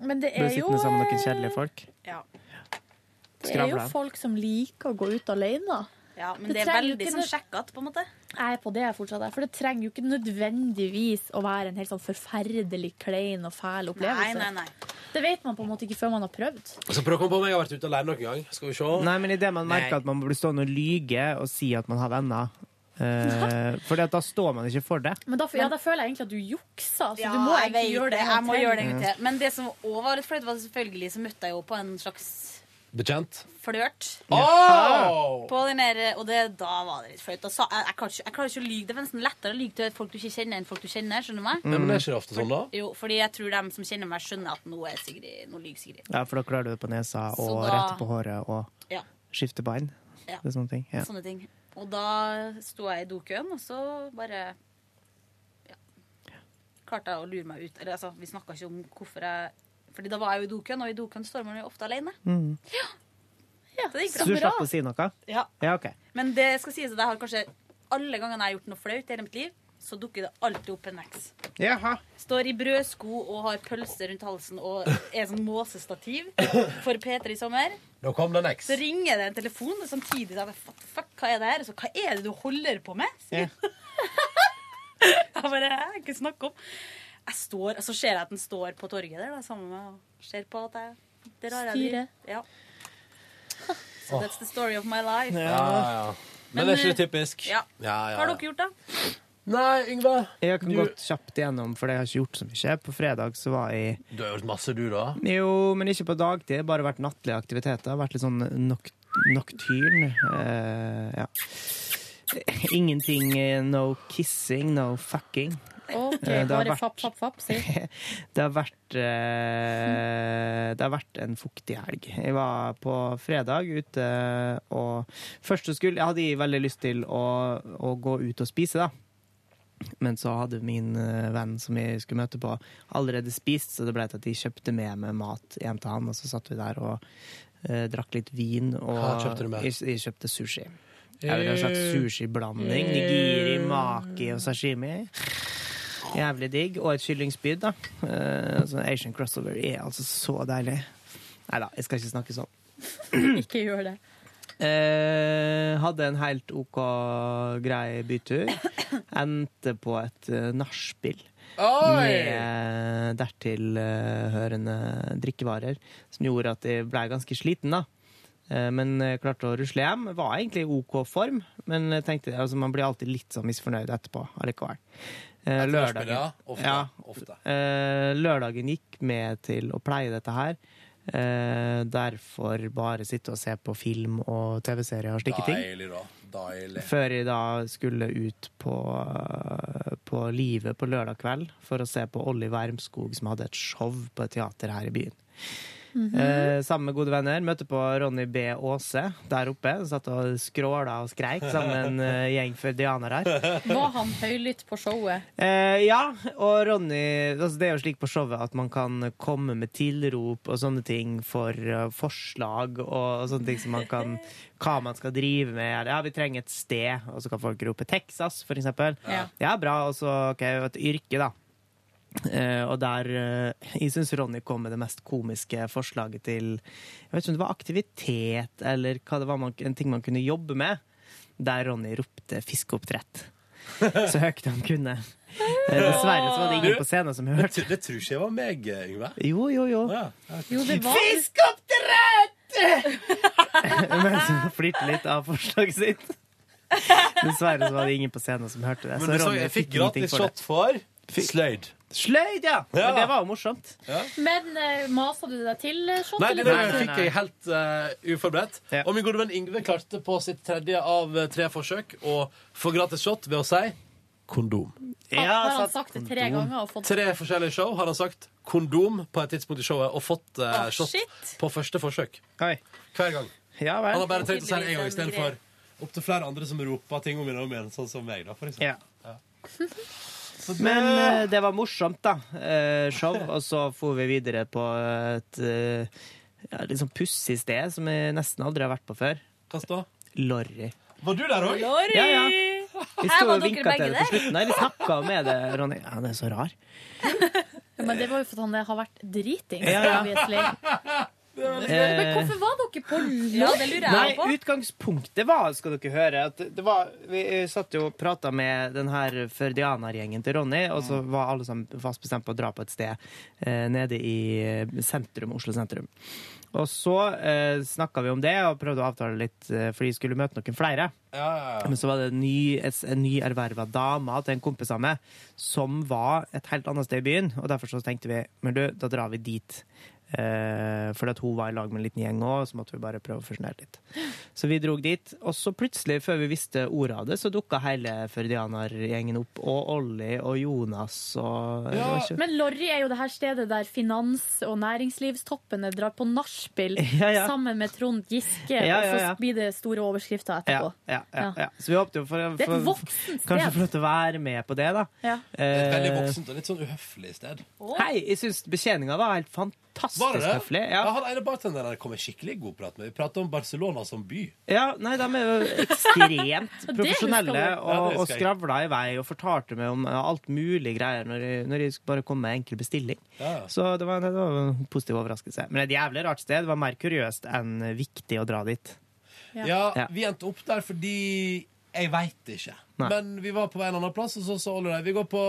Speaker 1: Men det
Speaker 3: Ble
Speaker 20: Eh,
Speaker 1: er jo
Speaker 3: sittende sammen med noen kjedelige folk.
Speaker 5: Ja.
Speaker 1: Det er jo
Speaker 3: Skravla.
Speaker 1: folk som liker å gå ut alene.
Speaker 5: Ja, men det er
Speaker 1: trenger jo
Speaker 5: veldig
Speaker 1: ikke
Speaker 5: sånn
Speaker 1: nød-
Speaker 5: sjekkete, på en måte.
Speaker 1: Jeg er på det jeg fortsatt er, for det trenger jo ikke nødvendigvis å være en helt sånn forferdelig klein og fæl opplevelse.
Speaker 5: Nei, nei, nei.
Speaker 1: Det vet man på en måte ikke før man har prøvd.
Speaker 2: Altså, prøv å komme på om jeg har vært ute alene noen gang. Skal vi se.
Speaker 3: Nei, men idet man
Speaker 2: Nei.
Speaker 3: merker at man blir stående og lyge og si at man har venner eh, For da står man ikke for det.
Speaker 1: Men da, ja, da føler jeg egentlig at du jukser. Så
Speaker 5: Ja,
Speaker 1: du må
Speaker 5: Altså, jeg
Speaker 1: egentlig
Speaker 5: vet
Speaker 1: gjøre det. en
Speaker 5: Jeg må
Speaker 1: gang
Speaker 5: gjøre det
Speaker 1: til.
Speaker 5: en gang til. Men det som også var litt flaut, var selvfølgelig så møtte jeg jo på en slags
Speaker 2: Bekjent?
Speaker 5: flørt.
Speaker 2: Åh!
Speaker 5: På den der, og det, da var det litt flaut. Da sa- Jeg, jeg, klarer ikke- jeg klarer ikke å lyge. Det er nesten lettere å lyge til folk du ikke kjenner, enn folk du kjenner. Skjønner du meg?
Speaker 2: Nei, men er ikke det ofte sånn, da?
Speaker 5: Jo, fordi jeg tror dem som kjenner meg, skjønner at nå er Sigrid Nå lyver Sigrid.
Speaker 3: Ja, For da klarer du det på nesa
Speaker 5: Så
Speaker 3: og
Speaker 5: da-
Speaker 3: rett på håret og
Speaker 5: Ja.
Speaker 3: skifte bein.
Speaker 5: Ja.
Speaker 3: Det er sånne ting. Ja.
Speaker 5: Sånne ting. Og da sto jeg i dokøen, og så bare ja, klarte jeg å lure meg ut. Eller altså, vi snakka ikke om hvorfor jeg Fordi da var jeg jo i dokøen, og i dokøen står man jo ofte alene.
Speaker 3: Mm.
Speaker 5: Så det gikk
Speaker 3: Så du slapp å si noe?
Speaker 5: Ja.
Speaker 3: Ja, OK.
Speaker 5: Men det skal sies at jeg har kanskje alle gangene jeg har gjort noe flaut i hele mitt liv, så dukker det alltid opp en eks.
Speaker 3: Jaha.
Speaker 5: Står i brødsko og har pølse rundt halsen og er sånn måsestativ for Peter i sommer.
Speaker 2: Da kom det en eks.
Speaker 5: Så ringer det en telefon og samtidig. Så jeg, bare, fuck, fuck, hva er det her? Så, hva er det du holder på med?
Speaker 3: Ja.
Speaker 5: Jeg bare, jeg har ikke snakket om. Jeg står, og så ser jeg at den står på torget der, da, sammen med og ser på at jeg det rare jeg driver. Ja. So that's the story of my life.
Speaker 2: Ja, ja. ja. Men,
Speaker 5: Men,
Speaker 2: er ikke det
Speaker 5: eh,
Speaker 2: typisk?
Speaker 5: ja.
Speaker 2: ja,
Speaker 5: Hva
Speaker 2: ja,
Speaker 5: har
Speaker 2: ja.
Speaker 5: dere gjort, da?
Speaker 2: Nei, Yngve.
Speaker 3: Jeg kan
Speaker 2: Du-
Speaker 3: gått kjapt igjennom, for jeg har ikke gjort så mye. På fredag så var jeg
Speaker 2: Du har gjort masse, du, da.
Speaker 3: Jo, men ikke på dagtid. Bare vært nattlige aktiviteter. Vært litt sånn nok nocturne. eh, ja. Ingenting eh, no kissing, no fucking.
Speaker 1: OK,
Speaker 3: Eh, det har
Speaker 1: bare
Speaker 3: vært-
Speaker 1: fapp, fapp, fapp, si.
Speaker 3: Det har vært eh, Det har vært en fuktig helg. Jeg var på fredag ute og Først så skulle Jeg hadde veldig lyst til å, å gå ut og spise, da. Men så hadde min eh, venn som jeg skulle møte på, allerede spist, så det ble til at jeg kjøpte med meg mat hjem til han, og så satt vi der og eh, drakk litt vin. Og
Speaker 2: Hva kjøpte du med? Eh,
Speaker 3: Jeg, jeg kjøpte sushi. Jeg vil ha en slags sushiblanding. Nigiri, maki og sashimi. Jævlig digg. Og et kyllingspyd, da. Eh, så Asian crossover er altså så deilig. Nei da, jeg skal ikke snakke sånn.
Speaker 1: Ikke gjør det.
Speaker 3: Eh, hadde en helt OK grei bytur. Endte på et uh, nachspiel.
Speaker 2: Oi!
Speaker 3: Med dertil eh, hørende drikkevarer, som gjorde at jeg blei ganske sliten, da. Eh, Men eh, klarte å rusle hjem. Var egentlig i OK form, men jeg tenkte, altså, man blir alltid litt sånn misfornøyd etterpå allikevel. Eh,
Speaker 2: Etter nachspiel,
Speaker 3: lørdagen-
Speaker 2: ja. Ofte,
Speaker 3: Ja.
Speaker 2: ofte.
Speaker 3: Eh, lørdagen gikk med til å pleie dette her. Eh, derfor bare sitte og se på film og TV-serier og slike ting.
Speaker 2: Deilig, da. Deilig.
Speaker 3: Før jeg da skulle ut på, på Live på lørdag kveld for å se på Olli Wermskog, som hadde et show på et teater her i byen. eh, sammen med gode venner. Møtte på Ronny B. Aase der oppe. Satt og skråla og skreik sammen med en eh, gjeng fødianere her.
Speaker 1: Var han høylytt på showet?
Speaker 3: Eh, ja, og Ronny altså Det er jo slik på showet at man kan komme med tilrop og sånne ting for eh, forslag og, og sånne ting som man kan Hva man skal drive med. Eller, ja, vi trenger et sted, og så kan folk rope Texas, for eksempel.
Speaker 1: Ja.
Speaker 3: ja bra. Og så OK, et yrke, da. Eh, og der eh, Jeg syns Ronny kom med det mest komiske forslaget til Jeg vet ikke om det var aktivitet eller hva det var man, en ting man kunne jobbe med, der Ronny ropte fiskeoppdrett. Så høyt han kunne. Eh, dessverre så var det ingen på scenen som hørte.
Speaker 2: Det, det tror ikke jeg var meg, Yngve.
Speaker 3: Jo, jo, jo.
Speaker 2: Jo,
Speaker 3: det
Speaker 2: var-
Speaker 3: Mens hun flirte litt av forslaget sitt. Dessverre så var det ingen på scenen som hørte det.
Speaker 2: Men du så, jeg fikk gratis shot for sløyd.
Speaker 3: Sløyd, ja!
Speaker 2: Ja.
Speaker 3: Men det var jo morsomt.
Speaker 5: Men eh, maser du deg til, eh, Shot?
Speaker 2: Nei, det
Speaker 5: eller
Speaker 2: der
Speaker 5: bare-
Speaker 2: fikk jeg helt eh, uforberedt. Og min gode venn Yngve klarte på sitt tredje av eh, tre forsøk å få gratis shot ved å si kondom.
Speaker 5: Ja, har
Speaker 3: altså,
Speaker 5: han sagt det tre ganger og fått
Speaker 2: Tre forskjellige show har han sagt kondom på et tidspunkt i showet og fått eh,
Speaker 5: Å,
Speaker 2: shot
Speaker 5: shit.
Speaker 2: på første forsøk. Hver gang.
Speaker 3: Ja, vel.
Speaker 2: Han har bare trengt å si det én gang
Speaker 3: Tydeligvis en
Speaker 2: istedenfor opptil flere andre som roper ting om igjen og om igjen, sånn som meg, da, for eksempel.
Speaker 3: Ja. Men eh, det var morsomt, da. eh, show. Og så for vi videre på et eh, ja, litt sånn pussig sted som jeg nesten aldri har vært på før.
Speaker 2: Hva da?
Speaker 3: Lorry.
Speaker 2: Var du der òg?
Speaker 4: Lorry!
Speaker 3: Ja, ja. Vi
Speaker 4: Her
Speaker 3: sto
Speaker 4: var
Speaker 3: og
Speaker 4: dere
Speaker 3: vinka til
Speaker 4: begge
Speaker 3: det til
Speaker 4: der.
Speaker 3: slutt. Nei, vi snakka med det, Ronny. Ja, det er så rar.
Speaker 5: Ja, Men det var jo fordi han har vært driting.
Speaker 3: Ja, ja.
Speaker 5: Men hvorfor var dere på
Speaker 4: Ja, det lurer jeg på.
Speaker 3: Nei, utgangspunktet var, skal dere høre at det var, Vi eh, satt jo og prata med den her førdianergjengen til Ronny, og så var alle sammen fast bestemt på å dra på et sted eh, nede i eh, sentrum, Oslo sentrum. Og så eh, snakka vi om det og prøvde å avtale litt, eh, for de skulle møte noen flere.
Speaker 2: Ja, ja, ja.
Speaker 3: Men så var det en ny, et- en nyerverva dame til en kompis av meg som var et helt annet sted i byen. Og derfor så tenkte vi men du, da drar vi dit. Eh, fordi at hun var i lag med en liten gjeng òg, så måtte vi bare prøve å fusjonere litt. Så vi drog dit, og så plutselig, før vi visste ordet av det, så dukka hele Førdianer-gjengen opp. Og Olli og Jonas og det var ikke-
Speaker 5: Men Lorry er jo det her stedet der finans- og næringslivstoppene drar på nachspiel
Speaker 3: Ja, ja.
Speaker 5: sammen med Trond Giske,
Speaker 3: Ja, ja, ja.
Speaker 5: og så blir det store overskrifter etterpå.
Speaker 3: ja, ja, ja, ja. Så vi håpte jo for,
Speaker 5: Det er et
Speaker 3: for
Speaker 5: voksent sted.
Speaker 3: Kanskje for å være med på det, da.
Speaker 5: Ja.
Speaker 2: Et veldig
Speaker 3: Eh,
Speaker 2: voksent og litt sånn uhøflig sted.
Speaker 3: Hei, jeg syns betjeninga var helt fantastisk
Speaker 2: Var det det?
Speaker 3: høflig.
Speaker 2: Ja. Han ene bartenderen kom jeg skikkelig i god prat med. Vi pratet om Barcelona som by.
Speaker 3: Ja, nei, de er jo ekstremt
Speaker 2: Det
Speaker 3: profesjonelle
Speaker 2: husker du. Ja,
Speaker 3: og,
Speaker 2: det
Speaker 3: og
Speaker 2: husker jeg.
Speaker 3: skravla i vei og fortalte meg om eh, alt mulig greier når jeg, når jeg bare kom med enkel bestilling.
Speaker 2: Ja.
Speaker 3: Så det var, det var en positiv overraskelse. Men et jævlig rart sted. Det var mer kuriøst enn viktig å dra dit.
Speaker 2: Ja.
Speaker 3: Ja.
Speaker 2: vi endte opp der fordi jeg veit ikke.
Speaker 3: Nei.
Speaker 2: Men vi var på en annen plass, og så sa Olli der vi går på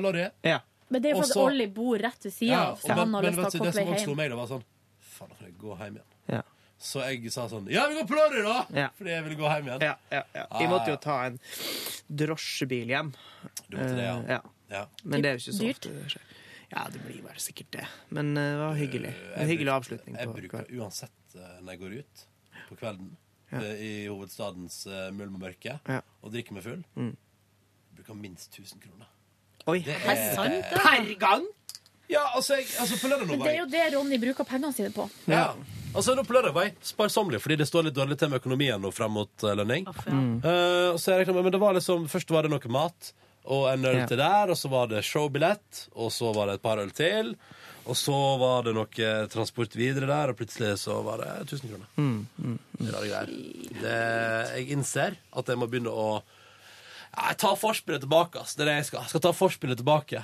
Speaker 2: Lorry.
Speaker 3: Ja.
Speaker 5: Men det er jo
Speaker 2: Og
Speaker 5: fordi
Speaker 2: så-
Speaker 5: Olli bor rett ved sida
Speaker 2: Ja,
Speaker 5: av, så
Speaker 2: og men,
Speaker 5: han har
Speaker 2: men
Speaker 5: lyst
Speaker 2: vet du,
Speaker 5: til å
Speaker 2: det som
Speaker 5: komme
Speaker 2: også slo
Speaker 5: hjem.
Speaker 2: meg, da, var sånn Faen, da kan jeg gå hjem igjen.
Speaker 3: Ja.
Speaker 2: Så jeg sa sånn Ja, vi går på Lorry, da!
Speaker 3: Ja.
Speaker 2: Fordi jeg ville gå hjem igjen.
Speaker 3: Ja, ja, ja. Vi måtte jo
Speaker 2: Ah.
Speaker 3: ta en drosjebil hjem.
Speaker 2: Du måtte det, ja.
Speaker 3: Eh,
Speaker 2: Ja.
Speaker 3: Men det er jo ikke så
Speaker 2: Dyrt.
Speaker 3: ofte det skjer. Ja, det blir vel sikkert det. Men eh, det var hyggelig.
Speaker 2: Jeg
Speaker 3: En hyggelig
Speaker 2: bruker-
Speaker 3: avslutning.
Speaker 2: Jeg
Speaker 3: på
Speaker 2: bruker uansett eh, når jeg går ut på kvelden eh, i hovedstadens eh, mulm og mørke
Speaker 3: Ja.
Speaker 2: og drikker meg full,
Speaker 3: Mm.
Speaker 2: bruker minst 1000 kroner.
Speaker 3: Oi,
Speaker 2: Det
Speaker 5: Det er sant, det.
Speaker 3: Per gang?
Speaker 2: Ja, altså, jeg, altså på lørdag nå
Speaker 5: Men
Speaker 2: var
Speaker 5: det er
Speaker 2: jeg
Speaker 5: jo det Ronny bruker pengene sine på.
Speaker 2: ja. Altså, nå på lørdag var jeg sparsommelig, fordi det står litt dårlig til med økonomien nå fram mot eh, lønning.
Speaker 5: Mm.
Speaker 2: Eh, og så er jeg klar med- men det var liksom, Først var det noe mat og en øl
Speaker 3: Ja.
Speaker 2: til der, og så var det showbillett, og så var det et par øl til, og så var det noe transport videre der, og plutselig så var det 1000 kroner.
Speaker 3: Mm, mm.
Speaker 2: Det er rare greier. Det, jeg innser at jeg må begynne å ja, Jeg tar forspillet tilbake. Ass. Det er det jeg skal. Jeg skal ta forspillet tilbake.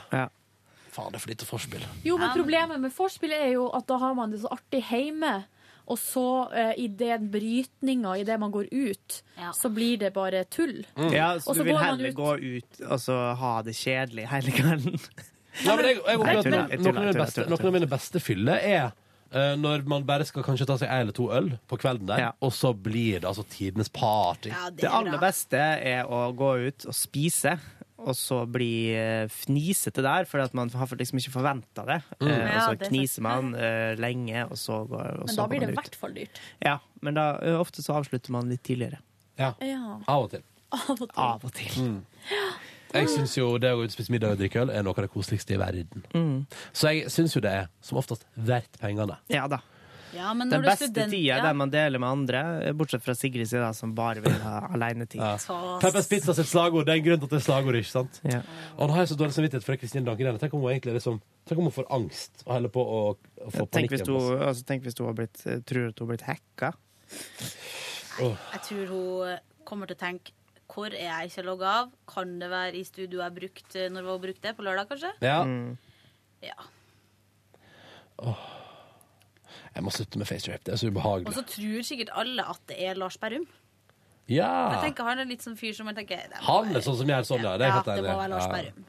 Speaker 2: Faen, det er for lite forspill.
Speaker 5: Jo, men problemet med vorspiel er jo at da har man det så artig hjemme. Og så eh, i den brytninga, i det man går ut, så blir det bare tull.
Speaker 2: Mm.
Speaker 3: Ja,
Speaker 5: Og
Speaker 3: så du vil
Speaker 5: går man
Speaker 3: heller gå ut og så ha det kjedelig hele kvelden?
Speaker 2: Ja, men jeg, jeg opplever
Speaker 3: Nei,
Speaker 2: at
Speaker 3: tuller,
Speaker 2: noen,
Speaker 3: jeg tuller,
Speaker 2: noen, av mine
Speaker 3: tuller,
Speaker 2: beste,
Speaker 3: tuller,
Speaker 2: noen av mine beste fyller er eh, når man bare skal kanskje ta seg en eller to øl på kvelden der, og så blir det altså tidenes party.
Speaker 3: det, aller beste er å gå ut og spise. Og så bli eh, fnisete der, for at man har liksom ikke forventa det.
Speaker 2: Mm.
Speaker 3: Eh,
Speaker 5: Ja,
Speaker 3: og så
Speaker 5: det er
Speaker 3: kniser man eh, lenge, og så går, og så
Speaker 5: Men da
Speaker 3: går
Speaker 5: blir det i
Speaker 3: man ut.
Speaker 5: hvert fall dyrt.
Speaker 3: Ja, men da, eh, ofte så avslutter man litt tidligere.
Speaker 2: Ja.
Speaker 5: Ja.
Speaker 2: Av og til.
Speaker 5: Av og til.
Speaker 3: Av og til.
Speaker 2: Mm. Jeg syns jo det å gå ut og spise middag og drikke øl er noe av det koseligste i verden.
Speaker 3: Mm.
Speaker 2: Så jeg syns jo det er som oftest verdt pengene.
Speaker 3: Ja da.
Speaker 4: Ja, men når
Speaker 3: Den
Speaker 4: du er
Speaker 3: beste
Speaker 4: student-
Speaker 3: tida
Speaker 4: ja.
Speaker 3: der man deler med andre, eh, bortsett fra Sigrid sin, da, som bare vil ha alenetid.
Speaker 4: Ta-
Speaker 2: Peppers Pizza sitt slagord. Det er en grunn til at det er slagord, ikke sant?
Speaker 3: Ja.
Speaker 2: Og nå har jeg så dårlig samvittighet for Kristine Danken. Tenk om hun egentlig liksom, tenk om hun får angst og holder på å, å få
Speaker 3: Tenk
Speaker 2: panikk.
Speaker 3: hvis, hun, altså, tenk hvis hun har blitt, eh, tror at hun har blitt hacka.
Speaker 4: Jeg tror hun kommer til å tenke hvor
Speaker 3: Mm.
Speaker 4: er jeg ikke logga av? Kan det være i studio jeg brukte når jeg brukte det? På lørdag, kanskje?
Speaker 2: altså. Ja. Jeg må slutte med face rape. Det er så ubehagelig.
Speaker 4: Og så tror sikkert alle at det er Lars Berrum. Jeg
Speaker 2: Ja!
Speaker 4: tenker Han er litt sånn fyr som man tenker det må
Speaker 2: Han er sånn som gjør sånn, ja. Det er
Speaker 4: Ja,
Speaker 2: helt
Speaker 4: det
Speaker 2: enig.
Speaker 4: må være Lars
Speaker 2: Ja.
Speaker 4: Berrum.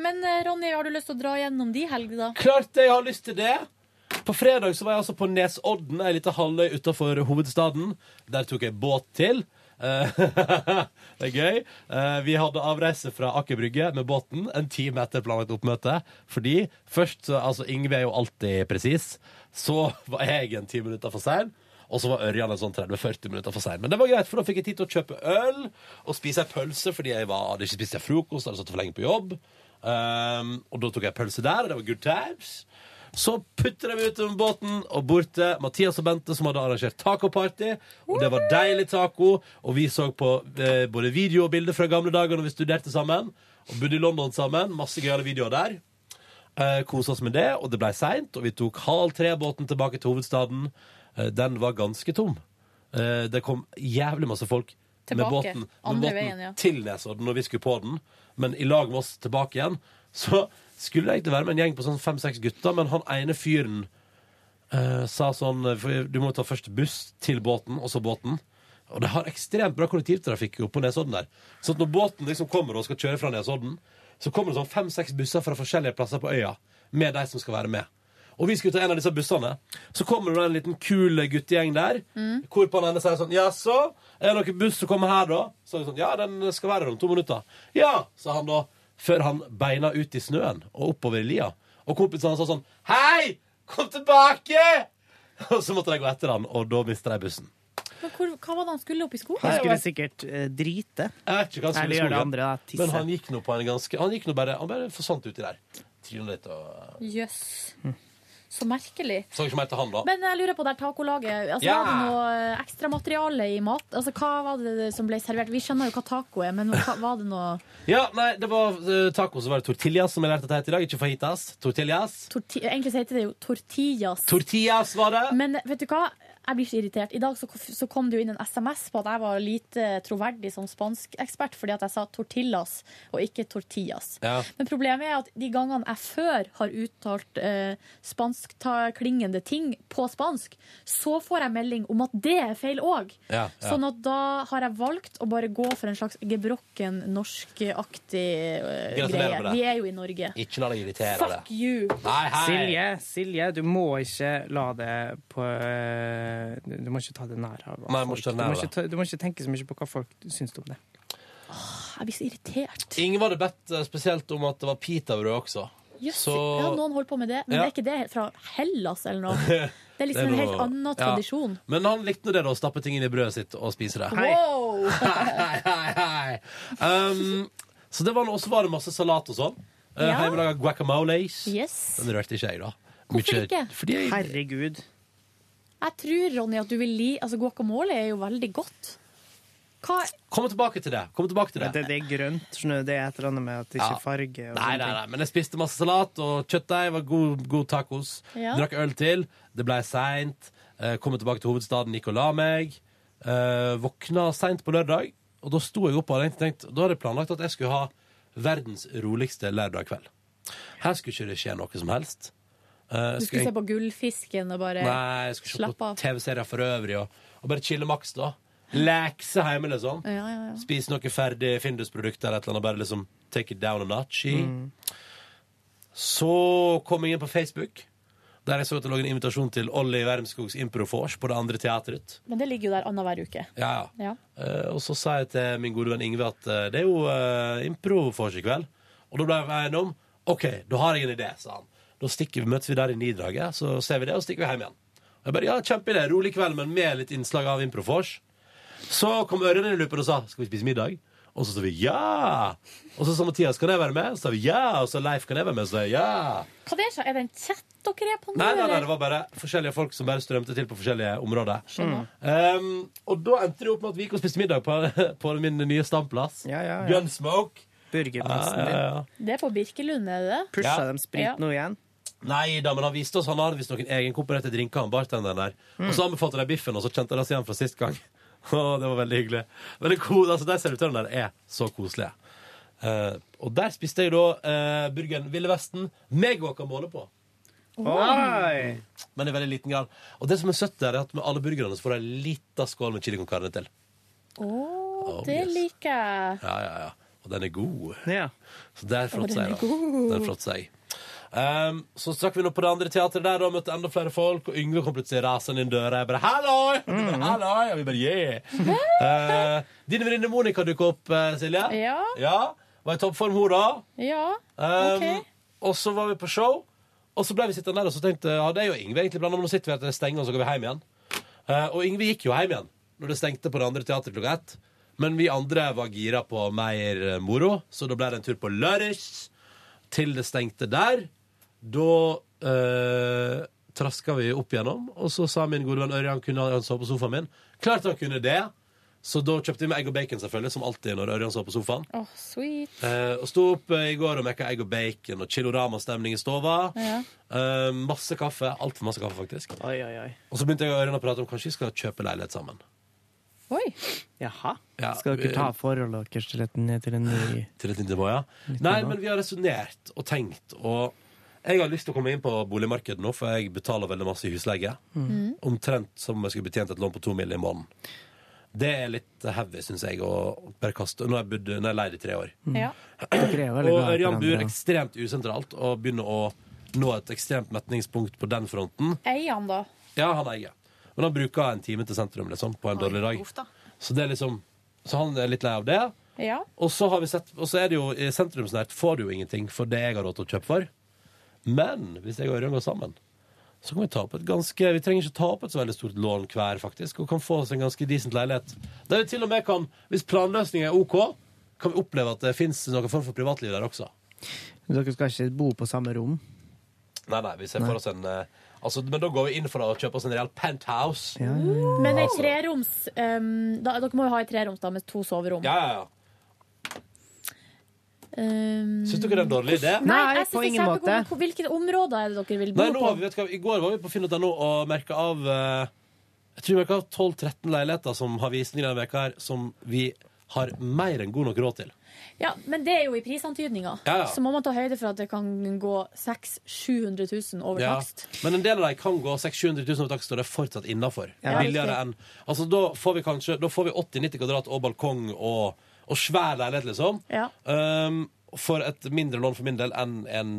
Speaker 5: Men eh, Ronny, har du lyst til å dra gjennom de helgene, da?
Speaker 2: Klart det, jeg har lyst til det! På fredag så var jeg altså på Nesodden, ei lita halvøy utafor hovedstaden. Der tok jeg båt til. Eh, det er gøy. Eh, Vi hadde avreise fra Aker Brygge med båten en time etter planlagt oppmøte. Fordi først så- Altså, Ingve er jo alltid presis. Så var jeg en ti minutter for sein. Og så var Ørjan en sånn 30-40 minutter for sein. Men det var greit, for da fikk jeg tid til å kjøpe øl og spise ei pølse fordi jeg var, hadde ikke spist jeg frokost, hadde satt for lenge på jobb. Um, og da tok jeg pølse der, og det var good times. Så putter jeg meg ut med båten og bort til Mathias og Bente, som hadde arrangert tacoparty. Og det var deilig taco, og vi så på eh, både video og bilder fra gamle dager når vi studerte sammen. Og bodde i London sammen. Masse gøyale videoer der. Eh, Kosa oss med det, og det blei seint, og vi tok halv tre-båten tilbake til hovedstaden. Eh, den var ganske tom. Eh, det kom jævlig masse folk
Speaker 5: Tilbake.
Speaker 2: med båten, med
Speaker 5: Andre
Speaker 2: båten
Speaker 5: veien, ja.
Speaker 2: til Nesodden når vi skulle på den, men i lag med oss tilbake igjen, så skulle det egentlig være med en gjeng på sånn fem-seks gutter, men han ene fyren eh, sa sånn for Du må ta først buss til båten, og så båten. Og det har ekstremt bra kollektivtrafikk oppå Nesodden sånn der. Så at når båten liksom kommer og skal kjøre fra Nesodden, så kommer det sånn fem-seks busser fra forskjellige plasser på øya med de som skal være med. Og vi skulle ta en av disse bussene. Så kommer det en liten kul guttegjeng der. Hvorpå han ene sier sånn Jaså, er det noen buss som kommer her, da? Så er det sånn, Ja, den skal være her om to minutter. Ja, sa han da, før han beina ut i snøen og oppover i lia. Og kompisene hans sa sånn Hei, kom tilbake! Og så måtte de gå etter han, og da mista de bussen.
Speaker 5: Men hvor, hva var det han skulle opp i skogen?
Speaker 3: Han skulle sikkert eh, drite.
Speaker 2: Jeg vet ikke hva han skulle
Speaker 3: Eller
Speaker 2: i
Speaker 3: gjøre det
Speaker 2: skogen.
Speaker 3: andre, da. Tisse.
Speaker 2: Men han gikk nå på en ganske Han gikk nå bare, han bare forsvant uti der. Trynet litt og
Speaker 5: Jøss. Så merkelig.
Speaker 2: Så ikke mer til han, da.
Speaker 5: Men jeg lurer på det her tacolaget. Altså,
Speaker 2: Ja.
Speaker 5: Var det noe ekstramateriale i mat? Altså, hva var det som ble servert? Vi skjønner jo hva taco er, men hva, var det noe
Speaker 2: Ja, nei, det var eh, taco, så var det tortillas som jeg lærte at det heter i dag. Ikke fajitas. Tortillas.
Speaker 5: torti Egentlig så heter det jo tortillas.
Speaker 2: Tortillas var det.
Speaker 5: Men vet du hva? Jeg blir så irritert. I dag så, så kom det jo inn en SMS på at jeg var lite troverdig som spanskekspert fordi at jeg sa tortillas og ikke tortillas.
Speaker 7: Ja.
Speaker 5: Men problemet er at de gangene jeg før har uttalt eh, spanskklingende ting på spansk, så får jeg melding om at det er feil òg.
Speaker 7: Ja, ja.
Speaker 5: Sånn at da har jeg valgt å bare gå for en slags gebrokken norskaktig eh,
Speaker 3: Gratulerer
Speaker 5: greie.
Speaker 3: med det.
Speaker 5: Vi er jo i Norge.
Speaker 2: Ikke la deg irritere av det.
Speaker 5: Fuck you!
Speaker 3: Silje, Silje, du må ikke la det på eh, Du må ikke ta det nær av
Speaker 2: Nei, jeg må
Speaker 3: folk.
Speaker 2: ikke ta det
Speaker 3: du,
Speaker 2: nær
Speaker 3: må
Speaker 2: av
Speaker 3: ikke ta, du må ikke tenke så mye på hva folk syns om det.
Speaker 5: Jeg blir så irritert.
Speaker 2: Ingen var det bedt eh, spesielt om at det var pitabrød også.
Speaker 5: Jøss,
Speaker 2: Så
Speaker 5: ja, noen holder på med det, men
Speaker 2: Ja.
Speaker 5: det er ikke det fra Hellas eller noe. Det er liksom
Speaker 2: Det er
Speaker 5: en
Speaker 2: noe-
Speaker 5: helt annen
Speaker 2: ja.
Speaker 5: tradisjon.
Speaker 2: Men han likte nå det, da. Å stappe ting inn i brødet sitt og spise det.
Speaker 5: Wow!
Speaker 2: Um, så det var nå- også var det masse salat og sånn. Uh,
Speaker 3: Ja.
Speaker 2: Hjemmelaga guacamoles.
Speaker 5: Yes.
Speaker 2: Den rørte ikke jeg, da.
Speaker 5: Hvorfor
Speaker 2: Mykje-
Speaker 5: ikke?
Speaker 2: Fordi jeg,
Speaker 3: Herregud.
Speaker 5: Jeg tror, Ronny, at du vil li Altså, guacamole er jo veldig godt. Hva
Speaker 2: Kom tilbake til det. Kom tilbake til det.
Speaker 3: Men Det, det er grønt. skjønner du, Det er et eller annet med at det ikke
Speaker 2: Ja.
Speaker 3: er farge. Og
Speaker 2: Nei, nei,
Speaker 3: sånne ting.
Speaker 2: nei, men jeg spiste masse salat og kjøttdeig. Var god, god tacos.
Speaker 3: Ja.
Speaker 2: Drakk øl til. Det ble seint. Eh, kom tilbake til hovedstaden, gikk og la meg. Eh, våkna seint på lørdag, og da sto jeg opp og hadde egentlig tenkt Da hadde jeg planlagt at jeg skulle ha verdens roligste lørdag kveld. Her skulle ikke det skje noe som helst. Eh,
Speaker 5: Du
Speaker 2: skulle
Speaker 5: skulle se på gullfisken og bare
Speaker 2: Nei, jeg skulle se
Speaker 5: slappe
Speaker 2: på
Speaker 5: Eh, av?
Speaker 2: TV-serier for øvrig og, og bare chille maks, da. Lekse hjemme, liksom.
Speaker 5: Ja, ja, ja.
Speaker 2: Spise noe ferdig Findus-produkter eller et eller annet. Bare liksom take it down a notch i.
Speaker 5: Mm.
Speaker 2: Så kom jeg inn på Facebook, der jeg så at det lå en invitasjon til Olli Wermskogs Improfors på det andre teatret.
Speaker 5: Men det ligger jo der annenhver uke.
Speaker 2: Ja, ja.
Speaker 5: Ja.
Speaker 2: Eh, og så sa jeg til min gode venn Ingve at eh, det er jo uh, improvors i kveld. Og da ble vi enige om OK, da har jeg en idé, sa han. Da stikker vi, møtes vi der i Nidraget, så ser vi det, og stikker vi hjem igjen. Og jeg bare, ja, kjempeidé, rolig kveld, men med litt innslag av improvors. Så kom Ørjan inn i loopen og sa skal vi spise middag. Og så sa vi ja! Og så sa Mathias kan jeg være med? Så sa vi ja. Og så Leif kan jeg være med? Så sa jeg ja.
Speaker 5: Hva det er så? Er det en chat dere er på nå?
Speaker 2: Nei, nei, nei,
Speaker 5: eller?
Speaker 2: det var bare forskjellige folk som bare strømte til på forskjellige områder.
Speaker 5: Skjønner.
Speaker 2: Um, og da endte det opp med at vi gikk og spiste middag på, på min nye standplass.
Speaker 3: ja.
Speaker 2: Gunsmoke.
Speaker 3: Burgerplassen
Speaker 2: Ja, ja, ja.
Speaker 5: Det er på Birkelund, er det det?
Speaker 2: Pusha dem
Speaker 3: Sprit
Speaker 5: Ja.
Speaker 3: nå igjen.
Speaker 2: Nei da, men han viste oss Han hadde visst noen egenkomponerte drinker, han bartenderen der. Og så anbefalte de biffen, og så kjente de oss igjen fra sist gang. Å, det var veldig hyggelig. Men det ko- altså, de servitørene der er så koselige. Eh, og der spiste jeg da eh, burgeren Ville Vesten med guacamole på.
Speaker 3: Oi.
Speaker 2: Men i veldig liten grad. Og det som er søtt der, er at med alle burgerne så får jeg en liten skål med chili con carne til.
Speaker 5: Å,
Speaker 2: Oh,
Speaker 5: det
Speaker 2: yes.
Speaker 5: liker jeg.
Speaker 2: Ja, ja, ja. Og den er god. Så der
Speaker 5: Og
Speaker 2: fråtsa
Speaker 5: den
Speaker 2: jeg,
Speaker 5: er
Speaker 2: da.
Speaker 5: god.
Speaker 2: Der fråtsa jeg. Ehm, så stakk vi nå på det andre teatret der og møtte enda flere folk. Og Yngve kom plutselig rasende inn døra. Jeg bare 'halloi!' Og de bare, «Halloi!» Og vi bare 'yeah'. Eh, din venninne Monica dukket opp, eh, Silje.
Speaker 5: Ja.
Speaker 2: ja. Var i toppform, hun, da.
Speaker 5: Ja,
Speaker 2: Um,
Speaker 5: OK.
Speaker 2: Og så var vi på show, og så ble vi sittende der og så tenkte jeg, ja, det er jo Yngve egentlig blanda, men nå sitter vi her til det stenger, og så går vi hjem igjen. Eh, og Yngve gikk jo hjem igjen når det stengte på det andre teatret klokka ett. Men vi andre var gira på mer eh, moro, så da ble det en tur på Lørris til det stengte der. Da uh, traska vi opp igjennom, og så sa min gode venn Ørjan kunne han sove på sofaen min. Klart han kunne det! Så da kjøpte vi med egg og bacon, selvfølgelig, som alltid når Ørjan sov på sofaen.
Speaker 5: Å, sweet.
Speaker 2: Eh, og sto opp eh, i går og mekka egg og bacon og Chilorama-stemning i stova.
Speaker 5: Ja.
Speaker 2: Eh, masse kaffe. Altfor masse kaffe, faktisk. Og så begynte jeg og Ørjan å prate om kanskje vi skal kjøpe leilighet sammen.
Speaker 5: Oi.
Speaker 3: Jaha.
Speaker 2: Ja,
Speaker 3: Skal dere ta forholdet deres til et, til en ny
Speaker 2: Til et intervju, ja. Nei, men vi har resonnert og tenkt, og jeg har lyst til å komme inn på boligmarkedet nå, for jeg betaler veldig masse i husleie.
Speaker 25: Mm.
Speaker 2: Omtrent som om jeg skulle betjent et lån på to mill. i måneden. Det er litt heavy, syns jeg, å bare kaste. Nå har jeg, bodd- nå har jeg leid i tre år.
Speaker 5: Ja.
Speaker 2: Og Ørjan bor ekstremt usentralt og begynner å nå et ekstremt metningspunkt på den fronten.
Speaker 5: Eier han, da?
Speaker 2: Ja, han eier. Men han bruker en time til sentrum liksom, på en dårlig dag. Så, det er liksom, så han er litt lei av det.
Speaker 5: Ja.
Speaker 2: Og så, har vi sett, og så er det jo i sentrumsnært får du jo ingenting for det jeg har råd til å kjøpe for. Men hvis jeg og Ørjan går sammen, så kan vi ta opp et ganske Vi trenger ikke ta opp et så veldig stort lån hver, faktisk, og kan få oss en ganske decent leilighet. Der vi til og med kan, hvis planløsningen er OK, kan vi oppleve at det fins noen form for privatliv der også.
Speaker 3: Dere skal ikke bo på samme rom?
Speaker 2: Nei, nei, vi ser for oss en eh, altså, Men da går vi inn for å kjøpe oss en real penthouse.
Speaker 5: Men ei treroms ehm, da, Dere må jo ha ei treroms da, med to soverom.
Speaker 2: Ja, ja, ja.
Speaker 5: Ehm,
Speaker 2: Syns dere det er en dårlig idé?
Speaker 5: Nei, jeg synes det er kjempegod- hvor- Hvilke områder er det dere vil bo
Speaker 2: Nei, nå har
Speaker 5: på?
Speaker 2: vi, vet du hva, I går var vi på finn.no og merka av eh, Jeg tror vi merka av 12-13 leiligheter som har visning denne veka her, som vi har mer enn god nok råd til.
Speaker 5: Ja, Men det er jo i prisantydninga.
Speaker 2: Ja, ja.
Speaker 5: Så må man ta høyde for at det kan gå 600 000-700 000 over
Speaker 2: Ja.
Speaker 5: takst.
Speaker 2: Men en del av dem kan gå 600 000 over takst, og det er fortsatt innafor.
Speaker 5: Ja,
Speaker 2: Billigere
Speaker 5: riktig.
Speaker 2: enn Altså, da får vi kanskje Da får vi 80-90 kvadrat og balkong og, og svær leilighet, liksom.
Speaker 5: Ja.
Speaker 2: Um, for et mindre lån for min del enn en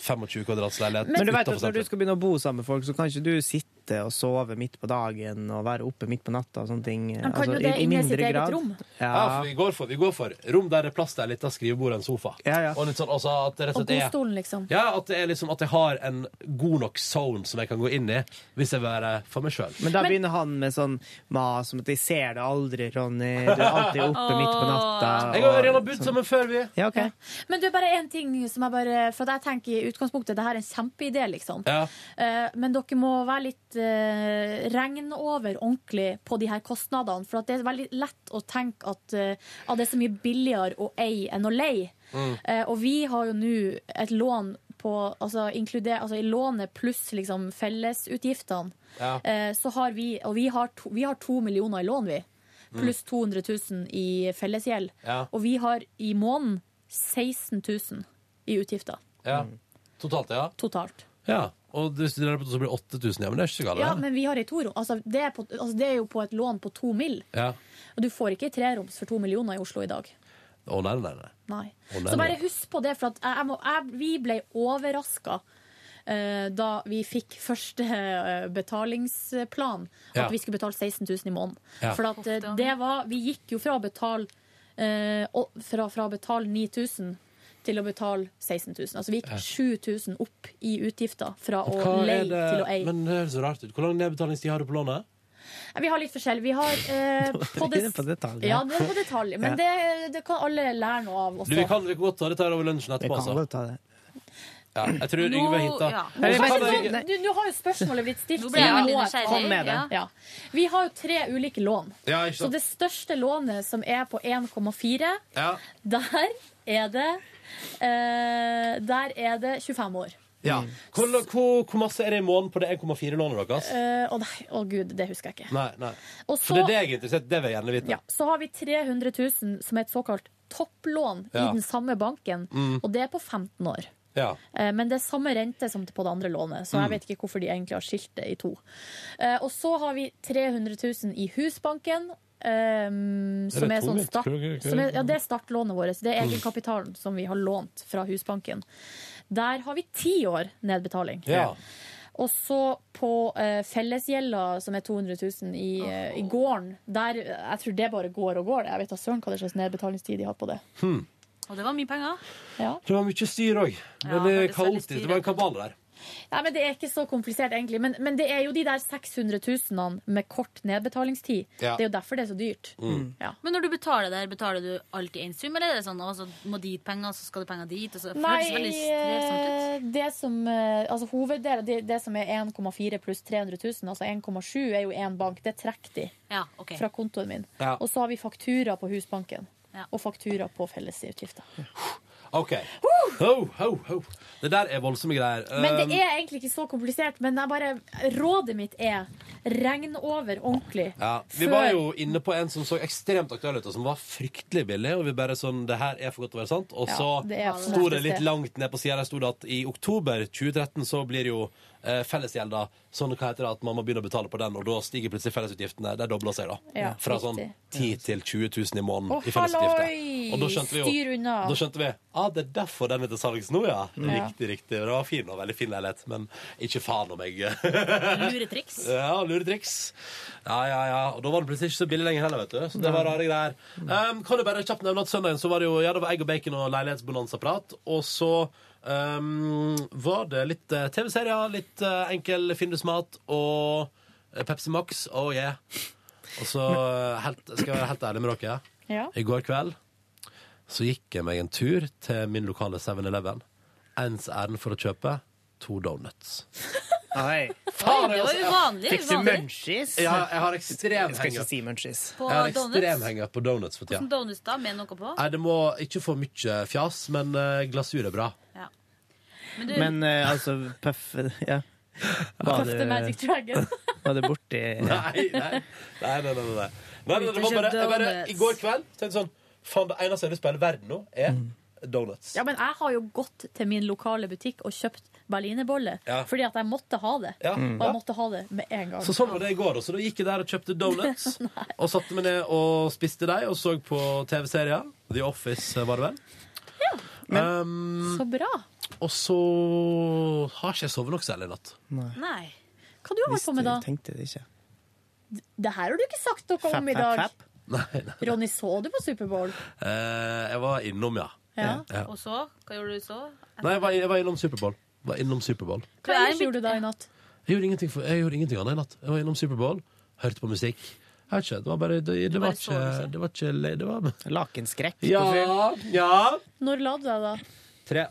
Speaker 2: 25 kvadrats leilighet.
Speaker 3: Men du vet
Speaker 2: utenfor
Speaker 3: at når du
Speaker 2: sentrum.
Speaker 3: skal begynne å bo sammen med folk, så kan ikke du sitte og sove midt på dagen og være oppe midt på natta og sånne ting. altså,
Speaker 5: Han kan jo det inne i sitt eget rom.
Speaker 2: Ja.
Speaker 3: Ja.
Speaker 2: for vi, går for, vi går for rom der det er plass til en liten skrivebord og en sofa. Og litt sånn, altså, at det rett og
Speaker 5: Og
Speaker 2: slett er
Speaker 5: godstolen, liksom.
Speaker 2: ja, at, det er liksom, at jeg har en god nok zone som jeg kan gå inn i hvis jeg vil være for meg sjøl.
Speaker 3: Men da begynner han med sånn mas om at 'jeg ser det aldri, Ronny', du er alltid oppe midt på natta.
Speaker 2: Jeg og Ørjan har bodd sammen før, vi.
Speaker 3: Ja, ok.
Speaker 5: Men du, bare én ting som jeg bare For at jeg tenker i utgangspunktet det her er en kjempeidé, liksom.
Speaker 2: Ja.
Speaker 5: Eh, Men dere må være litt eh, regne over ordentlig på de her kostnadene. For at det er veldig lett å tenke at eh, ah, det er så mye billigere å eie enn å leie.
Speaker 16: Mm.
Speaker 5: Eh, og vi har jo nå et lån på altså, inkluder, altså i lånet pluss liksom fellesutgiftene.
Speaker 16: Ja.
Speaker 5: Eh, så har vi Og vi har, to, vi har to millioner i lån, vi. Pluss 200 000 i fellesgjeld.
Speaker 2: Ja.
Speaker 5: Og vi har i måneden 16 000 i utgifter
Speaker 2: Ja. Totalt, ja.
Speaker 5: totalt.
Speaker 2: ja. Og hvis du deler det på to, så blir det 8000. Ja, men det er ikke så galt.
Speaker 5: Ja,
Speaker 2: det.
Speaker 5: men vi har i torom. Altså, det, er på, altså, det er jo på et lån på to mill.
Speaker 2: ja.
Speaker 5: Og du får ikke i treroms for to millioner i Oslo i dag.
Speaker 2: Å, nei, nei, nei.
Speaker 5: Nei.
Speaker 2: Å, nei,
Speaker 5: Så bare
Speaker 2: nei.
Speaker 5: husk på det, for at jeg, jeg må, jeg, vi ble overraska da vi fikk første eh, betalingsplan, at
Speaker 16: Ja.
Speaker 5: vi skulle betale 16 000 i måneden.
Speaker 16: Ja.
Speaker 5: For at eh, det var Vi gikk jo fra å betale eh, å- fra, fra å betale 9000 til å betale 16 000. Altså vi gikk
Speaker 2: Ja.
Speaker 5: 7000 opp i utgifter fra å
Speaker 2: Hva er
Speaker 5: leie
Speaker 2: det-
Speaker 5: til å eie.
Speaker 2: Men det høres så rart ut. Hvor lang nedbetalingstid har du på lånet?
Speaker 5: Nei, Vi har litt forskjell. Vi har eh, på det,
Speaker 2: Inne på detalj,
Speaker 5: Ja,
Speaker 2: ja.
Speaker 5: det er på detalj. Men
Speaker 2: Ja.
Speaker 5: det, det kan alle lære noe av også.
Speaker 2: Du, vi kan vi kan godt ta dette her over lunsjen etterpå, altså.
Speaker 3: kan godt ta det.
Speaker 2: Ja, jeg tror
Speaker 5: Nå-
Speaker 2: Yngve hinta.
Speaker 5: ja.
Speaker 2: Og så kan
Speaker 5: Men
Speaker 2: jeg-
Speaker 5: så- du- Nå har jo spørsmålet blitt stilt.
Speaker 16: Nå ble jeg
Speaker 5: Ja.
Speaker 16: veldig
Speaker 5: Nå-
Speaker 16: nysgjerrig. Kom med det.
Speaker 5: Ja. Vi har jo tre ulike lån.
Speaker 2: Ja, ikke
Speaker 5: Så
Speaker 2: sant?
Speaker 5: det største lånet, som er på 1,4,
Speaker 2: Ja.
Speaker 5: der er det eh, Der er det 25 år.
Speaker 2: Ja. Hvor, hvor, hvor masse er det i måneden på det 1,4-lånet deres?
Speaker 5: Eh, Å nei, å gud, det husker jeg ikke.
Speaker 2: Nei, nei.
Speaker 5: Og
Speaker 2: For
Speaker 5: så-
Speaker 2: det er det jeg er interessert i. Det vil jeg gjerne vite.
Speaker 5: Ja, så har vi 300 000 som er et såkalt topplån i
Speaker 2: Ja.
Speaker 5: den samme banken,
Speaker 2: Mm.
Speaker 5: og det er på 15 år.
Speaker 2: Ja.
Speaker 5: Eh, Men det er samme rente som på det andre lånet, så
Speaker 2: Mm.
Speaker 5: jeg vet ikke hvorfor de egentlig har skilt det i to. Eh, Og så har vi 300 000 i Husbanken. ehm,
Speaker 7: Er det
Speaker 5: som er, sånn
Speaker 7: tungt?
Speaker 5: start,
Speaker 7: Tror jeg ikke-
Speaker 5: som er, ja, det er startlånet vårt. Det er
Speaker 7: Mm.
Speaker 5: egenkapitalen som vi har lånt fra Husbanken. Der har vi ti år nedbetaling.
Speaker 7: Ja.
Speaker 5: Og så på eh, fellesgjelda, som er 200 000 i, eh, i gården der, Jeg tror det bare går og går. Jeg vet da søren hva det slags nedbetalingstid de har på det.
Speaker 2: Hmm.
Speaker 4: Og det var mye penger.
Speaker 2: Det var mye styr òg.
Speaker 5: Ja,
Speaker 2: Veldig
Speaker 5: det er veldig
Speaker 2: kaotisk.
Speaker 5: styr.
Speaker 2: Det var en kabal der.
Speaker 5: Nei, men Det er ikke så komplisert, egentlig. Men, men det er jo de der 600 000 med kort nedbetalingstid.
Speaker 2: Ja.
Speaker 5: Det er jo derfor det er så dyrt.
Speaker 2: Mm.
Speaker 5: Ja.
Speaker 4: Men når du betaler der, betaler du alltid én sum, eller er det sånn at du må dit penger, så skal du penger dit? Og så det
Speaker 5: Nei,
Speaker 4: føles veldig strevsomt ut.
Speaker 5: eh, det som, eh, altså, hoveddelen, det, det som er 1,4 pluss 300 000, altså 1,7, er jo én bank. Det trekker de
Speaker 4: Ja, ok.
Speaker 5: fra kontoen min.
Speaker 2: Ja.
Speaker 5: Og så har vi faktura på Husbanken. Og faktura på fellesutgifter.
Speaker 2: OK. Ho, ho, ho. Det der er voldsomme greier.
Speaker 5: Men
Speaker 2: Um,
Speaker 5: det er egentlig ikke så komplisert. Men jeg bare, rådet mitt er regn over ordentlig.
Speaker 2: Ja, Vi
Speaker 5: Før-
Speaker 2: var jo inne på en som så ekstremt aktuell ut, og som var fryktelig billig. Og vi bare sånn Det her er for godt til å være sant. Og
Speaker 5: Ja,
Speaker 2: så
Speaker 5: det er for
Speaker 2: sto
Speaker 5: godt
Speaker 2: det
Speaker 5: å
Speaker 2: litt
Speaker 5: se.
Speaker 2: langt ned på sida der sto det at i oktober 2013 så blir jo eh, fellesgjelda sånn hva heter det, at man må begynne å betale på den, og da stiger plutselig fellesutgiftene. De dobler seg, da.
Speaker 5: Ja,
Speaker 2: Fra sånn
Speaker 5: riktig.
Speaker 2: 10 til 20 000 i måneden
Speaker 5: Å,
Speaker 2: i fellesutgifter.
Speaker 5: halloi!
Speaker 2: Og da skjønte vi
Speaker 5: Styr
Speaker 2: jo
Speaker 5: unna.
Speaker 2: da skjønte vi, ah, det er derfor den er til salgs nå, ja.
Speaker 5: Ja.
Speaker 2: Riktig, riktig. Det var fin og veldig fin leilighet, men ikke faen om jeg eh,
Speaker 4: Luretriks.
Speaker 2: Ja, luretriks. Ja, ja, ja. Og da var det plutselig ikke så billig lenger heller, vet du. Så det var rare greier. Um, kan du bare kjapt nevne at søndagen så var det jo ja, det var egg og bacon og leilighetsbonanza-prat. Og så um, var det litt eh, TV-serier, litt eh, enkel findusmat og eh, Pepsi Max. Oh yeah. Og så eh, helt, skal jeg være helt ærlig med dere.
Speaker 5: Ja.
Speaker 2: I går kveld så gikk jeg meg en tur til min lokale 7-Eleven. Ens ærend for å kjøpe to donuts.
Speaker 3: Oi.
Speaker 4: Faen, Oi, det var altså, ja. uvanlig,
Speaker 3: Fikk du
Speaker 4: uvanlig.
Speaker 3: munchies?
Speaker 2: Ja, jeg har ekstrem
Speaker 3: Jeg skal ikke
Speaker 2: henger.
Speaker 3: si munchies.
Speaker 4: På
Speaker 2: jeg har
Speaker 4: donuts?
Speaker 2: ekstrem henger på donuts for tida.
Speaker 4: Hvordan donuts da, med noe på?
Speaker 2: Nei, det må ikke få mye fjas, men eh, glasur er bra.
Speaker 4: Ja. Men du,
Speaker 3: Men eh, altså, puff Ja. Var
Speaker 5: Puff the Magic Dragon.
Speaker 3: var det borti
Speaker 2: Nei, nei. Nei, nei, nei, nei. nei, nei det var bare, jeg bare, I går kveld tenkte jeg sånn Faen, det eneste jeg vil spille i verden nå, er donuts.
Speaker 5: Ja, men jeg har jo gått til min lokale butikk og kjøpt berlinerbolle.
Speaker 2: Ja.
Speaker 5: Fordi at jeg måtte ha det.
Speaker 2: Ja. Mm.
Speaker 5: Og
Speaker 2: Ja.
Speaker 5: jeg måtte ha det med en gang.
Speaker 2: Så sånn var det i går også. Da gikk jeg der og kjøpte donuts. og satte meg ned og spiste dem og så på TV-serier. The Office, eh, var det vel. Um,
Speaker 5: Så bra.
Speaker 2: og så har ikke jeg sovet noe særlig i natt.
Speaker 5: Nei. Hva du har holdt på med da?
Speaker 3: tenkte det ikke.
Speaker 5: Det her har du ikke sagt noe om i
Speaker 2: Fapp, fapp,
Speaker 5: dag.
Speaker 2: fapp. Nei, nei.
Speaker 5: Ronny, så du på Superbowl?
Speaker 2: Eh, jeg var innom, ja.
Speaker 5: Ja.
Speaker 2: Ja.
Speaker 4: og så? Hva gjorde du så?
Speaker 2: Nei, jeg var, jeg var innom Superbowl. Var innom Superbowl.
Speaker 5: Hva ellers gjorde du da i natt?
Speaker 2: Jeg gjorde ingenting, for, jeg gjorde ingenting annet i natt. Jeg var innom Superbowl, hørte på musikk. Jeg vet ikke, det var bare Det, det, var, ikke, det var ikke le- det var...
Speaker 3: Lakenskrekk.
Speaker 2: Ja, ja.
Speaker 5: Når la du deg da?
Speaker 2: Tre.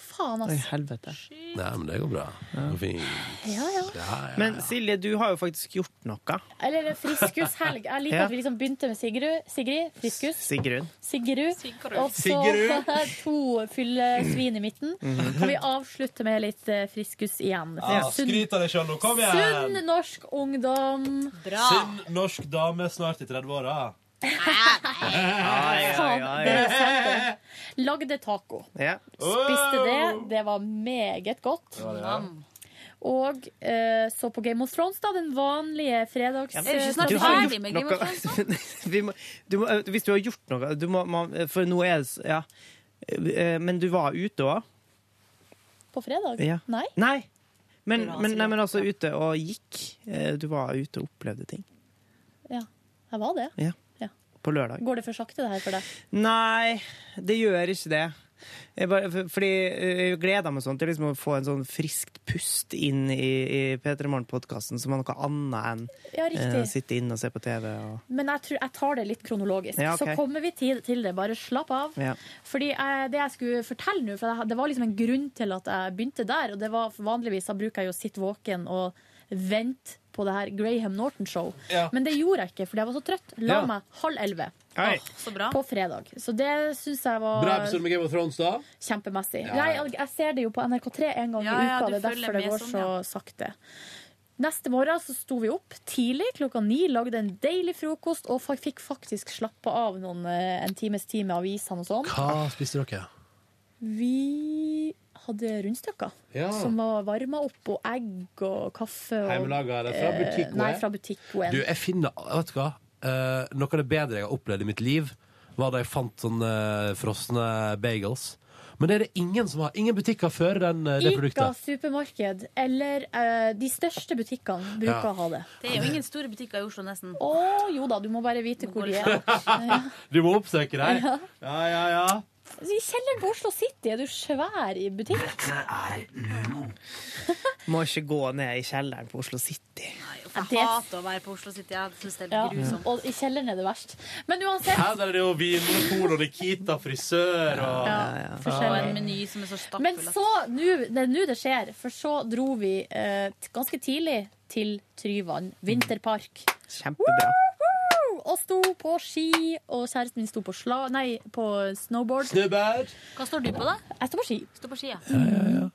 Speaker 5: Faen,
Speaker 3: Oi,
Speaker 5: altså. ass.
Speaker 3: helvete.
Speaker 2: Nei, men det går bra. Det går fint.
Speaker 5: Ja, ja.
Speaker 2: Ja, ja.
Speaker 3: Men Silje, du har jo faktisk gjort noe.
Speaker 5: Eller friskushelg. Jeg liker
Speaker 3: Ja.
Speaker 5: at vi liksom begynte med Sigrid, Sigrid friskus.
Speaker 3: Sigrun.
Speaker 5: Sigrud. Og så
Speaker 3: Sigrud.
Speaker 5: to fyllesvin i midten.
Speaker 2: Mhm.
Speaker 5: Kan vi avslutte med litt eh, friskus igjen?
Speaker 2: Ja, skryt av deg sjøl nå. Kom
Speaker 5: Sunn
Speaker 2: igjen!
Speaker 5: norsk ungdom.
Speaker 2: Sunn norsk dame snart i 30-åra.
Speaker 5: Faen, dere satte. Lagde taco.
Speaker 3: Ja.
Speaker 5: Spiste det. Det var meget godt.
Speaker 3: Det var det, ja.
Speaker 5: Og eh, så på Game of Thrones, da. Den vanlige fredags...
Speaker 3: Ja, men du har gjort noe. Vi må, du må, eh, hvis du har gjort noe du må, man, For nå er det s- Ja. Eh, Men du var ute òg?
Speaker 5: På fredag?
Speaker 3: Ja.
Speaker 5: Nei.
Speaker 3: Nei. Men,
Speaker 5: Bra,
Speaker 3: men,
Speaker 5: Silje.
Speaker 3: nei, men altså ute og gikk. Eh, Du var ute og opplevde ting.
Speaker 5: Ja, jeg var det.
Speaker 3: Ja.
Speaker 5: Ja.
Speaker 3: På lørdag.
Speaker 5: Går det for sakte, det her for deg?
Speaker 3: Nei, det gjør ikke det. Jeg bare, for- fordi eh, jeg gleder meg sånn til liksom å få en sånn friskt pust inn i, i P3 Morgen-podkasten, som er noe annet enn
Speaker 5: Ja, riktig.
Speaker 3: eh, å sitte inne og se på TV. Og,
Speaker 5: Men jeg, tror, jeg tar det litt kronologisk.
Speaker 3: Ja, ok.
Speaker 5: Så kommer vi til, til det. Bare slapp av.
Speaker 3: ja.
Speaker 5: Fordi eh, det jeg skulle fortelle nå, for jeg- det var liksom en grunn til at jeg begynte der, og det var for vanligvis da bruker jeg jo å sitte våken og vente på det her Graham Norton-show.
Speaker 4: Ja.
Speaker 5: Men det gjorde jeg ikke, fordi jeg var så trøtt. La
Speaker 2: Ja.
Speaker 5: meg halv elleve
Speaker 2: Hei.
Speaker 5: Åh, på fredag. Så det syns jeg var
Speaker 2: Bra episode med Game of Thrones, da.
Speaker 5: kjempemessig.
Speaker 2: Ja.
Speaker 5: Nei, jeg, jeg ser det jo på NRK3 en gang
Speaker 4: Ja,
Speaker 5: i
Speaker 4: ja,
Speaker 5: uka,
Speaker 4: du
Speaker 5: det er
Speaker 4: følger
Speaker 5: derfor det
Speaker 4: med
Speaker 5: går
Speaker 4: sånn,
Speaker 5: så
Speaker 4: ja.
Speaker 5: sakte. Neste morgen så sto vi opp tidlig klokka ni, lagde en deilig frokost og fa- fikk faktisk slappa av noen, eh, en times tid med avisene og sånn.
Speaker 2: Hva spiste dere?
Speaker 5: Vi hadde rundstykker
Speaker 2: Ja.
Speaker 5: som var varma opp, og egg og kaffe. Og,
Speaker 2: Hjemmelaga, eller fra
Speaker 5: eh,
Speaker 2: butikken?
Speaker 5: Nei, fra butikken.
Speaker 2: Du, jeg finner Vet du hva? Eh, noe av det bedre jeg har opplevd i mitt liv, var da jeg fant sånne eh, frosne bagels. Men det er det ingen som har. Ingen butikker fører den, eh, det
Speaker 5: Ica
Speaker 2: produktet.
Speaker 5: supermarked, eller eh, de største butikkene bruker
Speaker 2: Ja.
Speaker 5: å ha det.
Speaker 4: Det er jo ingen store butikker i Oslo, nesten.
Speaker 5: Å jo da, du må bare vite hvor de er.
Speaker 2: Du må oppsøke deg.
Speaker 5: Ja.
Speaker 2: Ja, ja, ja.
Speaker 5: I kjelleren på Oslo City er du svær i butikk.
Speaker 3: Må ikke gå ned i kjelleren på Oslo City.
Speaker 4: Jeg hater å være på Oslo City. Jeg synes det
Speaker 5: Ja,
Speaker 4: er grusomt.
Speaker 5: og i kjelleren er det verst. Men uansett
Speaker 2: Her er det jo Vinmonopol og Nikita frisør og
Speaker 5: Ja,
Speaker 4: Og en meny som er så
Speaker 5: Men
Speaker 4: stappfull. altså.
Speaker 5: så, nå det er nå det skjer, for så dro vi eh, t- ganske tidlig til Tryvann vinterpark.
Speaker 3: Kjempebra.
Speaker 5: Woo! Og sto på ski, og kjæresten min sto på, sla, nei, på snowboard.
Speaker 2: Snowboard.
Speaker 4: Hva står du på, da?
Speaker 5: Jeg står på ski.
Speaker 4: Står på ski, ja.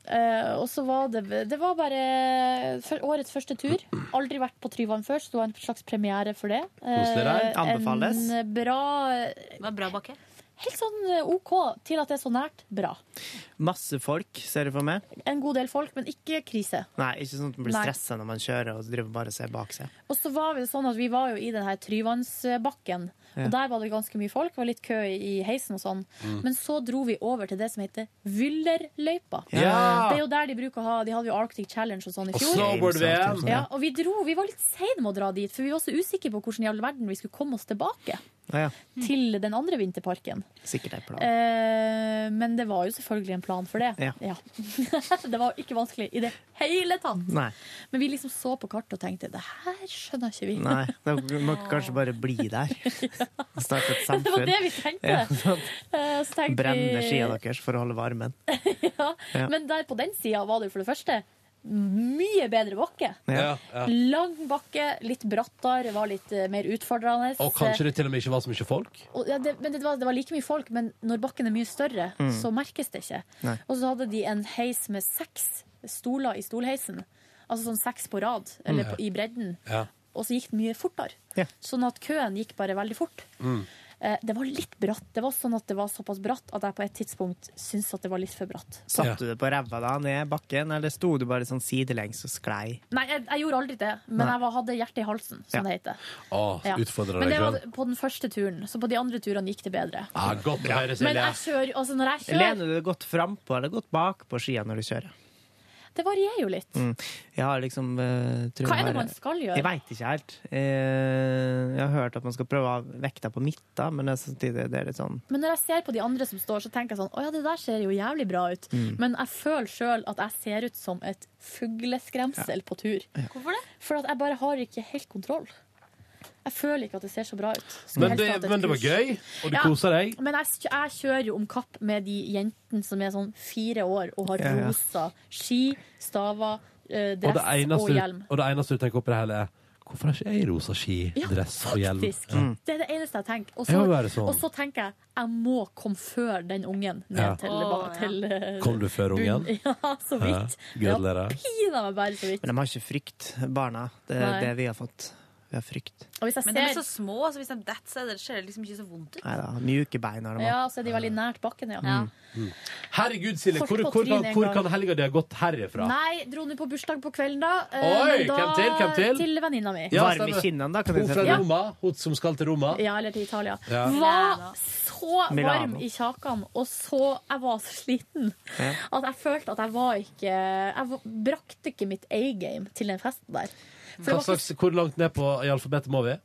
Speaker 5: Eh, og så var det Det var bare for årets første tur. Aldri vært på Tryvann før, så det var en slags premiere for det.
Speaker 3: Koselig der.
Speaker 5: Eh,
Speaker 3: Anbefales.
Speaker 5: En bra Helt sånn eh, OK til at det er så nært. Bra.
Speaker 3: Masse folk, ser du for meg.
Speaker 5: En god del folk, men ikke krise.
Speaker 3: Nei, ikke sånn at man blir
Speaker 5: Nei.
Speaker 3: stressa når man kjører og driver bare og ser bak seg.
Speaker 5: Og så var vi jo sånn at vi var jo i den her Tryvannsbakken,
Speaker 3: Ja.
Speaker 5: og der var det ganske mye folk. Det var litt kø i heisen og sånn.
Speaker 3: Mm.
Speaker 5: Men så dro vi over til det som heter Vyllerløypa.
Speaker 2: Ja.
Speaker 5: Det er jo
Speaker 4: Ah.
Speaker 5: der de bruker å ha De hadde jo Arctic Challenge og sånn i
Speaker 2: Og
Speaker 5: fjor.
Speaker 2: snowboard-VM.
Speaker 5: Ja, og vi dro. Vi var litt seine med å dra dit, for vi var så usikre på hvordan i all verden vi skulle komme oss tilbake
Speaker 3: Ja, ja.
Speaker 5: til den andre vinterparken.
Speaker 3: Sikkert en plan.
Speaker 5: Eh, men det var jo selvfølgelig en plan for det.
Speaker 3: Ja.
Speaker 5: det var ikke vanskelig i det hele tatt.
Speaker 3: Nei.
Speaker 5: Men vi liksom så på kartet og tenkte det her skjønner ikke vi.
Speaker 3: Nei, da må vi kanskje bare bli der. Starte et samfunn.
Speaker 5: Det var det vi tenkte.
Speaker 3: Ja, sant.
Speaker 5: Eh, så tenkte
Speaker 3: Brenne
Speaker 5: vi-
Speaker 3: skia deres for å holde varmen.
Speaker 5: ja.
Speaker 3: Ja.
Speaker 5: Men der på den sida var det jo for det første mye bedre bakke.
Speaker 2: Ja, ja.
Speaker 5: Lang bakke, litt brattere, var litt eh, mer utfordrende.
Speaker 2: Og kanskje det til og med ikke var så mye folk?
Speaker 5: Og, ja, det, men det var, det var like mye folk, men når bakken er mye større,
Speaker 2: Mm.
Speaker 5: så merkes det ikke.
Speaker 2: Nei.
Speaker 5: Og så hadde de en heis med seks stoler i stolheisen. Altså sånn seks på rad, eller
Speaker 2: Mm.
Speaker 5: på, i bredden.
Speaker 2: Ja.
Speaker 5: Og så gikk det mye fortere.
Speaker 2: Ja.
Speaker 5: Sånn at køen gikk bare veldig fort.
Speaker 2: Mm.
Speaker 5: Eh, Det var litt bratt. Det var sånn at det var såpass bratt at jeg på et tidspunkt syntes at det var litt for bratt.
Speaker 3: Satt du det på ræva da, ned bakken, eller sto du bare sånn sidelengs og sklei?
Speaker 5: Nei, jeg, jeg gjorde aldri det, men
Speaker 3: Nei.
Speaker 5: jeg var, hadde hjertet i halsen, som
Speaker 3: Ja.
Speaker 5: det heter.
Speaker 2: Å,
Speaker 5: Ja.
Speaker 2: utfordrer
Speaker 5: Men
Speaker 2: deg
Speaker 5: det var
Speaker 2: sjøl.
Speaker 5: på den første turen, så på de andre turene gikk det bedre.
Speaker 2: Ja, godt å høre,
Speaker 5: Men
Speaker 2: Silje.
Speaker 5: jeg kjører, altså når jeg kjører,
Speaker 3: Lener du deg godt frampå eller godt bakpå skia når du kjører?
Speaker 5: det varierer jo litt.
Speaker 3: Mm. Jeg har liksom eh, tror
Speaker 5: Hva
Speaker 3: jeg
Speaker 5: er det
Speaker 3: bare-
Speaker 5: man skal gjøre?
Speaker 3: Jeg veit ikke helt. Eh, jeg har hørt at man skal prøve å ha vekta på midten, men det er samtidig det er litt sånn
Speaker 5: Men når jeg ser på de andre som står, så tenker jeg sånn Å ja, det der ser jo jævlig bra ut.
Speaker 3: Mm.
Speaker 5: Men jeg føler sjøl at jeg ser ut som et fugleskremsel på tur.
Speaker 4: Hvorfor det?
Speaker 5: For at jeg bare har ikke helt kontroll. Jeg føler ikke at det ser så bra ut. Skulle
Speaker 2: Men
Speaker 5: helst
Speaker 2: det,
Speaker 5: hatt et
Speaker 2: men det var
Speaker 5: kurs.
Speaker 2: gøy, og du
Speaker 5: Ja,
Speaker 2: kosa deg.
Speaker 5: Men jeg, kj- jeg kjører jo om kapp med de jentene som er sånn fire år og har
Speaker 2: Ja, ja.
Speaker 5: rosa ski, staver, eh,
Speaker 2: Og
Speaker 5: dress
Speaker 2: det,
Speaker 5: og,
Speaker 2: eneste,
Speaker 5: hjelm.
Speaker 2: du- og det eneste du tenker opp i det hele, er hvorfor har ikke jeg rosa ski, dress og hjelm?
Speaker 5: Faktisk.
Speaker 2: Ja.
Speaker 5: Det er det eneste jeg tenker. Og
Speaker 2: Jeg
Speaker 5: så,
Speaker 2: vil være sånn.
Speaker 5: og så tenker jeg jeg må komme før den ungen ned
Speaker 2: Ja.
Speaker 5: til,
Speaker 2: Å,
Speaker 5: ba- til eh,
Speaker 2: Kom du før ungen?
Speaker 5: bunn. Ja, så vidt.
Speaker 2: Ja, gratulerer.
Speaker 5: Pina meg bare så vidt.
Speaker 3: Men de har ikke frykt, barna. Det er
Speaker 5: Nei.
Speaker 3: det vi har fått. Vi har frykt.
Speaker 5: Og hvis jeg
Speaker 4: Men de er
Speaker 5: ser-
Speaker 4: så små, så hvis de detter seg, det ser det liksom ikke så vondt ut.
Speaker 3: Nei da. Mjuke bein har de.
Speaker 5: Ja, så er de veldig nært bakken, ja.
Speaker 2: Mm. Herregud, Silje,
Speaker 5: Folk
Speaker 2: hvor,
Speaker 5: på
Speaker 2: hvor, kan-
Speaker 5: trynet en
Speaker 2: hvor
Speaker 5: gang.
Speaker 2: kan helga di ha gått herifra?
Speaker 5: Nei, dro nå på bursdag på kvelden, da. eh,
Speaker 2: Oi,
Speaker 5: men da
Speaker 2: hvem til, hvem til?
Speaker 5: venninna mi.
Speaker 2: Ja,
Speaker 3: Varm i
Speaker 2: stemmer.
Speaker 3: kinnene, da, kan jeg
Speaker 2: Hun
Speaker 3: si.
Speaker 2: fra
Speaker 5: Ja.
Speaker 2: Roma, hun som skal til Roma.
Speaker 5: Ja, eller til Italia.
Speaker 2: Ja.
Speaker 5: Var så varm
Speaker 2: Milano.
Speaker 5: i kjakene, og så Jeg var så sliten
Speaker 2: Ja.
Speaker 5: at jeg følte at jeg var ikke Jeg var- brakte ikke mitt A-game til den festen der. For det
Speaker 2: Hva
Speaker 5: var så
Speaker 2: slags, hvor langt ned på i alfabetet må vi?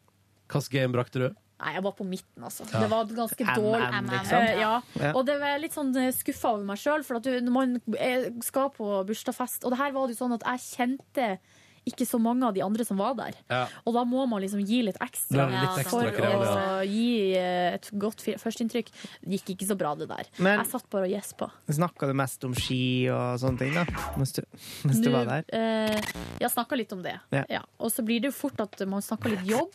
Speaker 2: Hvilket game brakte du?
Speaker 5: Nei, jeg var på midten, altså.
Speaker 2: Ja.
Speaker 5: Det var et ganske
Speaker 2: MM,
Speaker 5: dårlig
Speaker 2: liksom.
Speaker 5: Eh, ja.
Speaker 2: Ja.
Speaker 5: Og det var jeg litt sånn skuffa over meg sjøl, for at du, når man eh, skal på bursdagsfest Og det her var det jo sånn at jeg kjente ikke så mange av de andre som var der.
Speaker 2: Ja.
Speaker 5: Og da må man liksom gi litt
Speaker 2: Det
Speaker 5: ekstra,
Speaker 2: er litt ekstra
Speaker 5: for
Speaker 2: greier,
Speaker 5: å
Speaker 2: ja.
Speaker 5: gi eh, et godt fi- førsteinntrykk. Det Gikk ikke så bra, det der.
Speaker 3: Men-
Speaker 5: jeg satt bare og gjespa.
Speaker 3: Snakka du mest om ski og sånne ting, da? Mens du, mens du
Speaker 5: Nå,
Speaker 3: var der?
Speaker 5: Eh, jeg snakka litt om det.
Speaker 3: Ja.
Speaker 5: Ja. Og så blir det jo fort at man snakker litt jobb.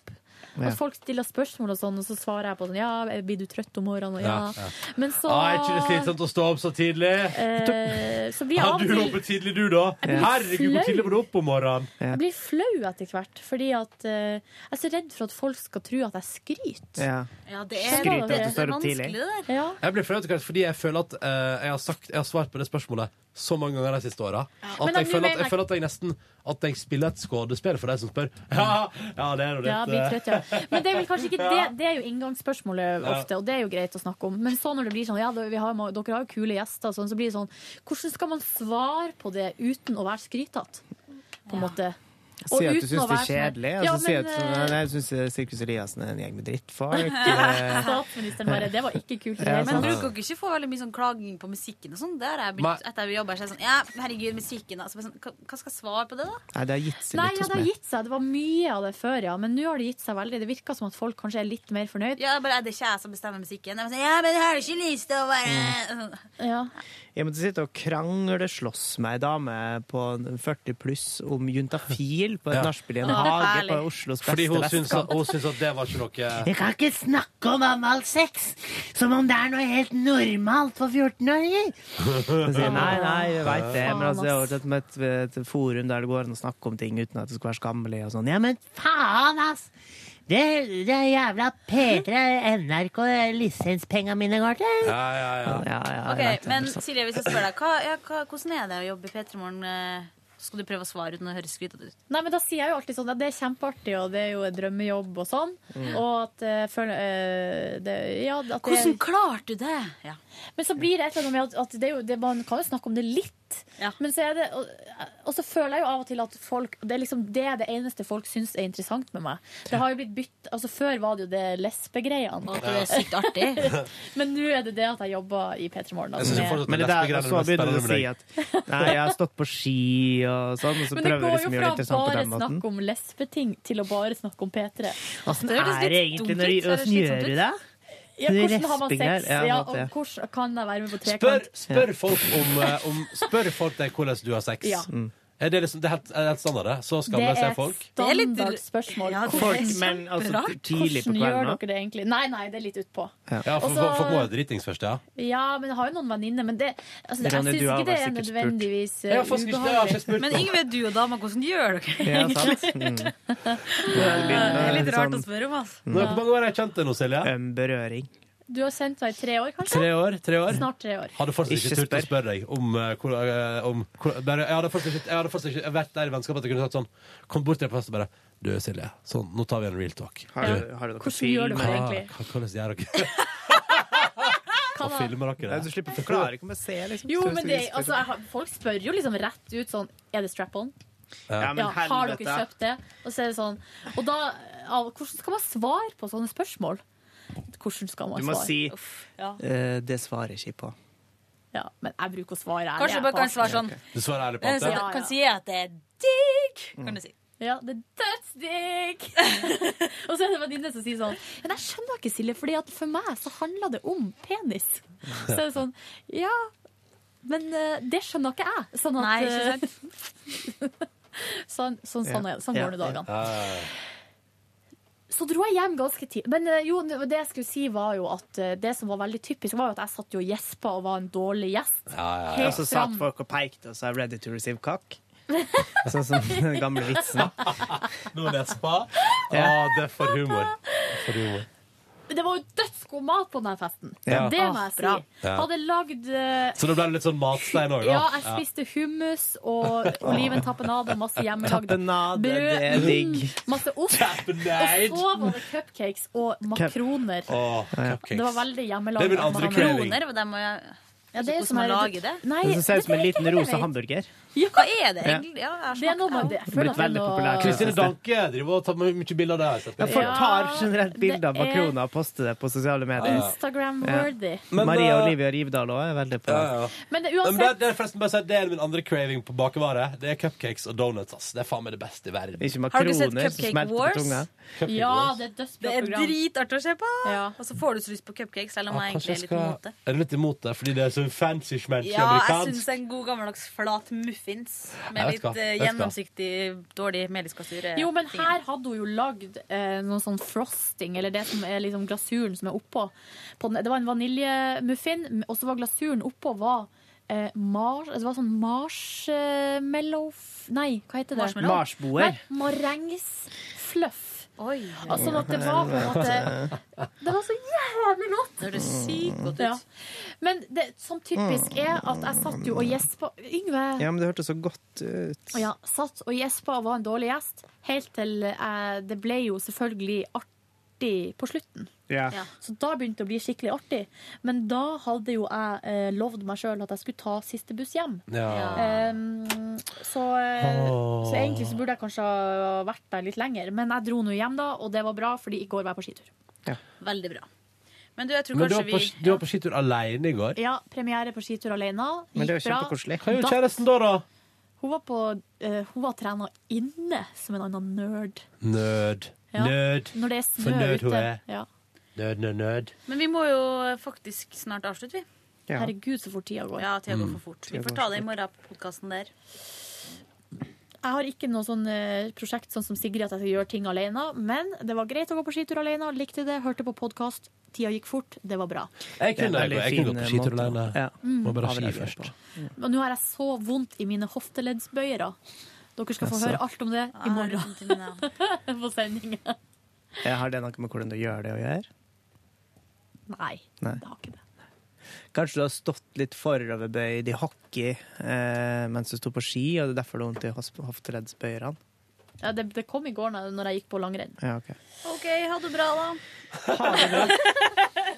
Speaker 3: Ja.
Speaker 5: Og folk stiller spørsmål, og sånn, og så svarer jeg på sånn Ja, blir du trøtt om morgenen? Og
Speaker 2: Ja,
Speaker 5: ja.
Speaker 2: ja.
Speaker 5: Men så
Speaker 2: Ah, er ikke det slitsomt å stå opp så tidlig?
Speaker 5: Eh,
Speaker 20: eh, så blir jeg
Speaker 2: Har
Speaker 20: av
Speaker 2: du
Speaker 20: og til
Speaker 2: hoppet tidlig, du, da?
Speaker 20: Jeg blir
Speaker 2: Herregud,
Speaker 20: flau.
Speaker 2: hvor tidlig må du opp om morgenen?
Speaker 20: jeg blir flau etter hvert, fordi at eh, jeg er så redd for at folk skal tro at jeg skryter.
Speaker 2: Ja.
Speaker 5: det
Speaker 20: er- Skryt av at du det er står opp vanskelig, tidlig. det der. Ja.
Speaker 2: Jeg blir flau etter hvert fordi jeg føler at eh, jeg, har sagt, jeg har svart på det spørsmålet så mange ganger de siste åra
Speaker 20: Men
Speaker 2: at
Speaker 20: da,
Speaker 2: jeg
Speaker 20: nå
Speaker 2: føler at
Speaker 20: mener
Speaker 2: jeg,
Speaker 20: jeg-
Speaker 2: føler at jeg nesten At jeg spiller et skuespill for de som spør. Ja, ja det er jo
Speaker 20: Ja, blir
Speaker 2: litt eh,
Speaker 20: trøtt, ja. Men det er vel kanskje ikke det, det er jo inngangsspørsmålet
Speaker 2: Ja.
Speaker 20: ofte, og det er jo greit å snakke om. Men så når det blir sånn, ja, da- vi har, ma- dere har jo kule gjester, sånn, så blir det sånn, hvordan skal man svare på det uten å være skrytatt? På en måte. Og
Speaker 3: Si at du
Speaker 20: uten
Speaker 3: syns
Speaker 20: å
Speaker 3: det er
Speaker 20: være sånn-
Speaker 3: kjedelig, og
Speaker 20: Ja,
Speaker 3: så si
Speaker 20: men,
Speaker 3: at sånn,
Speaker 20: eh,
Speaker 3: nei, jeg syns Sirkus Eliassen er sånn en gjeng med drittfolk.
Speaker 20: Statsministeren bare, det var ikke kult.
Speaker 3: Ja,
Speaker 5: Men
Speaker 3: sant.
Speaker 5: bruker dere ikke få veldig mye sånn klaging på musikken og sånn? Der er jeg
Speaker 3: Nei.
Speaker 5: begynt, etter jeg jobber, så er jeg sånn Ja, herregud, musikken altså, bare sånn, hva- Hva skal jeg svare på det, da?
Speaker 3: Nei, det har gitt seg
Speaker 20: Nei,
Speaker 3: litt
Speaker 20: ja,
Speaker 3: hos
Speaker 20: det har
Speaker 3: meg.
Speaker 20: gitt seg. Det var mye av det før, ja. Men nå har det gitt seg veldig. Det virker som at folk kanskje er litt mer fornøyd.
Speaker 5: Ja, bare, er det ikke jeg som bestemmer musikken? Jeg bare sånn, ja, men jeg har ikke lyst til å
Speaker 2: Mm.
Speaker 5: være sånn.
Speaker 20: Ja.
Speaker 3: Jeg måtte sitte og krangle, slåss med ei dame på 40 pluss om juntafil på et
Speaker 2: Ja.
Speaker 3: nachspiel i en
Speaker 2: Ja,
Speaker 3: hage på
Speaker 2: herlig.
Speaker 3: Oslos beste
Speaker 2: Fordi hun syns, at,
Speaker 3: vestkant.
Speaker 2: hun syns at det var ikke noe
Speaker 27: Jeg kan ikke snakke om anal sex som om det er noe helt normalt for 14-åringer.
Speaker 3: Så sier jeg, nei, nei, jeg veit det, men altså, jeg har
Speaker 27: Faen,
Speaker 3: vært med et, et forum der det går an å snakke om ting uten at det skal være skammelig og sånn. Ja, men
Speaker 27: Faen, ass! Det, det er jævla P3 NRK lisenspenga mine går til.
Speaker 2: Ja, ja, ja.
Speaker 5: Ok, men Silje, hvis jeg spør deg, hva, ja, hva, hvordan er det å jobbe i P3 Morgen? eh, Skal du prøve å svare uten å høres skrytete ut?
Speaker 20: Nei, men Da sier jeg jo alltid sånn at det er kjempeartig, og det er jo en drømmejobb og sånn.
Speaker 5: Mm.
Speaker 20: Og at jeg føler eh, det, ja, at det-
Speaker 5: Hvordan klarte du det? Ja.
Speaker 20: Men så blir det et eller annet med at, at det er jo, det, man kan jo snakke om det litt. Men så er det, og, og så føler jeg jo av og til at folk Det er liksom det, er det eneste folk syns er interessant med meg. Det har jo blitt bytt, altså Før var det jo det lesbegreiene.
Speaker 5: Og at det er sykt artig.
Speaker 20: Men nå er det det at jeg jobber i P3 Morgen.
Speaker 2: Jeg synes jo fortsatt
Speaker 3: Men det
Speaker 2: det
Speaker 3: der,
Speaker 2: lesbegreiene
Speaker 3: og
Speaker 2: er
Speaker 3: så
Speaker 2: mest
Speaker 3: begynner du å si
Speaker 2: spennende
Speaker 3: at nei, jeg har stått på ski og sånn, og så
Speaker 20: Men det
Speaker 3: prøver du
Speaker 20: går jo
Speaker 3: liksom å gjøre det
Speaker 20: fra
Speaker 3: interessant på
Speaker 20: bare
Speaker 3: den måten.
Speaker 20: snakk om lesbeting til å bare snakke om P3.
Speaker 3: Åssen er det egentlig når du åssen gjør du det?
Speaker 20: Ja,
Speaker 3: Du
Speaker 20: hvordan har man
Speaker 3: resper
Speaker 20: sex?
Speaker 3: der. Ja,
Speaker 20: Ja,
Speaker 3: måte,
Speaker 20: og
Speaker 3: ja.
Speaker 20: hvordan kan jeg være med på
Speaker 2: Spør,
Speaker 20: trekant?
Speaker 2: spør folk om, eh, om Spør folk deg hvordan du har sex.
Speaker 20: Ja.
Speaker 3: Mm.
Speaker 2: Er det liksom, det er helt, er det helt standard, det? Så
Speaker 20: Det
Speaker 2: skamløse
Speaker 20: er
Speaker 2: er folk?
Speaker 20: et standardspørsmål.
Speaker 5: Ja,
Speaker 3: det er Folk, men altså, kjemperart. tidlig på
Speaker 20: Hvordan gjør
Speaker 2: kvelden, da?
Speaker 20: dere det egentlig? Nei, nei, det er litt utpå.
Speaker 2: Ja, for
Speaker 20: Og så-
Speaker 2: folk må jo dritings først, ja.
Speaker 20: Ja, men jeg har jo noen venninner, men det, altså, det, jeg
Speaker 2: Ronny,
Speaker 20: syns
Speaker 2: du har
Speaker 20: ikke
Speaker 2: vel
Speaker 20: det er
Speaker 2: sikkert spurt.
Speaker 20: nødvendigvis eh,
Speaker 2: Jeg har faktisk ikke- jeg har ikke spurt
Speaker 5: Men
Speaker 2: på.
Speaker 5: Ingve, du og dama, hvordan gjør dere
Speaker 2: Ja, sant.
Speaker 3: Mm.
Speaker 5: egentlig?
Speaker 2: Det
Speaker 5: Det er litt
Speaker 2: litt
Speaker 5: rart
Speaker 2: sånn-
Speaker 5: å spørre om, altså.
Speaker 2: Nå, Hvor mange år har jeg kjent deg nå, Silje?
Speaker 3: eh, berøring.
Speaker 20: Du har sendt meg i tre år, kanskje?
Speaker 2: Tre år? tre år?
Speaker 20: Snart tre år.
Speaker 2: Hadde fortsatt ikke,
Speaker 3: Ikke
Speaker 2: turt å spørre deg om, eh, hvor, eh, om hvor, bare, Jeg hadde fortsatt ikke, jeg hadde fortsatt ikke vært der i vennskapet at jeg kunne sagt sånn Kom bort til deg på fest og bare Du, Silje, sånn, nå tar vi en real talk.
Speaker 3: Har du- har du noe Hvordan gjør film, dere
Speaker 2: Hva-
Speaker 3: egentlig?
Speaker 2: hva- Hvordan gjør dere Hva filmer dere?
Speaker 3: Nei, du slipper å forklare hva man ser, liksom.
Speaker 20: Jo,
Speaker 3: Så-
Speaker 20: men
Speaker 3: så-
Speaker 20: det, altså, jeg, har- folk spør jo liksom rett ut sånn Er det strap-on?
Speaker 3: Ja, men
Speaker 20: har dere
Speaker 3: helvete.
Speaker 20: kjøpt det? Og så er det sånn Og da av, Hvordan skal man svare på sånne spørsmål? Hvordan skal man
Speaker 3: Du må
Speaker 20: svare?
Speaker 3: si
Speaker 20: Uff, ja.
Speaker 3: eh, Det svarer jeg ikke på.
Speaker 20: ja, men jeg bruker å svare ærlig.
Speaker 5: Kanskje du bare kan svare sånn
Speaker 2: Du svarer ærlig på
Speaker 5: eh,
Speaker 2: alt,
Speaker 5: så
Speaker 2: ja.
Speaker 5: du Kan si at det er digg, kan du si.
Speaker 20: Ja, det er dødsdigg! og så er det venninne som sier sånn Men jeg skjønner ikke, Silje, fordi at for meg så handler det om penis. Så er det sånn Ja, men eh, det skjønner ikke jeg. Sånn at
Speaker 5: Nei, ikke
Speaker 20: eh, sånn, sånn, sånn, er det. sånn
Speaker 5: Ja.
Speaker 20: går det dagene.
Speaker 2: Ja.
Speaker 20: Så dro jeg hjem ganske tidlig. Men eh, jo, det jeg skulle si var jo at eh, det som var veldig typisk, var jo at jeg satt jo og gjespa og var en dårlig gjest. ja.
Speaker 3: Og så satt folk og pekte og sa 'ready to receive cock'. Sånn som den gamle vitsen.
Speaker 2: Nå lespa.
Speaker 3: Ja.
Speaker 2: Å, det er for humor. For humor.
Speaker 20: Men det var jo dødsgod mat på denne festen.
Speaker 2: Ja.
Speaker 20: Det må
Speaker 2: Ah,
Speaker 20: jeg
Speaker 2: bra.
Speaker 20: si.
Speaker 2: Ja.
Speaker 20: Hadde lagd eh,
Speaker 2: Så da ble det litt sånn matstein òg, da?
Speaker 20: Ja, jeg spiste hummus og oliven tapenade og masse hjemmelagd
Speaker 3: Tapenade,
Speaker 20: brød.
Speaker 3: det er digg.
Speaker 20: Mm, Masse ost. Og så var det cupcakes og makroner.
Speaker 2: Åh,
Speaker 20: Det var veldig hjemmelaget.
Speaker 3: Det er min andre craving. Makroner,
Speaker 5: Det må jeg
Speaker 20: Ja, det er
Speaker 5: Hvordan
Speaker 20: som
Speaker 5: man
Speaker 20: er-
Speaker 5: lager det?
Speaker 20: Nei,
Speaker 3: Det ser ut som en
Speaker 20: det er
Speaker 3: liten
Speaker 20: ikke
Speaker 3: rosa
Speaker 20: jeg vet.
Speaker 3: hamburger.
Speaker 5: Hva er det
Speaker 3: Ja.
Speaker 5: egentlig? Ja, jeg
Speaker 20: Det er noe med det. Jeg føler
Speaker 3: Blitt
Speaker 20: at det er
Speaker 3: veldig
Speaker 20: noe-
Speaker 3: populær.
Speaker 2: Kristine Danke driver og tar mye bilder av det. har jeg sett.
Speaker 3: Ja, folk tar generelt bilder av
Speaker 20: det er-
Speaker 3: makroner og poster det på sosiale medier.
Speaker 20: Instagram-worthy.
Speaker 3: Ja.
Speaker 2: eh,
Speaker 3: Maria Olivia Rivdal òg er veldig på
Speaker 20: Men det-
Speaker 2: Men det,
Speaker 20: uansett
Speaker 2: det er forresten bare å si at det er min andre craving på bakevare. Det er cupcakes og donuts. ass. Det er faen meg det beste i verden.
Speaker 3: Ikke makroner Har du sett som Cupcake smelter på Wars? tunga.
Speaker 2: Cupcake
Speaker 20: Ja,
Speaker 2: Wars.
Speaker 20: det er
Speaker 5: Det
Speaker 20: dødsbra
Speaker 5: er
Speaker 20: program.
Speaker 5: dritartig å se på! Og så får du så lyst på cupcakes, selv om jeg
Speaker 2: Kanskje jeg
Speaker 5: egentlig er litt
Speaker 2: skal-
Speaker 5: imot det.
Speaker 2: Er du litt imot det fordi det er så fancy smelty
Speaker 5: Ja, jeg syns
Speaker 2: amerikansk?
Speaker 5: en god gammeldags flat muffins med
Speaker 2: Jeg vet
Speaker 5: litt
Speaker 2: hva,
Speaker 5: eh,
Speaker 2: jeg vet hva.
Speaker 5: gjennomsiktig, dårlig mediskastur.
Speaker 20: Jo, men her hadde hun jo lagd eh, noe sånn frosting, eller det som er liksom glasuren som er oppå. På den, det var en vaniljemuffin, og så var glasuren oppå var
Speaker 5: eh, Mars altså, Det var sånn marshmallow f- Nei, hva heter det?
Speaker 28: Marshmallow? Marsboer.
Speaker 5: Nei, Marengsfluff. Altså, sånn at det var på en måte Det var så jævlig godt!
Speaker 29: Det høres sykt godt ut.
Speaker 5: Ja. Men det som typisk er at jeg satt jo og gjespa Yngve!
Speaker 3: Ja, men det hørtes så godt ut.
Speaker 5: Og Ja, satt og gjespa og var en dårlig gjest, helt til eh, det ble jo selvfølgelig artig på slutten.
Speaker 3: Ja.
Speaker 5: Så da begynte det å bli skikkelig artig. Men da hadde jo jeg eh, lovd meg sjøl at jeg skulle ta siste buss hjem.
Speaker 2: Ja.
Speaker 5: Ehm, så, eh,
Speaker 2: Åh.
Speaker 5: så egentlig så burde jeg kanskje ha vært der litt lenger. Men jeg dro nå hjem da, og det var bra, fordi i går var jeg på skitur.
Speaker 29: Veldig bra. Men du, jeg tror
Speaker 2: Men du
Speaker 29: kanskje
Speaker 2: var, på,
Speaker 29: vi
Speaker 2: du var på skitur alene i går?
Speaker 5: Ja, premiere på skitur alene.
Speaker 2: Men det er jo
Speaker 5: Gikk bra.
Speaker 2: kjempekoselig. Hva gjorde
Speaker 5: Da-
Speaker 2: kjæresten da, da?
Speaker 5: Hun var, på, eh, hun var trena inne som en annen nerd.
Speaker 2: Nerd.
Speaker 5: Ja.
Speaker 2: Nerd.
Speaker 5: Når det er snø
Speaker 2: For nerd hun
Speaker 5: ute.
Speaker 2: er.
Speaker 5: Ja.
Speaker 2: Nerd, nerd, nerd.
Speaker 29: Men vi må jo faktisk snart avslutte, vi.
Speaker 2: Ja.
Speaker 5: Herregud, så fort tida går.
Speaker 29: Ja, tida går
Speaker 2: Mm.
Speaker 29: for fort.
Speaker 2: Tida
Speaker 29: Vi får
Speaker 2: går
Speaker 29: ta
Speaker 2: for
Speaker 29: det i morgen på podkasten der.
Speaker 5: Jeg har ikke noe sånn eh, prosjekt sånn som Sigrid at jeg skal gjøre ting alene, men det var greit å gå på skitur alene. Likte det, hørte på podkast. Tida gikk fort, det var bra.
Speaker 2: Jeg
Speaker 3: Det er en
Speaker 2: kunne, jeg,
Speaker 3: veldig
Speaker 2: jeg kunne
Speaker 3: fin
Speaker 2: gått på skitur
Speaker 3: måte.
Speaker 2: alene.
Speaker 3: Ja.
Speaker 2: Må bare
Speaker 3: Mm.
Speaker 2: ski
Speaker 3: Avreagere
Speaker 2: først.
Speaker 5: Og nå har jeg så vondt i mine hofteleddsbøyere. Dere skal få
Speaker 3: Altså.
Speaker 5: høre alt om det i morgen. på sending.
Speaker 3: Jeg har det noe med hvordan du gjør det å gjøre?
Speaker 5: Nei.
Speaker 3: Nei. Kanskje du har stått litt foroverbøyd i hockey eh, mens du sto på ski, og det er derfor du har vondt i hos- hofteleddsbøyerne?
Speaker 5: Ja, det, det kom i går når når jeg gikk på langrenn.
Speaker 3: Ja, ok.
Speaker 29: OK, ha det bra, da.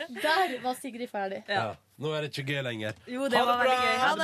Speaker 5: Der var Sigrid ferdig.
Speaker 2: Ja. Nå er det ikke gøy lenger.
Speaker 29: Jo, det var veldig gøy. Ha det.